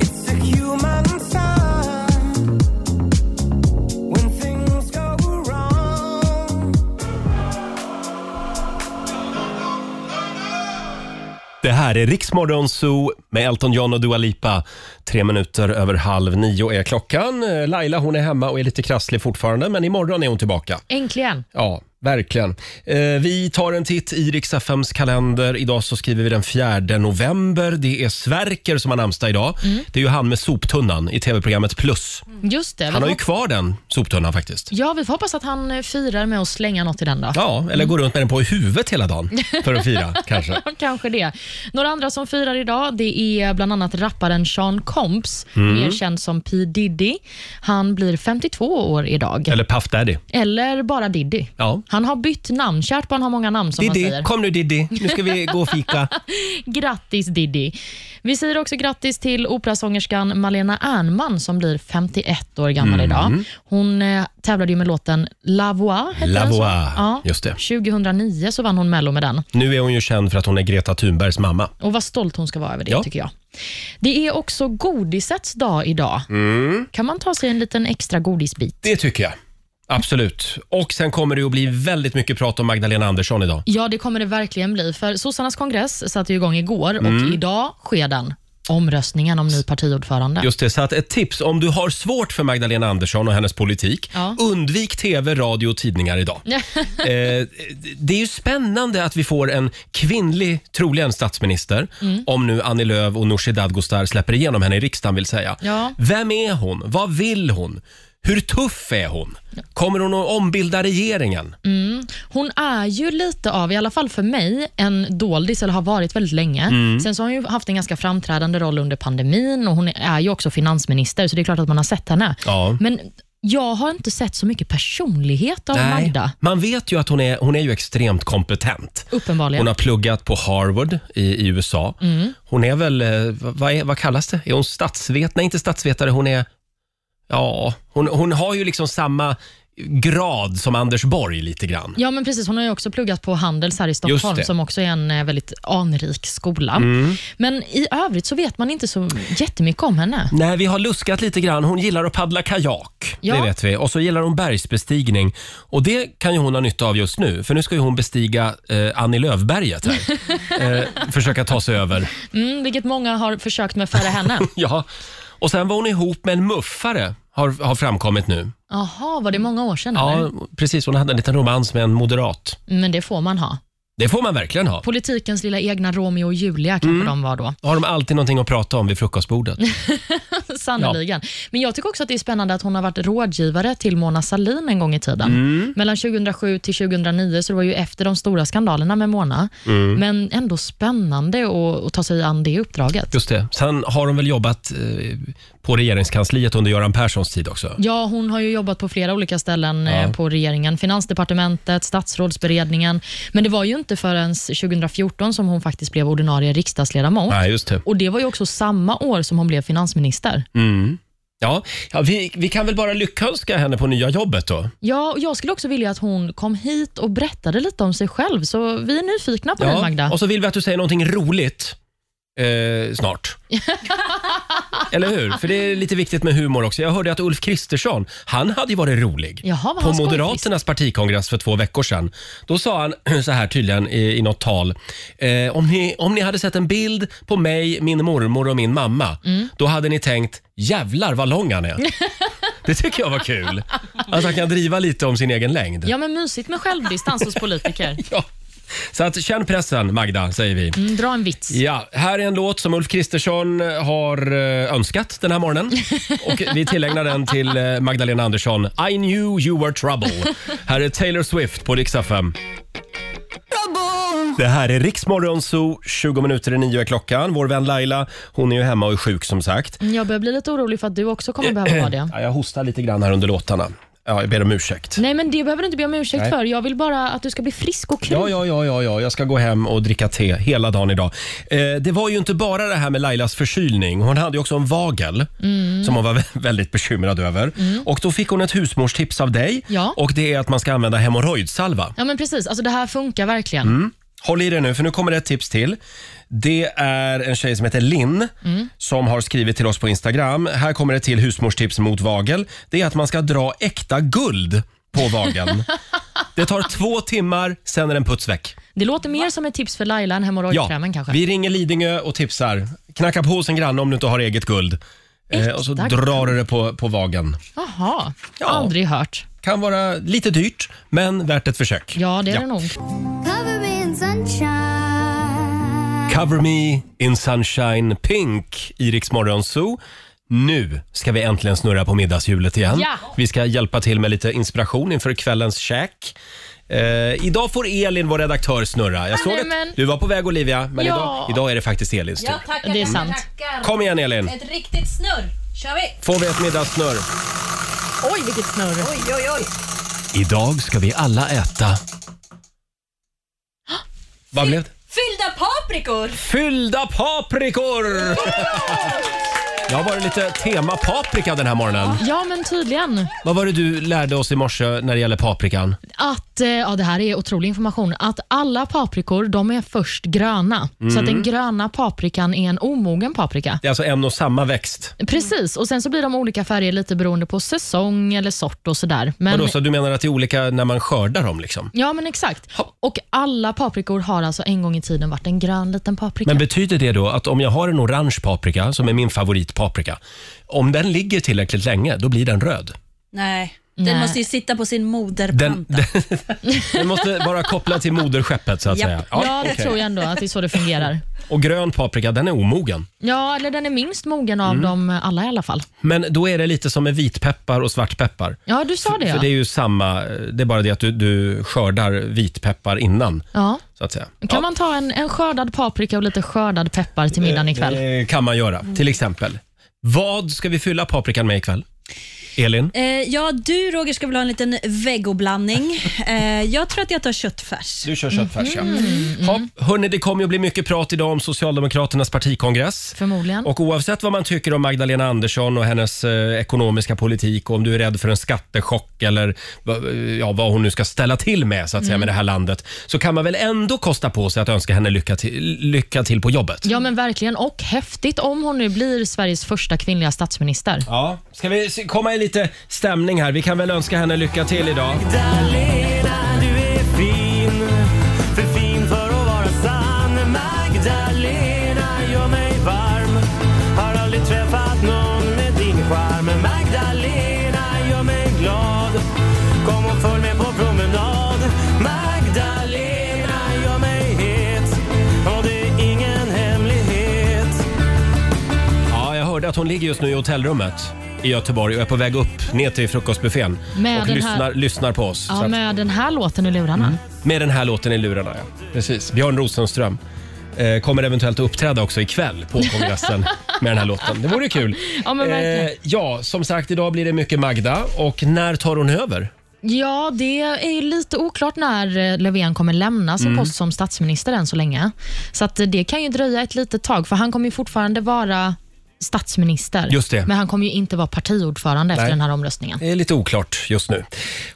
[SPEAKER 1] Det här är Riksmorgon Zoo med Elton John och Dua Lipa. Tre minuter över halv nio är klockan. Eh, Laila hon är hemma och är lite krasslig fortfarande, men imorgon är hon tillbaka.
[SPEAKER 2] Äntligen.
[SPEAKER 1] Ja, verkligen. Eh, vi tar en titt i Riks-FMs kalender. Idag så skriver vi den 4 november. Det är Sverker som har namnsdag idag.
[SPEAKER 2] Mm.
[SPEAKER 1] Det är ju han med soptunnan i tv-programmet Plus.
[SPEAKER 2] Just det.
[SPEAKER 1] Han har
[SPEAKER 2] vi
[SPEAKER 1] ju
[SPEAKER 2] får-
[SPEAKER 1] kvar den soptunnan faktiskt.
[SPEAKER 2] Ja, vi får hoppas att han eh, firar med att slänga något i den då.
[SPEAKER 1] Ja, eller går runt med den på huvudet hela dagen för att fira kanske.
[SPEAKER 2] Kanske det. Några andra som firar idag det är bland annat rapparen Sean Combs,
[SPEAKER 1] Mm.
[SPEAKER 2] mer känd som P Diddy. Han blir 52 år idag.
[SPEAKER 1] Eller Puff Daddy.
[SPEAKER 2] Eller bara Diddy.
[SPEAKER 1] Ja.
[SPEAKER 2] Han har bytt namn. Kärt barn har många namn som man
[SPEAKER 1] Diddy,
[SPEAKER 2] säger.
[SPEAKER 1] kom nu Diddy. Nu ska vi gå och fika.
[SPEAKER 2] Grattis Diddy. Vi säger också grattis till operasångerskan Malena Ernman som blir 51 år gammal
[SPEAKER 1] Mm.
[SPEAKER 2] idag. Hon eh, tävlade ju med låten La Voix. hette
[SPEAKER 1] La
[SPEAKER 2] den så?
[SPEAKER 1] Voix,
[SPEAKER 2] Ja.
[SPEAKER 1] just det.
[SPEAKER 2] 2009 så vann hon Mello med den.
[SPEAKER 1] Nu är hon ju känd för att hon är Greta Thunbergs mamma.
[SPEAKER 2] Och vad stolt hon ska vara över det
[SPEAKER 1] Ja.
[SPEAKER 2] tycker jag. Det är också godisets dag idag.
[SPEAKER 1] Mm.
[SPEAKER 2] Kan man ta sig en liten extra godisbit?
[SPEAKER 1] Det tycker jag. Absolut. Och sen kommer det att bli väldigt mycket prat om Magdalena Andersson idag.
[SPEAKER 2] Ja, det kommer det verkligen bli. För sossarnas kongress satte ju igång igår
[SPEAKER 1] Mm.
[SPEAKER 2] och idag sker den. Omröstningen om ny partiordförande.
[SPEAKER 1] Just det, så att ett tips om du har svårt för Magdalena Andersson och hennes politik,
[SPEAKER 2] Ja.
[SPEAKER 1] undvik tv, radio och tidningar idag. eh, det är ju spännande att vi får en kvinnlig, troligen statsminister,
[SPEAKER 8] Mm.
[SPEAKER 1] om nu Annie Lööf och Nooshi Dadgostar släpper igenom henne i riksdagen vill säga.
[SPEAKER 8] Ja.
[SPEAKER 1] Vem är hon? Vad vill hon? Hur tuff är hon? Kommer hon att ombilda regeringen?
[SPEAKER 2] Mm. Hon är ju lite av, i alla fall för mig, en doldis, eller har varit väldigt länge.
[SPEAKER 1] Mm.
[SPEAKER 2] Sen så har hon ju haft en ganska framträdande roll under pandemin och hon är ju också finansminister, så det är klart att man har sett henne.
[SPEAKER 1] Ja.
[SPEAKER 2] Men jag har inte sett så mycket personlighet av Magda,
[SPEAKER 1] Man vet ju att hon är, hon är ju extremt kompetent.
[SPEAKER 2] uppenbarligen.
[SPEAKER 1] Hon har pluggat på Harvard i, i USA.
[SPEAKER 2] Mm.
[SPEAKER 1] Hon är väl, eh, vad, vad är, vad kallas det? Är hon statsvetare? Nej, inte statsvetare. Hon är, ja, hon, hon har ju liksom samma grad som Anders Borg lite grann.
[SPEAKER 2] Ja, men precis. Hon har ju också pluggat på Handels här i
[SPEAKER 1] Just det.
[SPEAKER 2] Stockholm, som också är en eh, väldigt anrik skola.
[SPEAKER 1] Mm.
[SPEAKER 2] Men i övrigt så vet man inte så jättemycket om henne.
[SPEAKER 1] Nej, vi har luskat lite grann. Hon gillar att paddla kajak.
[SPEAKER 2] Ja.
[SPEAKER 1] Det vet vi. Och så gillar hon bergsbestigning. Och det kan ju hon ha nytta av just nu. För nu ska ju hon bestiga eh, Annie Lööfberget här. eh, försöka ta sig över.
[SPEAKER 2] Mm, vilket många har försökt med före henne.
[SPEAKER 1] ja. Och sen var hon ihop med en muffare, har, har framkommit nu.
[SPEAKER 2] Jaha, var det många år sedan?
[SPEAKER 1] Ja,
[SPEAKER 2] eller?
[SPEAKER 1] precis. Hon hade en liten romans med en moderat.
[SPEAKER 2] Men det får man ha.
[SPEAKER 1] Det får man verkligen ha.
[SPEAKER 2] Politikens lilla egna Romeo och Julia kanske
[SPEAKER 1] Mm.
[SPEAKER 2] de var då.
[SPEAKER 1] Har de alltid någonting att prata om vid frukostbordet?
[SPEAKER 2] Sannoliken. Men jag tycker också att det är spännande att hon har varit rådgivare till Mona Sahlin en gång i tiden.
[SPEAKER 1] Mm.
[SPEAKER 2] Mellan 2007 till 2009, så det var ju efter de stora skandalerna med Mona.
[SPEAKER 1] Mm.
[SPEAKER 2] Men ändå spännande att, att ta sig an det uppdraget.
[SPEAKER 1] Just det. Sen har de väl jobbat eh, på regeringskansliet under Göran Perssons tid också?
[SPEAKER 2] Ja, hon har ju jobbat på flera olika ställen
[SPEAKER 1] Ja.
[SPEAKER 2] eh, på regeringen. Finansdepartementet, statsrådsberedningen. Men det var ju inte förrän 2014 som hon faktiskt blev ordinarie riksdagsledamot.
[SPEAKER 1] Nej, just det.
[SPEAKER 2] Och det var ju också samma år som hon blev finansminister.
[SPEAKER 1] Mm. Ja, ja vi, vi kan väl bara lyckönska henne på nya jobbet då.
[SPEAKER 2] Ja, och jag skulle också vilja att hon kom hit och berättade lite om sig själv. Så vi är nyfikna på dig, Magda.
[SPEAKER 1] Och så vill vi att du säger någonting roligt eh, snart. Eller hur? För det är lite viktigt med humor också. Jag hörde att Ulf Kristersson, han hade ju varit rolig.
[SPEAKER 2] Jaha, vad
[SPEAKER 1] på
[SPEAKER 2] han skojfist.
[SPEAKER 1] Moderaternas partikongress för två veckor sedan. Då sa han så här tydligen i, i något tal. Eh, om, ni, om ni hade sett en bild på mig, min mormor och min mamma,
[SPEAKER 2] Mm.
[SPEAKER 1] då hade ni tänkt jävlar vad lång han är. Det tycker jag var kul. Att han kan driva lite om sin egen längd.
[SPEAKER 2] Ja, men mysigt med självdistans hos politiker.
[SPEAKER 1] Så att känn pressen Magda, säger vi.
[SPEAKER 2] Mm, dra en vits.
[SPEAKER 1] Ja, här är en låt som Ulf Kristersson har eh, önskat den här morgonen. Och vi tillägnar den till eh, Magdalena Andersson. I knew you were trouble. Här är Taylor Swift på Rix FM. Det här är Riksmorgon Zoo, 20 minuter i nio är klockan. Vår vän Laila, hon är ju hemma och är sjuk som sagt.
[SPEAKER 2] Mm, Jag börjar bli lite orolig för att du också kommer behöva vara det.
[SPEAKER 1] Ja, jag hostar lite grann här under låtarna. Ja, jag ber om ursäkt.
[SPEAKER 2] Nej, men det behöver du inte be om ursäkt
[SPEAKER 1] Nej.
[SPEAKER 2] för. Jag vill bara att du ska bli frisk och kry.
[SPEAKER 1] Ja, ja, ja, ja, ja, jag ska gå hem och dricka te hela dagen idag. Eh, det var ju inte bara det här med Lailas förkylning. Hon hade ju också en vagel
[SPEAKER 8] Mm.
[SPEAKER 1] som hon var vä- väldigt bekymrad över.
[SPEAKER 2] Mm.
[SPEAKER 1] Och då fick hon ett husmorstips av dig
[SPEAKER 2] Ja.
[SPEAKER 1] och det är att man ska använda hemorrojdsalva.
[SPEAKER 2] Ja, men precis. Alltså, det här funkar verkligen.
[SPEAKER 1] Mm. Håll i dig nu för nu kommer det ett tips till. Det är en tjej som heter Linn
[SPEAKER 2] Mm.
[SPEAKER 1] som har skrivit till oss på Instagram. Här kommer ett till husmorstips mot vagel. Det är att man ska dra äkta guld på vageln. det tar två timmar, sen är den puts väck.
[SPEAKER 2] Det låter mer som ett tips för Laila än hemorrojdkrämen kanske.
[SPEAKER 1] Vi ringer Lidingö och tipsar. Knacka på hos en granne om du inte har eget guld. Eh, och så
[SPEAKER 2] Äkta
[SPEAKER 1] drar du det på, på vagen.
[SPEAKER 2] Jaha, aldrig hört.
[SPEAKER 1] Kan vara lite dyrt, men värt ett försök.
[SPEAKER 2] Ja, det är det nog.
[SPEAKER 1] Cover me in sunshine pink i Rix Morgon Zoo. Nu ska vi äntligen snurra på middagshjulet igen.
[SPEAKER 8] Ja.
[SPEAKER 1] Vi ska hjälpa till med lite inspiration inför kvällens käk. Eh, idag får Elin, vår redaktör, snurra. Jag såg
[SPEAKER 6] Nämen.
[SPEAKER 1] att du var på väg Olivia, men
[SPEAKER 6] Ja.
[SPEAKER 1] idag, idag är det faktiskt Elins tur.
[SPEAKER 6] tackar,
[SPEAKER 2] Det är sant.
[SPEAKER 6] tackar.
[SPEAKER 1] Kom igen, Elin.
[SPEAKER 6] Ett riktigt snurr. kör vi!
[SPEAKER 1] Får vi ett middagssnurr?
[SPEAKER 2] Oj, vilket snurr.
[SPEAKER 6] Oj, oj, oj.
[SPEAKER 1] Idag ska vi alla äta... Vad blev det?
[SPEAKER 6] Fyllda paprikor!
[SPEAKER 1] Fyllda paprikor! Jag har varit lite tema paprika den här morgonen.
[SPEAKER 2] Ja, men tydligen.
[SPEAKER 1] Vad var det du lärde oss i morse när det gäller paprikan?
[SPEAKER 2] att, eh, ja det här är otrolig information, att alla paprikor de är först gröna. Så
[SPEAKER 1] Mm.
[SPEAKER 2] att den gröna paprikan är en omogen paprika.
[SPEAKER 1] Det är alltså en och samma växt.
[SPEAKER 2] Precis, och sen så blir de olika färger lite beroende på säsong eller sort och sådär. Men,
[SPEAKER 1] Vadå, så du menar att det är olika när man skördar dem liksom?
[SPEAKER 2] Ja men exakt. Och alla paprikor har alltså en gång i tiden varit en grön liten paprika.
[SPEAKER 1] Men betyder det då att om jag har en orange paprika, som är min favoritpaprika, om den ligger tillräckligt länge, då blir den röd?
[SPEAKER 6] Nej, den måste ju sitta på sin moderpanta.
[SPEAKER 1] Den, den, den måste vara kopplad till moderskeppet så att
[SPEAKER 2] Japp.
[SPEAKER 1] säga.
[SPEAKER 2] Ja, det
[SPEAKER 1] okej.
[SPEAKER 2] tror jag ändå att det är så det fungerar.
[SPEAKER 1] Och grön paprika, den är omogen.
[SPEAKER 2] Ja, eller den är minst mogen av
[SPEAKER 1] Mm.
[SPEAKER 2] dem eh, alla i alla fall.
[SPEAKER 1] Men då är det lite som med vitpeppar och svartpeppar.
[SPEAKER 2] Ja, du sa det ja.
[SPEAKER 1] För det är ju samma, det är bara det att du, du skördar vitpeppar innan.
[SPEAKER 2] ja.
[SPEAKER 1] Så att säga.
[SPEAKER 2] Kan man ta en, en skördad paprika och lite skördad peppar
[SPEAKER 1] Eh,
[SPEAKER 2] till middagen ikväll? Mm.
[SPEAKER 1] Det kan man göra, till exempel. Vad ska vi fylla paprikan med ikväll? Elin?
[SPEAKER 6] Eh, ja, du Roger ska väl ha en liten vegoblandning. Eh, jag tror att jag tar köttfärs.
[SPEAKER 1] Du kör köttfärs, ja.
[SPEAKER 2] Mm.
[SPEAKER 1] Ha, hörni, det kommer ju att bli mycket prat idag om Socialdemokraternas partikongress.
[SPEAKER 2] Förmodligen.
[SPEAKER 1] Och oavsett vad man tycker om Magdalena Andersson och hennes eh, ekonomiska politik och om du är rädd för en skattechock eller va- ja, vad hon nu ska ställa till med så att säga
[SPEAKER 2] Mm.
[SPEAKER 1] med det här landet så kan man väl ändå kosta på sig att önska henne lycka till, lycka till på jobbet.
[SPEAKER 2] Ja, men verkligen. Och häftigt om hon nu blir Sveriges första kvinnliga statsminister.
[SPEAKER 1] Ja, ska vi se- komma i lite stämning här? Vi kan väl önska henne lycka till idag.
[SPEAKER 8] Magdalena, du är fin. För fin för att vara sann. Magdalena, gör mig varm. Har aldrig träffat någon med din charm. Magdalena, gör mig glad. Kom och följ med på promenad. Magdalena, gör mig het. Och det är ingen hemlighet.
[SPEAKER 1] Ja, jag hörde att hon ligger just nu i hotellrummet i Göteborg och är på väg upp ner till frukostbuffén
[SPEAKER 2] Med
[SPEAKER 1] och
[SPEAKER 2] den
[SPEAKER 1] lyssnar,
[SPEAKER 2] här-
[SPEAKER 1] lyssnar på oss. Så
[SPEAKER 2] Ja,
[SPEAKER 1] att- Mm.
[SPEAKER 2] med den här låten i lurarna.
[SPEAKER 1] Med den här låten i lurarna, ja. Precis. Björn Rosenström eh, kommer eventuellt att uppträda också ikväll på kongressen med den här låten. Det vore kul. Eh,
[SPEAKER 2] Ja, men verkligen.
[SPEAKER 1] ja, som sagt, idag blir det mycket Magda. Och när tar hon över?
[SPEAKER 2] Ja, det är ju lite oklart när eh, Löfven kommer lämna sin
[SPEAKER 1] Mm.
[SPEAKER 2] post som statsminister än så länge. Så att eh, det kan ju dröja ett litet tag, för han kommer ju fortfarande vara statsminister.
[SPEAKER 1] Just det.
[SPEAKER 2] Men han kommer ju inte vara partiordförande efter
[SPEAKER 1] Nej.
[SPEAKER 2] den här omröstningen.
[SPEAKER 1] Det är lite oklart just nu.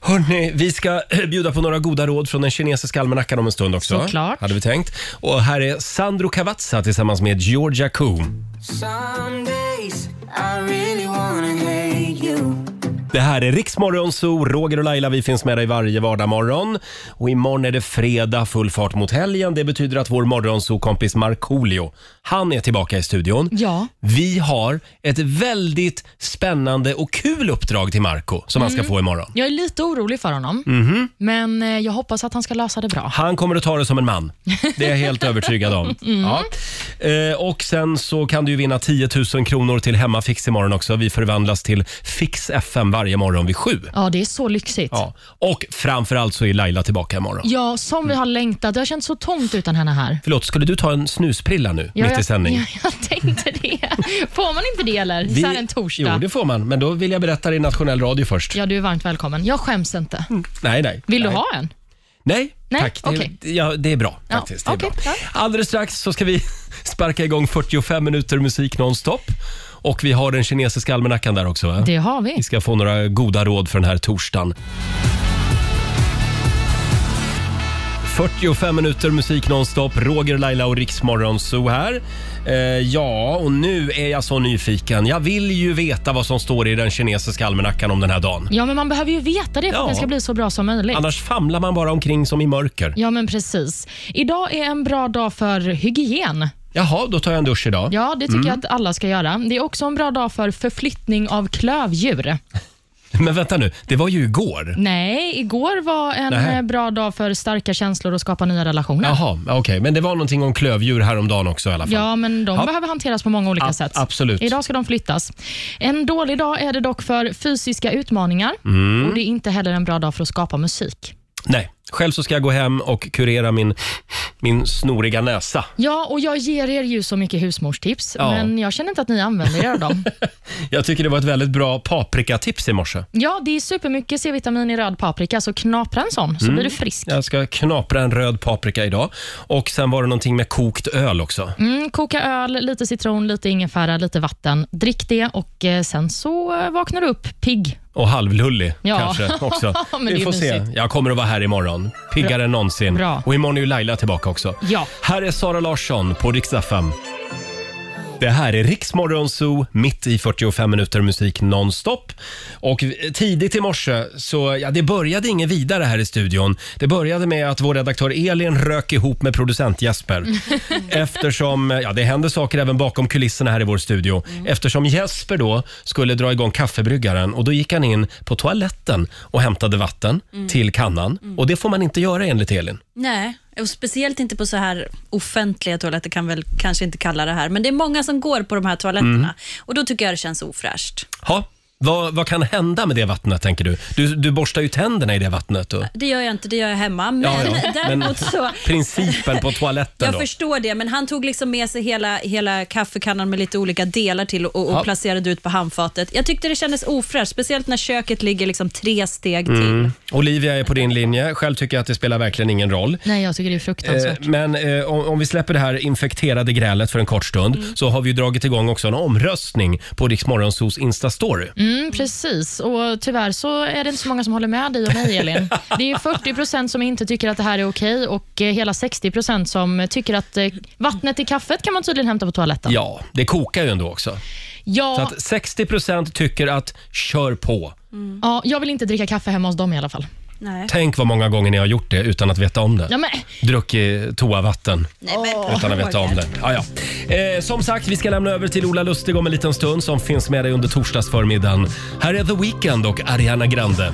[SPEAKER 1] Hörrni, vi ska eh, bjuda på några goda råd från den kinesiska almanackan om en stund också.
[SPEAKER 2] Såklart.
[SPEAKER 1] Hade vi tänkt. Och här är Sandro Cavazza tillsammans med Georgia Coom.
[SPEAKER 8] Some days I really wanna hate you.
[SPEAKER 1] Det här är Riksmorgon Zoo. Roger och Laila, vi finns med dig varje vardagsmorgon. Och imorgon är det fredag, full fart mot helgen. Det betyder att vår morgonzoo-kompis Markoolio, han är tillbaka i studion.
[SPEAKER 2] Ja.
[SPEAKER 1] Vi har ett väldigt spännande och kul uppdrag till Marco som han ska
[SPEAKER 2] Mm.
[SPEAKER 1] få imorgon.
[SPEAKER 2] Jag är lite orolig för honom,
[SPEAKER 1] Mhm.
[SPEAKER 2] men eh, jag hoppas att han ska lösa det bra.
[SPEAKER 1] Han kommer att ta det som en man. Det är jag helt övertygad om.
[SPEAKER 2] Mm.
[SPEAKER 1] Ja. Eh, och sen så kan du ju vinna 10 000 kronor till Hemmafix imorgon också. Vi förvandlas till Fix FM varje morgon vid sju.
[SPEAKER 2] Ja, det är så lyxigt.
[SPEAKER 1] Ja. Och framförallt så är Laila tillbaka imorgon.
[SPEAKER 2] Ja, som vi har längtat. Det har känts så tomt utan henne här.
[SPEAKER 1] Förlåt, skulle du ta en snusprilla nu
[SPEAKER 2] Ja,
[SPEAKER 1] mitt i
[SPEAKER 2] jag-
[SPEAKER 1] sändning?
[SPEAKER 2] Ja, jag tänkte det. Får man inte det eller?
[SPEAKER 1] Vi-
[SPEAKER 2] Så här en torsdag.
[SPEAKER 1] Jo, det får man. Men då vill jag berätta det i nationell radio först.
[SPEAKER 2] Ja, du är varmt välkommen. Jag skäms inte.
[SPEAKER 1] Nej, nej.
[SPEAKER 2] Vill
[SPEAKER 1] nej.
[SPEAKER 2] du ha en?
[SPEAKER 1] Nej,
[SPEAKER 2] Nej,
[SPEAKER 1] tack. Det,
[SPEAKER 2] okej.
[SPEAKER 1] ja, det är bra
[SPEAKER 2] Ja,
[SPEAKER 1] faktiskt. Det är
[SPEAKER 2] okej,
[SPEAKER 1] bra. Alldeles strax så ska vi sparka igång 45 minuter musik nonstop. Och vi har den kinesiska almanackan där också. Va?
[SPEAKER 2] Det har vi.
[SPEAKER 1] Vi ska få några goda råd för den här torsdagen. 45 minuter musik nonstop. Roger, Laila och Riksmorgon Zoo här. Eh, ja, och nu är jag så nyfiken. Jag vill ju veta vad som står i den kinesiska almanackan om den här dagen.
[SPEAKER 2] Ja, men man behöver ju veta det för
[SPEAKER 1] Ja.
[SPEAKER 2] att den ska bli så bra som möjligt.
[SPEAKER 1] Annars famlar man bara omkring som i mörker.
[SPEAKER 2] Ja, men precis. Idag är en bra dag för hygien.
[SPEAKER 1] Jaha, då tar jag en dusch idag.
[SPEAKER 2] Ja, det tycker
[SPEAKER 1] Mm.
[SPEAKER 2] jag att alla ska göra. Det är också en bra dag för förflyttning av klövdjur.
[SPEAKER 1] Men vänta nu, det var ju igår.
[SPEAKER 2] Nej, igår var en
[SPEAKER 1] Nähä.
[SPEAKER 2] eh, bra dag för starka känslor och skapa nya relationer.
[SPEAKER 1] Jaha, okej. Men det var någonting om klövdjur häromdagen också i alla fall.
[SPEAKER 2] Ja, men de
[SPEAKER 1] Ja.
[SPEAKER 2] behöver hanteras på många olika sätt.
[SPEAKER 1] absolut.
[SPEAKER 2] Idag ska de flyttas. En dålig dag är det dock för fysiska utmaningar
[SPEAKER 1] Mm.
[SPEAKER 2] och det är inte heller en bra dag för att skapa musik.
[SPEAKER 1] Nej, själv så ska jag gå hem och kurera min, min snoriga näsa.
[SPEAKER 2] Ja, och jag ger er ju så mycket husmorstips,
[SPEAKER 1] Ja.
[SPEAKER 2] men jag känner inte att ni använder er av dem.
[SPEAKER 1] Jag tycker det var ett väldigt bra paprikatips i morse.
[SPEAKER 2] Ja, det är supermycket C-vitamin i röd paprika, så knapra en sån så
[SPEAKER 1] Mm.
[SPEAKER 2] blir du frisk.
[SPEAKER 1] Jag ska knapra en röd paprika idag. Och sen var det någonting med kokt öl också.
[SPEAKER 2] Mm, koka öl, lite citron, lite ingefära, lite vatten. Drick det och eh, sen så eh, vaknar du upp pigg.
[SPEAKER 1] Och halvlullig
[SPEAKER 2] Ja.
[SPEAKER 1] kanske också.
[SPEAKER 2] Men det
[SPEAKER 1] Vi
[SPEAKER 2] är
[SPEAKER 1] får se.
[SPEAKER 2] mysigt.
[SPEAKER 1] Jag kommer att vara här imorgon. Piggare än någonsin.
[SPEAKER 2] Bra.
[SPEAKER 1] Och imorgon är ju Laila tillbaka också.
[SPEAKER 2] Ja.
[SPEAKER 1] Här är Sara Larsson på Rix FM. Det här är Riksmorgon Zoo, mitt i 45 minuter musik nonstop. Och tidigt i morse så, ja det började inget vidare här i studion. Det började med att vår redaktör Elin rök ihop med producent Jesper. Eftersom, ja det händer saker även bakom kulisserna här i vår studio.
[SPEAKER 6] Mm.
[SPEAKER 1] Eftersom Jesper då skulle dra igång kaffebryggaren och då gick han in på toaletten och hämtade vatten
[SPEAKER 6] Mm.
[SPEAKER 1] till kannan.
[SPEAKER 6] Mm.
[SPEAKER 1] Och det får man inte göra enligt Elin.
[SPEAKER 6] Nej, och speciellt inte på så här offentliga toaletter kan väl kanske inte kalla det här, men det är många som går på de här toaletterna
[SPEAKER 1] Mm.
[SPEAKER 6] och då tycker jag det känns ofräscht.
[SPEAKER 1] Ja, Vad, vad kan hända med det vattnet tänker du? Du, du borstar ju tänderna i det vattnet. Och...
[SPEAKER 6] Det gör jag inte, det gör jag hemma. Men
[SPEAKER 1] Ja, ja.
[SPEAKER 6] däremot så...
[SPEAKER 1] principen på toaletten
[SPEAKER 6] Jag
[SPEAKER 1] då?
[SPEAKER 6] förstår det, men han tog liksom med sig hela, hela kaffekannan med lite olika delar till och, och
[SPEAKER 1] Ja.
[SPEAKER 6] placerade ut på handfatet. Jag tyckte det kändes ofräscht, speciellt när köket ligger liksom tre steg till.
[SPEAKER 1] Mm. Olivia är på din linje. Själv tycker jag att det spelar verkligen ingen roll.
[SPEAKER 2] Nej, jag tycker det är fruktansvärt.
[SPEAKER 1] Eh, Men eh, om, om vi släpper det här infekterade grälet för en kort stund
[SPEAKER 2] Mm.
[SPEAKER 1] så har vi ju dragit igång också en omröstning på Rix Morgonzos Insta-story.
[SPEAKER 2] Mm, precis, och tyvärr så är det inte så många som håller med dig och mig, Elin. Det är 40 procent som inte tycker att det här är okej och eh, hela 60 procent som tycker att eh, vattnet i kaffet kan man tydligen hämta på toaletten.
[SPEAKER 1] Ja, det kokar ju ändå också.
[SPEAKER 2] Ja. Mm.
[SPEAKER 1] Så att 60 tycker att kör på.
[SPEAKER 2] Ja, jag vill inte dricka kaffe hemma hos dem i alla fall.
[SPEAKER 6] Nej.
[SPEAKER 1] Tänk vad många gånger ni har gjort det utan att veta om det.
[SPEAKER 2] Ja, men,
[SPEAKER 1] Druckit toavatten.
[SPEAKER 6] Nej, men,
[SPEAKER 1] Utan att veta om det. Ja, ja. Eh, som sagt, vi ska lämna över till Ola Lustig om en liten stund som finns med dig under torsdagsförmiddagen. Här är The Weeknd och Ariana Grande.